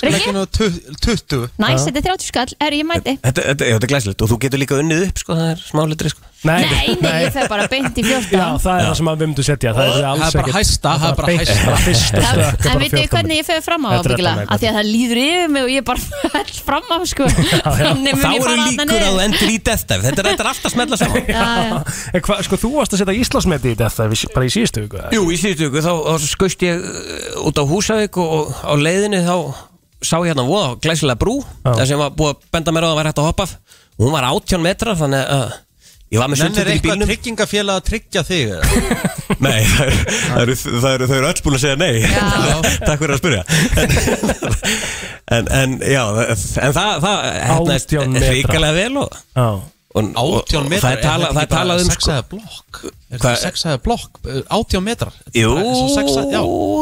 [SPEAKER 3] Rikki?
[SPEAKER 1] Nú, tu- 20
[SPEAKER 3] Næs, þetta er 30 skall, er ég mæti?
[SPEAKER 14] Þetta, þetta, þetta er glæsilegt og þú getur líka unnið upp sko, það er smálitri sko.
[SPEAKER 2] Nei,
[SPEAKER 3] Nei, nei, ég fer bara beint í 14
[SPEAKER 2] Já, það er það sem að við myndum setja Það er,
[SPEAKER 1] Það er
[SPEAKER 2] alls
[SPEAKER 1] bara
[SPEAKER 2] ekkert-
[SPEAKER 1] hæsta, það er bara
[SPEAKER 2] beint-
[SPEAKER 1] hæsta.
[SPEAKER 2] bara
[SPEAKER 3] Það-
[SPEAKER 2] fyrsta stökk,
[SPEAKER 3] En
[SPEAKER 2] bara
[SPEAKER 3] veitu
[SPEAKER 2] 14
[SPEAKER 3] hvernig ég fer fram á
[SPEAKER 2] Þetta er
[SPEAKER 3] ábyggilega
[SPEAKER 2] allan
[SPEAKER 3] Af því að það líður yfir mig og ég bara fell fram á sko Þannig
[SPEAKER 14] Og
[SPEAKER 3] mun
[SPEAKER 14] þá hérna.
[SPEAKER 3] ég
[SPEAKER 14] eru
[SPEAKER 3] fara þarna
[SPEAKER 14] líkur að þú
[SPEAKER 3] niður.
[SPEAKER 14] endur í death dive Þetta er, þetta er alltaf að smella saman
[SPEAKER 3] Já,
[SPEAKER 2] En hvað, sko, þú varst að setja Íslandsmeti í þetta við- bara í síðustu viku eða?
[SPEAKER 14] Jú, í síðustu viku þá, þá skust ég uh, út á Húsavík og, og á leiðinni þá sá ég hérna voða glæsilega brú það sem var búið að benda mér á að það væri hægt að hoppa af og hún var 18 metrar þannig að ég var með
[SPEAKER 1] Menn er
[SPEAKER 14] sundtökin í
[SPEAKER 1] eitthvað
[SPEAKER 14] bílnum
[SPEAKER 1] tryggingafélag að tryggja þig eða?
[SPEAKER 14] Nei, það eru, það eru, það eru, það eru öll búin að segja nei Takk fyrir að spyrja En, en, en já, en það, það hefnaðist
[SPEAKER 2] 18 metra.
[SPEAKER 14] hrikalega vel og,
[SPEAKER 2] Já.
[SPEAKER 14] og, og, og
[SPEAKER 1] 18 metrar
[SPEAKER 14] það er talað það er
[SPEAKER 1] þetta ekki bara
[SPEAKER 14] talað um
[SPEAKER 1] sexaða blokk Er
[SPEAKER 14] Hvað-
[SPEAKER 1] þetta sexaða blokk? Eh, 18 metrar Þetta er
[SPEAKER 14] Jú,
[SPEAKER 1] bara eins og sexað- já.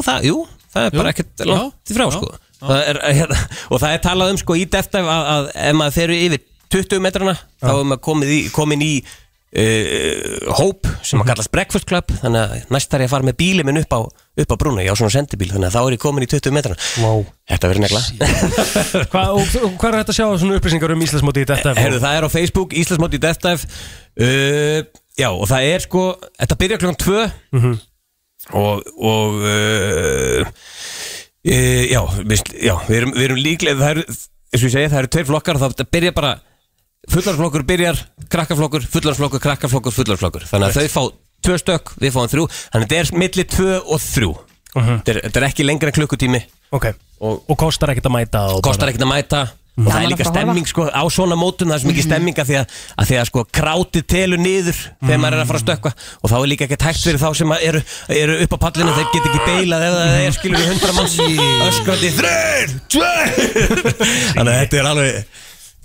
[SPEAKER 14] það, jú, það er
[SPEAKER 1] Jú,
[SPEAKER 14] bara ekkert
[SPEAKER 1] já,
[SPEAKER 14] langt í frá
[SPEAKER 1] já,
[SPEAKER 14] sko. Það er, hérna, og það er talað um sko í defta að, að ef maður fer yfir 20 metrana þá er maður komið í, komin í uh, hóp sem
[SPEAKER 1] Mhm.
[SPEAKER 14] maður kallast breakfast club þannig að næst þarf ég að fara með bíli minn upp á, upp á brúna, ég á svona sendibíl þannig að þá er ég komin í 20 metrana
[SPEAKER 2] wow.
[SPEAKER 14] Þetta verður negla
[SPEAKER 2] Hvað og- og hvað er þetta að sjá svona upplýsingar um Íslandsmóti í þetta?
[SPEAKER 14] Herðu, það er á Facebook, Íslandsmóti í Death Dive uh, Já, og það er sko Þetta byrja klokkan 2 Og, og uh, uh, já, við, já, við erum, við erum líklega Það eru, eins og ég segi, það eru tveir flokkar og Það byrja bara Fullarflokkur byrjar, krakkaflokkur, fullarflokkur, krakkaflokkur, fullarflokkur Þannig að þau fá tvö stökk, við fáum þrjú Þannig að þetta er milli tvö og þrjú
[SPEAKER 2] Mhm.
[SPEAKER 14] þetta, er, þetta er ekki lengra en klukkutími
[SPEAKER 2] Ok,
[SPEAKER 14] og,
[SPEAKER 2] og kostar ekkert að mæta og
[SPEAKER 14] kostar
[SPEAKER 2] bara-
[SPEAKER 14] ekkert að mæta og það
[SPEAKER 2] Gaman
[SPEAKER 14] er líka
[SPEAKER 2] að Mhm. fá að
[SPEAKER 14] stemming sko, á svona mótum það er svo mikið stemming að því að, að, því að sko, krátið telur niður þegar maður er að fara að
[SPEAKER 2] Mhm.
[SPEAKER 14] stökkva og þá er líka ekkert hægt fyrir þá sem að eru, eru upp á pallinu þeir get ekki beilað ef það er skilur við hundra manns öskrandi þrjur, tvö þannig að þetta er alveg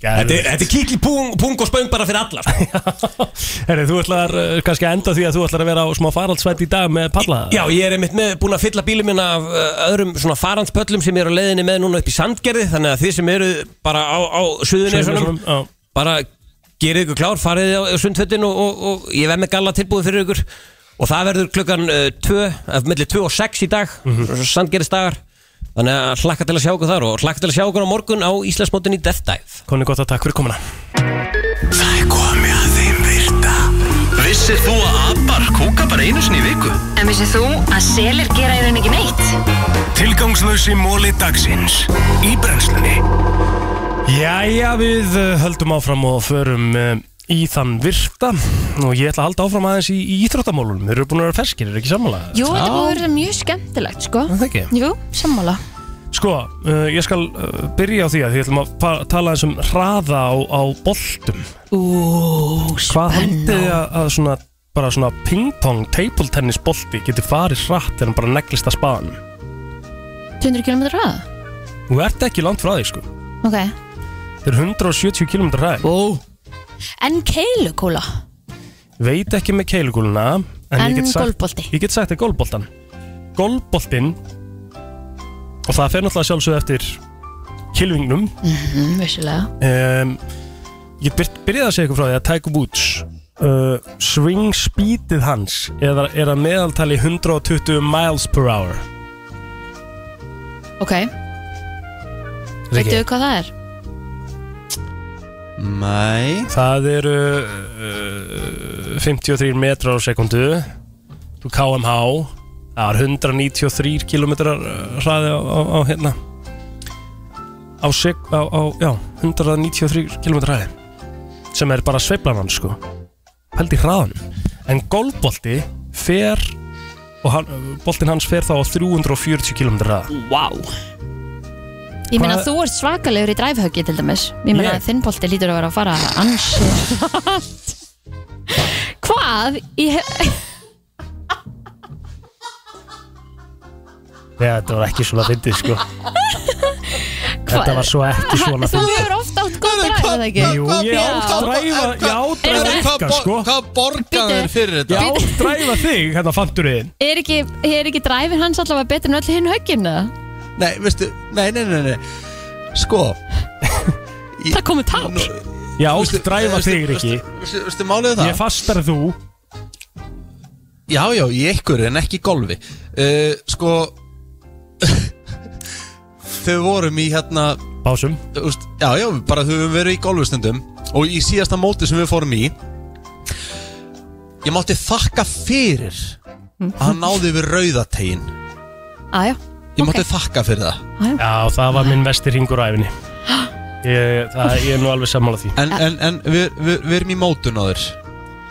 [SPEAKER 14] Þetta er- þetta er kíkli pung, pung og spöng bara fyrir alla sko.
[SPEAKER 2] Herri, þú ætlar uh, kannski að enda því að þú ætlar að vera á smá faraldsvætt í dag með palla
[SPEAKER 14] Já, ég er einmitt með, búin að fylla bílum minn af uh, öðrum svona farandspöllum sem eru á leiðinni með núna upp í Sandgerði þannig að þið sem eru bara á, á Suðunesunum
[SPEAKER 2] Suðurnesunum,
[SPEAKER 14] bara gerið ykkur klár, farið á, á Sundföttin og, og, og ég verð með galla tilbúið fyrir ykkur og það verður klukkan 2 uh, mellir 2 og 6 í dag mm
[SPEAKER 2] Mhm.
[SPEAKER 14] -hmm. Sandgerðisdagar þannig að hlakka til að sjá ykkur þar og hlakka til að sjá ykkur á morgun á Íslandsmótin í Death Dive
[SPEAKER 2] Konni gott að takk fyrir komuna
[SPEAKER 12] Það er komið að þeim virta Vissir þú að abar kúka bara einu sinni í viku?
[SPEAKER 5] En vissið þú að selir gera í rauninni ekki neitt?
[SPEAKER 12] Tilgangslösi móli dagsins Í brennslunni
[SPEAKER 2] Jæja, við uh, höldum áfram og förum uh, í þann virta og ég ætla að halda áfram aðeins í, í íþróttamólunum Þeir eru búin að vera ferskir, eru ekki sammála?
[SPEAKER 3] Jú, þetta búið að vera mjög skemmtilegt, sko
[SPEAKER 2] Það ekki?
[SPEAKER 3] Jú, sammála
[SPEAKER 2] Sko, uh, ég skal uh, byrja á því að því ætlum að pa- tala eins um hraða á, á boltum
[SPEAKER 3] Ú,
[SPEAKER 2] Hvað haldið þið að, að svona, bara svona ping-pong, table tennis bolti geti farið hratt þegar hann bara neglist að spaðan?
[SPEAKER 3] 200 km hraða?
[SPEAKER 2] Þú ert ekki langt frá því, sko
[SPEAKER 3] Ok
[SPEAKER 2] Þeir eru 170 km hraði
[SPEAKER 3] Ó En keilukúla?
[SPEAKER 2] Veit ekki með keilugúluna En,
[SPEAKER 3] En
[SPEAKER 2] ég get sagt-
[SPEAKER 3] golfbolti.
[SPEAKER 2] Ég get sagt þér gólboltan Gólboltin Og það fer náttúrulega sjálfsögð eftir Kilvingnum
[SPEAKER 3] Mhm, vissulega
[SPEAKER 2] um, Ég byr, byrjaði að segja ykkur frá því að Tiger Woods uh, Swing speedið hans er, er að meðaltali 120 miles per hour
[SPEAKER 3] Ok, veitu
[SPEAKER 2] Riki.
[SPEAKER 3] hvað það er?
[SPEAKER 2] Nei Það eru uh, 53 metrar á sekundu Þú KMH Það er 193 km uh, hraði á, á, á hérna á, sek, á, á já, 193 km hraði sem er bara sveiflan hann sko held í hraðan en golfbolti fer og hann, boltin hans fer þá á 340 km hraða
[SPEAKER 3] Wow Ég meina
[SPEAKER 2] Hvað-
[SPEAKER 3] þú ert svakalegur í dræfhöggi til dæmis Ég meina
[SPEAKER 2] Ég?
[SPEAKER 3] þinn bolti lítur að vera að fara ansi hratt. Hvað? Ég...
[SPEAKER 2] Já, þetta var ekki svona fyndið sko Þetta var svo ekki svona
[SPEAKER 3] Þú
[SPEAKER 2] fyndið
[SPEAKER 3] hefur ofta átt góð dræf, eða ekki?
[SPEAKER 2] Jú, ég ádræfa Ég ádræfa eitthvað sko Hvað
[SPEAKER 3] Bíddu,
[SPEAKER 2] borgaður fyrir
[SPEAKER 3] þetta?
[SPEAKER 2] Ég ádræfa þig, hérna fantur þið
[SPEAKER 3] Er ekki, er ekki dræfin hans allavega betur en öll hinn höggin eða?
[SPEAKER 1] Nei, veistu, nei, nei, nei, nei. Sko
[SPEAKER 3] Það komið tár
[SPEAKER 2] Ég ádræfa þig, Riki
[SPEAKER 1] Veistu, veistu málið er það?
[SPEAKER 2] Ég fastar þú
[SPEAKER 1] Já, já, í ykkur en ekki í golfi uh, Sko Þau vorum í hérna
[SPEAKER 2] Básum
[SPEAKER 1] úst, Já, já, bara þau höfum verið í golfi stundum Og í síðasta móti sem við fórum í Ég mátti þakka fyrir Að hann náði við rauðategin
[SPEAKER 3] Aðjá,
[SPEAKER 1] Ég mátti þakka fyrir það
[SPEAKER 2] Já, það var minn vestir hingur æfinni ég, það, ég er nú alveg sammála því
[SPEAKER 1] En, en, en við, við, við erum í mótun á þér
[SPEAKER 3] ég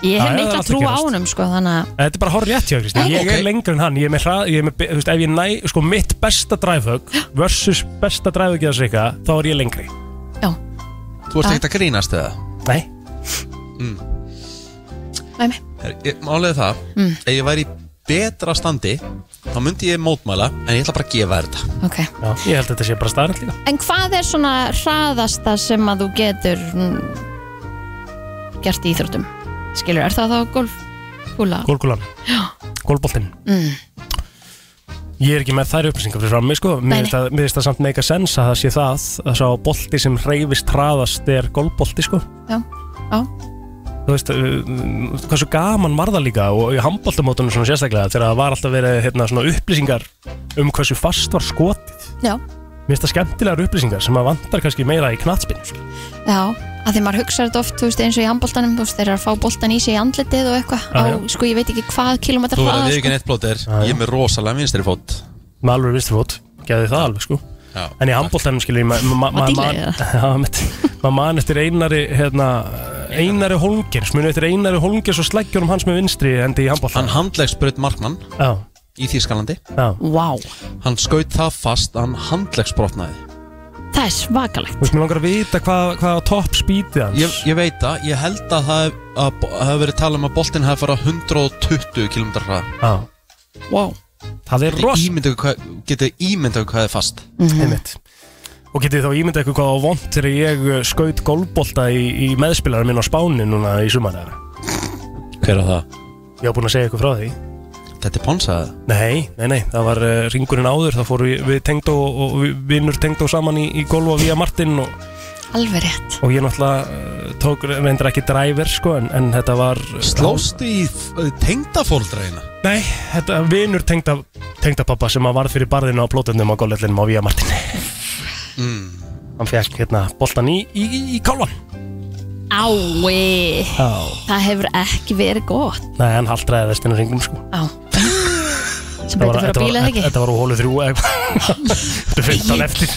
[SPEAKER 2] Já, já,
[SPEAKER 3] hef
[SPEAKER 2] það er
[SPEAKER 3] mikla
[SPEAKER 2] allt að
[SPEAKER 3] trú á
[SPEAKER 2] gerast.
[SPEAKER 3] honum sko þannig að
[SPEAKER 2] Þetta er bara horrið rétt hjá Kristi Ég
[SPEAKER 1] Ok.
[SPEAKER 2] er lengur en hann Ég er með hrað Ég er með be- Þú veist, ef ég næ Sko mitt besta dræfhög Versus besta dræfhög Ég að segja Þá er ég lengri
[SPEAKER 1] Þú ert ekkert að grínast eða?
[SPEAKER 2] Nei
[SPEAKER 3] Nei, nei.
[SPEAKER 1] Her- ég- Málið er það
[SPEAKER 3] Mm.
[SPEAKER 1] Ef ég væri í betra standi Þá myndi ég mótmæla En ég ætla bara að gefa þér þetta
[SPEAKER 3] Ok.
[SPEAKER 2] Já, ég held að þetta sé bara staðrætt líka
[SPEAKER 3] En hvað er svona hraðasta sem að þú getur mm, gert í íþróttum? Skilur, er það þá golf? Kúla?
[SPEAKER 2] Gólkúlan Gólboltinn
[SPEAKER 3] Mm.
[SPEAKER 2] Ég er ekki með þær upplýsingar fyrir fram mig sko Mér
[SPEAKER 3] Nei,
[SPEAKER 2] finnst það- mér finnst það samt meika sens að það sé það að sá bolti sem reyfist hraðast er gólbolti sko
[SPEAKER 3] Já, já,
[SPEAKER 2] Þú veist, uh, hversu gaman var það líka og í handboltamótunum svona sérstaklega þegar það var alltaf verið hérna, svona upplýsingar um hversu fast var skotið
[SPEAKER 3] já,
[SPEAKER 2] Mér finnst það skemmtilegar upplýsingar sem að vantar kannski meira í knatspinn sko.
[SPEAKER 3] já. Að því maður hugsa þetta oft, þú veist, eins og í handbóltanum, þú veist, þeir eru að fá bóltan í sig í andlitið og eitthvað á,
[SPEAKER 1] Já, já.
[SPEAKER 3] sko, ég veit ekki hvað kilometrar
[SPEAKER 1] Þú verður
[SPEAKER 3] hraða,
[SPEAKER 1] við ekki
[SPEAKER 3] sko.
[SPEAKER 1] neitt blótir Ég er með rosalega vinstri fót
[SPEAKER 2] Með alveg vinstri fót, geði það alveg sko
[SPEAKER 1] Já.
[SPEAKER 2] En í handbóltanum skilur ég ma- ma-
[SPEAKER 1] Var
[SPEAKER 2] ma- ma-
[SPEAKER 1] dýrlega
[SPEAKER 2] man- Já, mitt. maður man eftir einari hérna, einari holngers muni eftir einari holngers og sleggjur um hans með vinstri endi í handbóltan
[SPEAKER 1] Hann handlegsbrut markmann
[SPEAKER 2] Já.
[SPEAKER 1] Í Þýskalandi
[SPEAKER 2] Já.
[SPEAKER 3] Vá
[SPEAKER 1] Hann skaut það fast að Hann handlegsbrotnaði
[SPEAKER 3] Það er svakalegt
[SPEAKER 2] Þú veist, mér langar að vita hvað, hvað á topp spítið hans
[SPEAKER 1] ég, ég veit það Ég held að það hef- að bo- hafi verið talað um að boltinn hafi farið á 120 km hraða
[SPEAKER 2] Já
[SPEAKER 3] Wow
[SPEAKER 2] Það er rosa Mhm.
[SPEAKER 1] Ímyndu hvað Getið ímyndu hvað er fast
[SPEAKER 2] Einmitt. Og getið þá ímyndað ykkur hvað á vond þegar ég eh, skaut golfbolta í, í meðspilarum minn á Spáni núna í sumar
[SPEAKER 1] Hver er það?
[SPEAKER 2] Ég var búinn að segja ykkur frá því
[SPEAKER 1] Þetta er ponsaða
[SPEAKER 2] Nei, nei, nei, það var uh, ringurinn áður Það fóru við, við tengdó og við vinnur tengdó saman í, í golf og vía Martin og,
[SPEAKER 3] Alveg rétt
[SPEAKER 2] og ég náttúrulega uh, tók reyndar ekki driver sko en, en þetta var
[SPEAKER 1] Slóstu í tengdafóldreina?
[SPEAKER 2] Nei, þetta var vinnur tengda, tengdapappa sem að varð fyrir barðinu á plótundum á golfvellinum á vía Martin mm. Hann fekk hérna boltan í, í, í, í kálvan
[SPEAKER 3] Ái
[SPEAKER 2] Já.
[SPEAKER 3] Það hefur ekki verið gott
[SPEAKER 2] Nei, hann haldraði vestinu ringum sko
[SPEAKER 3] Á Sem
[SPEAKER 2] Þetta var-
[SPEAKER 3] betur fyrir að
[SPEAKER 2] þetta var-
[SPEAKER 3] bíla þig ekki
[SPEAKER 2] Þetta var úr hólu þrjú eða eitthvað. Þetta er 15 eftir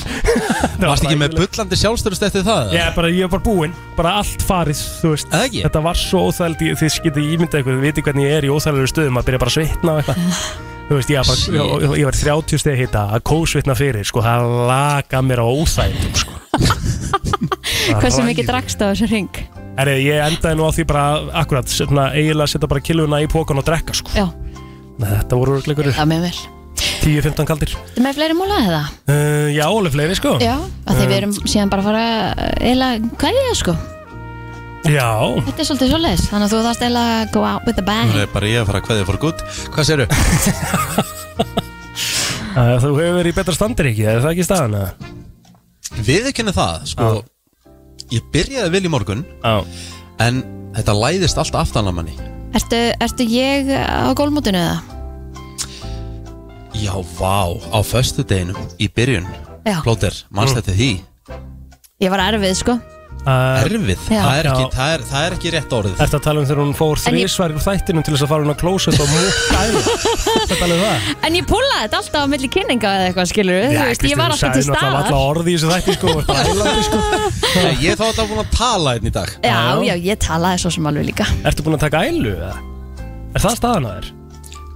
[SPEAKER 1] Varst ekki með bullandi sjálfstörust eftir það?
[SPEAKER 2] Ég er bara, ég er bara búinn, bara allt farið, þú veist
[SPEAKER 1] Ekki?
[SPEAKER 2] Þetta var svo óþæld, ég- þið skiltið ímyndað ykkur, þið viti hvernig ég er í óþældur stöðum að byrja bara að svitna og eitthvað Þú veist, ég, var
[SPEAKER 1] Shit.
[SPEAKER 2] bara, ég, ég var í 30 stegi hita að kósvitna fyrir, sko, það laga mér á óþældum, sko Það
[SPEAKER 3] Hversu
[SPEAKER 2] ræður.
[SPEAKER 3] mikið drakst á þessu ring
[SPEAKER 2] Herri, ég endaði nú á því bara, akkurat, svona, eiginlega að setja bara kiluna í pókan og drekka, sko
[SPEAKER 3] Já.
[SPEAKER 2] Nei, Þetta voru örugglega
[SPEAKER 3] Það með vel
[SPEAKER 2] 10-15 kaldir
[SPEAKER 3] Það með fleiri múla eða?
[SPEAKER 2] uh, Já, alveg fleiri, sko
[SPEAKER 3] Já, að því við erum síðan bara að fara eila, hvað er það sko?
[SPEAKER 2] Já,
[SPEAKER 3] Þetta er svolítið svoleiðis, þannig að þú þarfst eila að go out with a bang
[SPEAKER 1] Nú er bara ég að fara að kveðja fór gutt Hvað séru?
[SPEAKER 2] Æ, Eh, Þú hefur verið í betra standir ekki, er það ekki staðan? eða?
[SPEAKER 1] Við ekki það, sko Ég byrjaði vel í morgun
[SPEAKER 2] á.
[SPEAKER 1] En þetta læðist allt aftan að manni
[SPEAKER 3] Ertu, ertu ég á gólmótinu eða?
[SPEAKER 1] Já, vá, á föstu deginu Í byrjun,
[SPEAKER 3] Já.
[SPEAKER 1] plóter,
[SPEAKER 2] Mm.
[SPEAKER 1] mannst þetta því
[SPEAKER 3] Ég var erfið sko
[SPEAKER 2] Uh,
[SPEAKER 1] Erfið,
[SPEAKER 3] Já.
[SPEAKER 1] það er, ekki,
[SPEAKER 2] Já.
[SPEAKER 1] það, er, það er ekki rétt orðið
[SPEAKER 2] Ertu að tala um þegar hún fór
[SPEAKER 3] En ég-
[SPEAKER 2] þrísvar úr þættinum til þess að fara hún á klóset og múkka eða Þetta alveg um það
[SPEAKER 3] En ég púlaði þetta alltaf á milli kynninga eða eitthvað skilur við, þú veist, ég var alltaf til
[SPEAKER 2] Það var
[SPEAKER 3] staðar
[SPEAKER 2] alltaf orði í þessu þætti sko, og bara heilandi, sko.
[SPEAKER 1] Nei, Ég þá þetta búin að tala einn í dag
[SPEAKER 3] Já, já, ég talaði svo sem alveg líka
[SPEAKER 2] Ertu búin að taka ælu eða? Er það staðan að þér?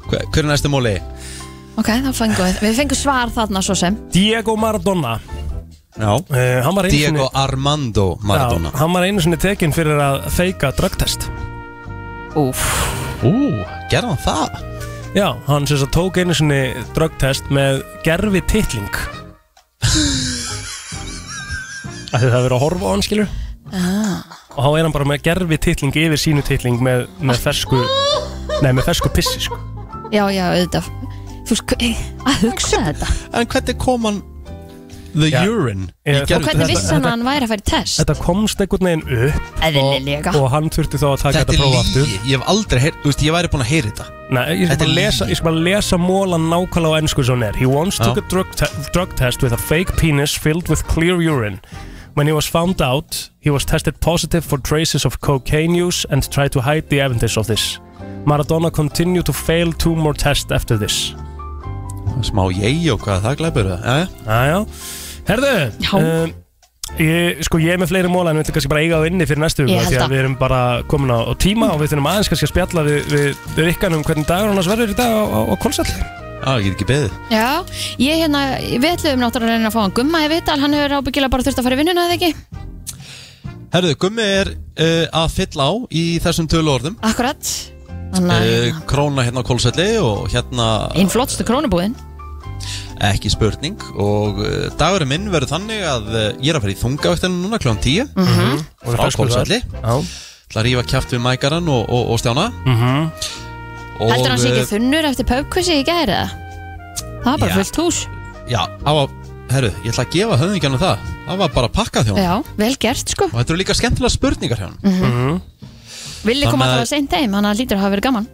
[SPEAKER 1] Hver, hver er næstu móli?
[SPEAKER 3] Ok, þá fengum við, við fengum svar þarna svo sem
[SPEAKER 2] Diego Maradona
[SPEAKER 1] Já
[SPEAKER 2] Eh, hann var einu
[SPEAKER 1] Diego
[SPEAKER 2] sinni-
[SPEAKER 1] Armando Maradona
[SPEAKER 2] Já, Hann var einu sinni tekinn fyrir að feika drögtest
[SPEAKER 3] Úf
[SPEAKER 1] Ú, gerði hann það?
[SPEAKER 2] Já, hann sem þess að tók einu sinni drögtest með gerfi titling Það hefur verið að horfa á hann skilur
[SPEAKER 3] ah.
[SPEAKER 2] og þá er hann bara með gerfi titling yfir sínu titling með, með fersku nei, með fersku pissi sko.
[SPEAKER 3] Já, já, auðvitað Þú veist, hva- eh, að hugsa þetta
[SPEAKER 1] En hvernig kom hann The
[SPEAKER 2] Já. Eh,
[SPEAKER 1] urine
[SPEAKER 2] Ég-
[SPEAKER 3] Og hvernig vissi hann að hann væri að færi test?
[SPEAKER 2] þetta komst einhvern veginn upp
[SPEAKER 3] Eðlilega.
[SPEAKER 2] og, og hann þurfti þá að taka
[SPEAKER 1] Þetta
[SPEAKER 2] þetta
[SPEAKER 1] er lígi,
[SPEAKER 2] prófa aftur
[SPEAKER 1] ég hef aldrei heyrt, þú veist, ég væri búin að heyra þetta
[SPEAKER 2] Nei, ég skal
[SPEAKER 1] Þetta
[SPEAKER 2] bara
[SPEAKER 1] er
[SPEAKER 2] lesa,
[SPEAKER 1] lygi.
[SPEAKER 2] ég skal bara lesa mólan nákvæmlega á ennsku sem hún er He once took
[SPEAKER 1] Já.
[SPEAKER 2] a drug, te drug test with a fake penis filled with clear urine When he was found out, he was tested positive for traces of cocaine use and tried to hide the evidence of this Maradona continued to fail two more tests after this
[SPEAKER 1] Smá ég og hvað það glæpur það eh?
[SPEAKER 2] Jájá Herðu um, ég, Sko ég er með fleiri móla en við ætlum kannski bara að eiga á inni fyrir næstu
[SPEAKER 1] Ég
[SPEAKER 2] viku
[SPEAKER 1] held
[SPEAKER 2] Því
[SPEAKER 1] það.
[SPEAKER 2] að við erum bara komin á, á tíma og við þurfum aðeins kannski að spjalla við, við, við rikkan um hvernig dagur hann verður í dag á, á, á kólsall
[SPEAKER 1] Já, ég get ekki beðið
[SPEAKER 3] Já, ég hérna, við ætlum náttúrulega að reyna að fá hann gumma í vital, hann hefur ábyggilega bara þurft að fara í vinnuna eða ekki?
[SPEAKER 1] Herðu, gummi er uh, að fylla á í þessum tölu orðum
[SPEAKER 3] Akkurat Þannig að
[SPEAKER 1] uh, Króna hérna á kólselli og hérna
[SPEAKER 3] einn flottstu krónubúðin
[SPEAKER 1] ekki spurning og uh, dagurinn minn verður þannig að uh, ég er að fara í þungavættinu núna klón 10 mm
[SPEAKER 3] Mhm.
[SPEAKER 1] frá
[SPEAKER 2] Og það er ferskur
[SPEAKER 1] Kólsalli Það rífa kjátt við mækaran og, og, og stjána
[SPEAKER 2] mm -hmm.
[SPEAKER 1] og,
[SPEAKER 3] Heldur hann sé
[SPEAKER 1] eh,
[SPEAKER 3] ekki þunnur eftir pubkvissi í gæri eða? Það var bara
[SPEAKER 1] Já.
[SPEAKER 3] fullt hús
[SPEAKER 1] Já, á að, herru, ég ætla að gefa höfðingjarnu það Það var bara að pakka þjón
[SPEAKER 3] Já, vel gert sko
[SPEAKER 1] Og þetta eru líka skemmtilega spurningar hjá hann
[SPEAKER 3] Mhm. Villi kom
[SPEAKER 1] Þannig að-
[SPEAKER 3] alltaf að seint heim, hann lítur að hafa verið gaman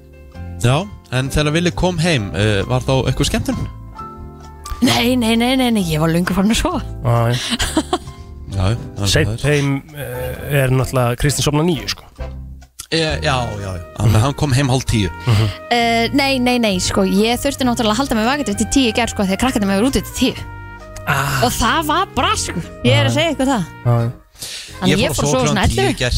[SPEAKER 1] Já, en þegar Vili kom heim uh, Var þá eitthvað skemmtun?
[SPEAKER 3] Nei, nei, nei, nei, nei, ég var lungu farin að sofa
[SPEAKER 1] Já,
[SPEAKER 2] Seint heim eh, er náttúrulega Kristinn sopna nýju sko
[SPEAKER 1] e, Já, já, já Þannig að hann kom heim hálf tíu
[SPEAKER 2] Mhm.
[SPEAKER 3] uh, Nei, nei, nei, sko, ég þurfti náttúrulega að halda mig vakandi til tíu í gær sko, þegar krakkarnir mig voru úti til tíu
[SPEAKER 2] ah.
[SPEAKER 3] Og það var brasku, ég er að segja eitthvað það
[SPEAKER 2] Já,
[SPEAKER 3] Þannig ég fór að sofa svona 11
[SPEAKER 1] ger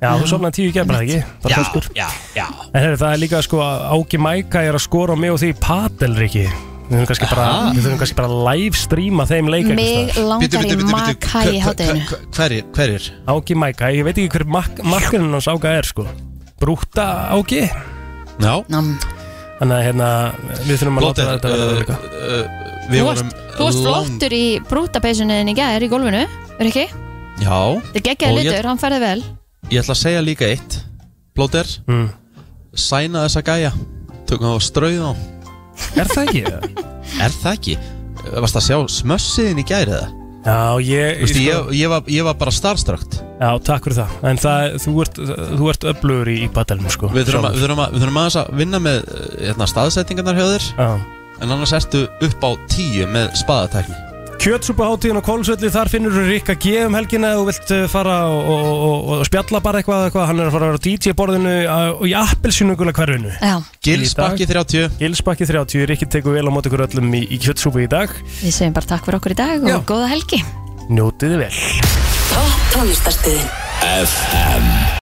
[SPEAKER 2] Já, þú sopnaði tíu í gerð bara ekki Bara
[SPEAKER 1] Já,
[SPEAKER 2] ferskur.
[SPEAKER 1] já, já
[SPEAKER 2] En herri, það er líka sko að Áki Mæka er að skora á mig og því Patelriki Við þurfum kannski bara,
[SPEAKER 1] Ah.
[SPEAKER 2] við þurfum kannski bara að live streama þeim leik sko.
[SPEAKER 3] Mig langar í maka í hátæðinu
[SPEAKER 1] Hverjir, hverjir?
[SPEAKER 2] Áki Mæka, ég veit ekki hver mak makkarinn hans Áka er sko Brúta Áki
[SPEAKER 1] Já
[SPEAKER 3] Nam.
[SPEAKER 2] Þannig að hérna, við þurfum að láta
[SPEAKER 1] Blóter,
[SPEAKER 2] þetta verða
[SPEAKER 1] uh,
[SPEAKER 4] Eh,
[SPEAKER 2] líka
[SPEAKER 1] uh, við
[SPEAKER 3] Þú varst,
[SPEAKER 1] vorum
[SPEAKER 3] þú varst
[SPEAKER 1] lang-
[SPEAKER 3] flottur í brútapeysunin í gær í gólfinu, er ekki?
[SPEAKER 1] Já
[SPEAKER 3] Það geggjaði
[SPEAKER 1] Og ég-
[SPEAKER 3] litur, hann færði vel
[SPEAKER 1] Ég ætla að segja líka eitt Blóter
[SPEAKER 2] Mm.
[SPEAKER 1] Sæna þessa gæja Tökum það og strauða á
[SPEAKER 2] Er það ekki?
[SPEAKER 1] Er það ekki? Varst að sjá smössiðin í gæri eða?
[SPEAKER 2] Já, ég
[SPEAKER 1] Vistu,
[SPEAKER 2] sko-
[SPEAKER 1] ég, ég, var, ég var bara starstrakt
[SPEAKER 2] Já, takk fyrir það En það, þú ert, þú ert öflugur í, í batalinu sko
[SPEAKER 1] Við þurfum, að, við, þurfum að, við þurfum aðeins að vinna með eh, hérna, staðsettingarnar hjá þér
[SPEAKER 2] Já.
[SPEAKER 1] En annars ertu upp á tíu með spaðatekni
[SPEAKER 2] Kjötsúpa á Kólusvelli, þar finnur þú Rikka G um helgina og vilt eh, fara og, og, og, og spjalla bara eitthvað, eitthvað Hann er að fara að vera á DJ-borðinu á- og í appelsínugula hverfinu
[SPEAKER 3] Já.
[SPEAKER 1] Gilsbakki 30
[SPEAKER 2] Gilsbakki 30, Rikki tekur vel á móti ykkur öllum í, í kjötsúpu í dag
[SPEAKER 3] Við segjum bara takk fyrir okkur í dag og góða helgi
[SPEAKER 2] Njótiði vel
[SPEAKER 5] Tónlistarstöðin
[SPEAKER 12] FM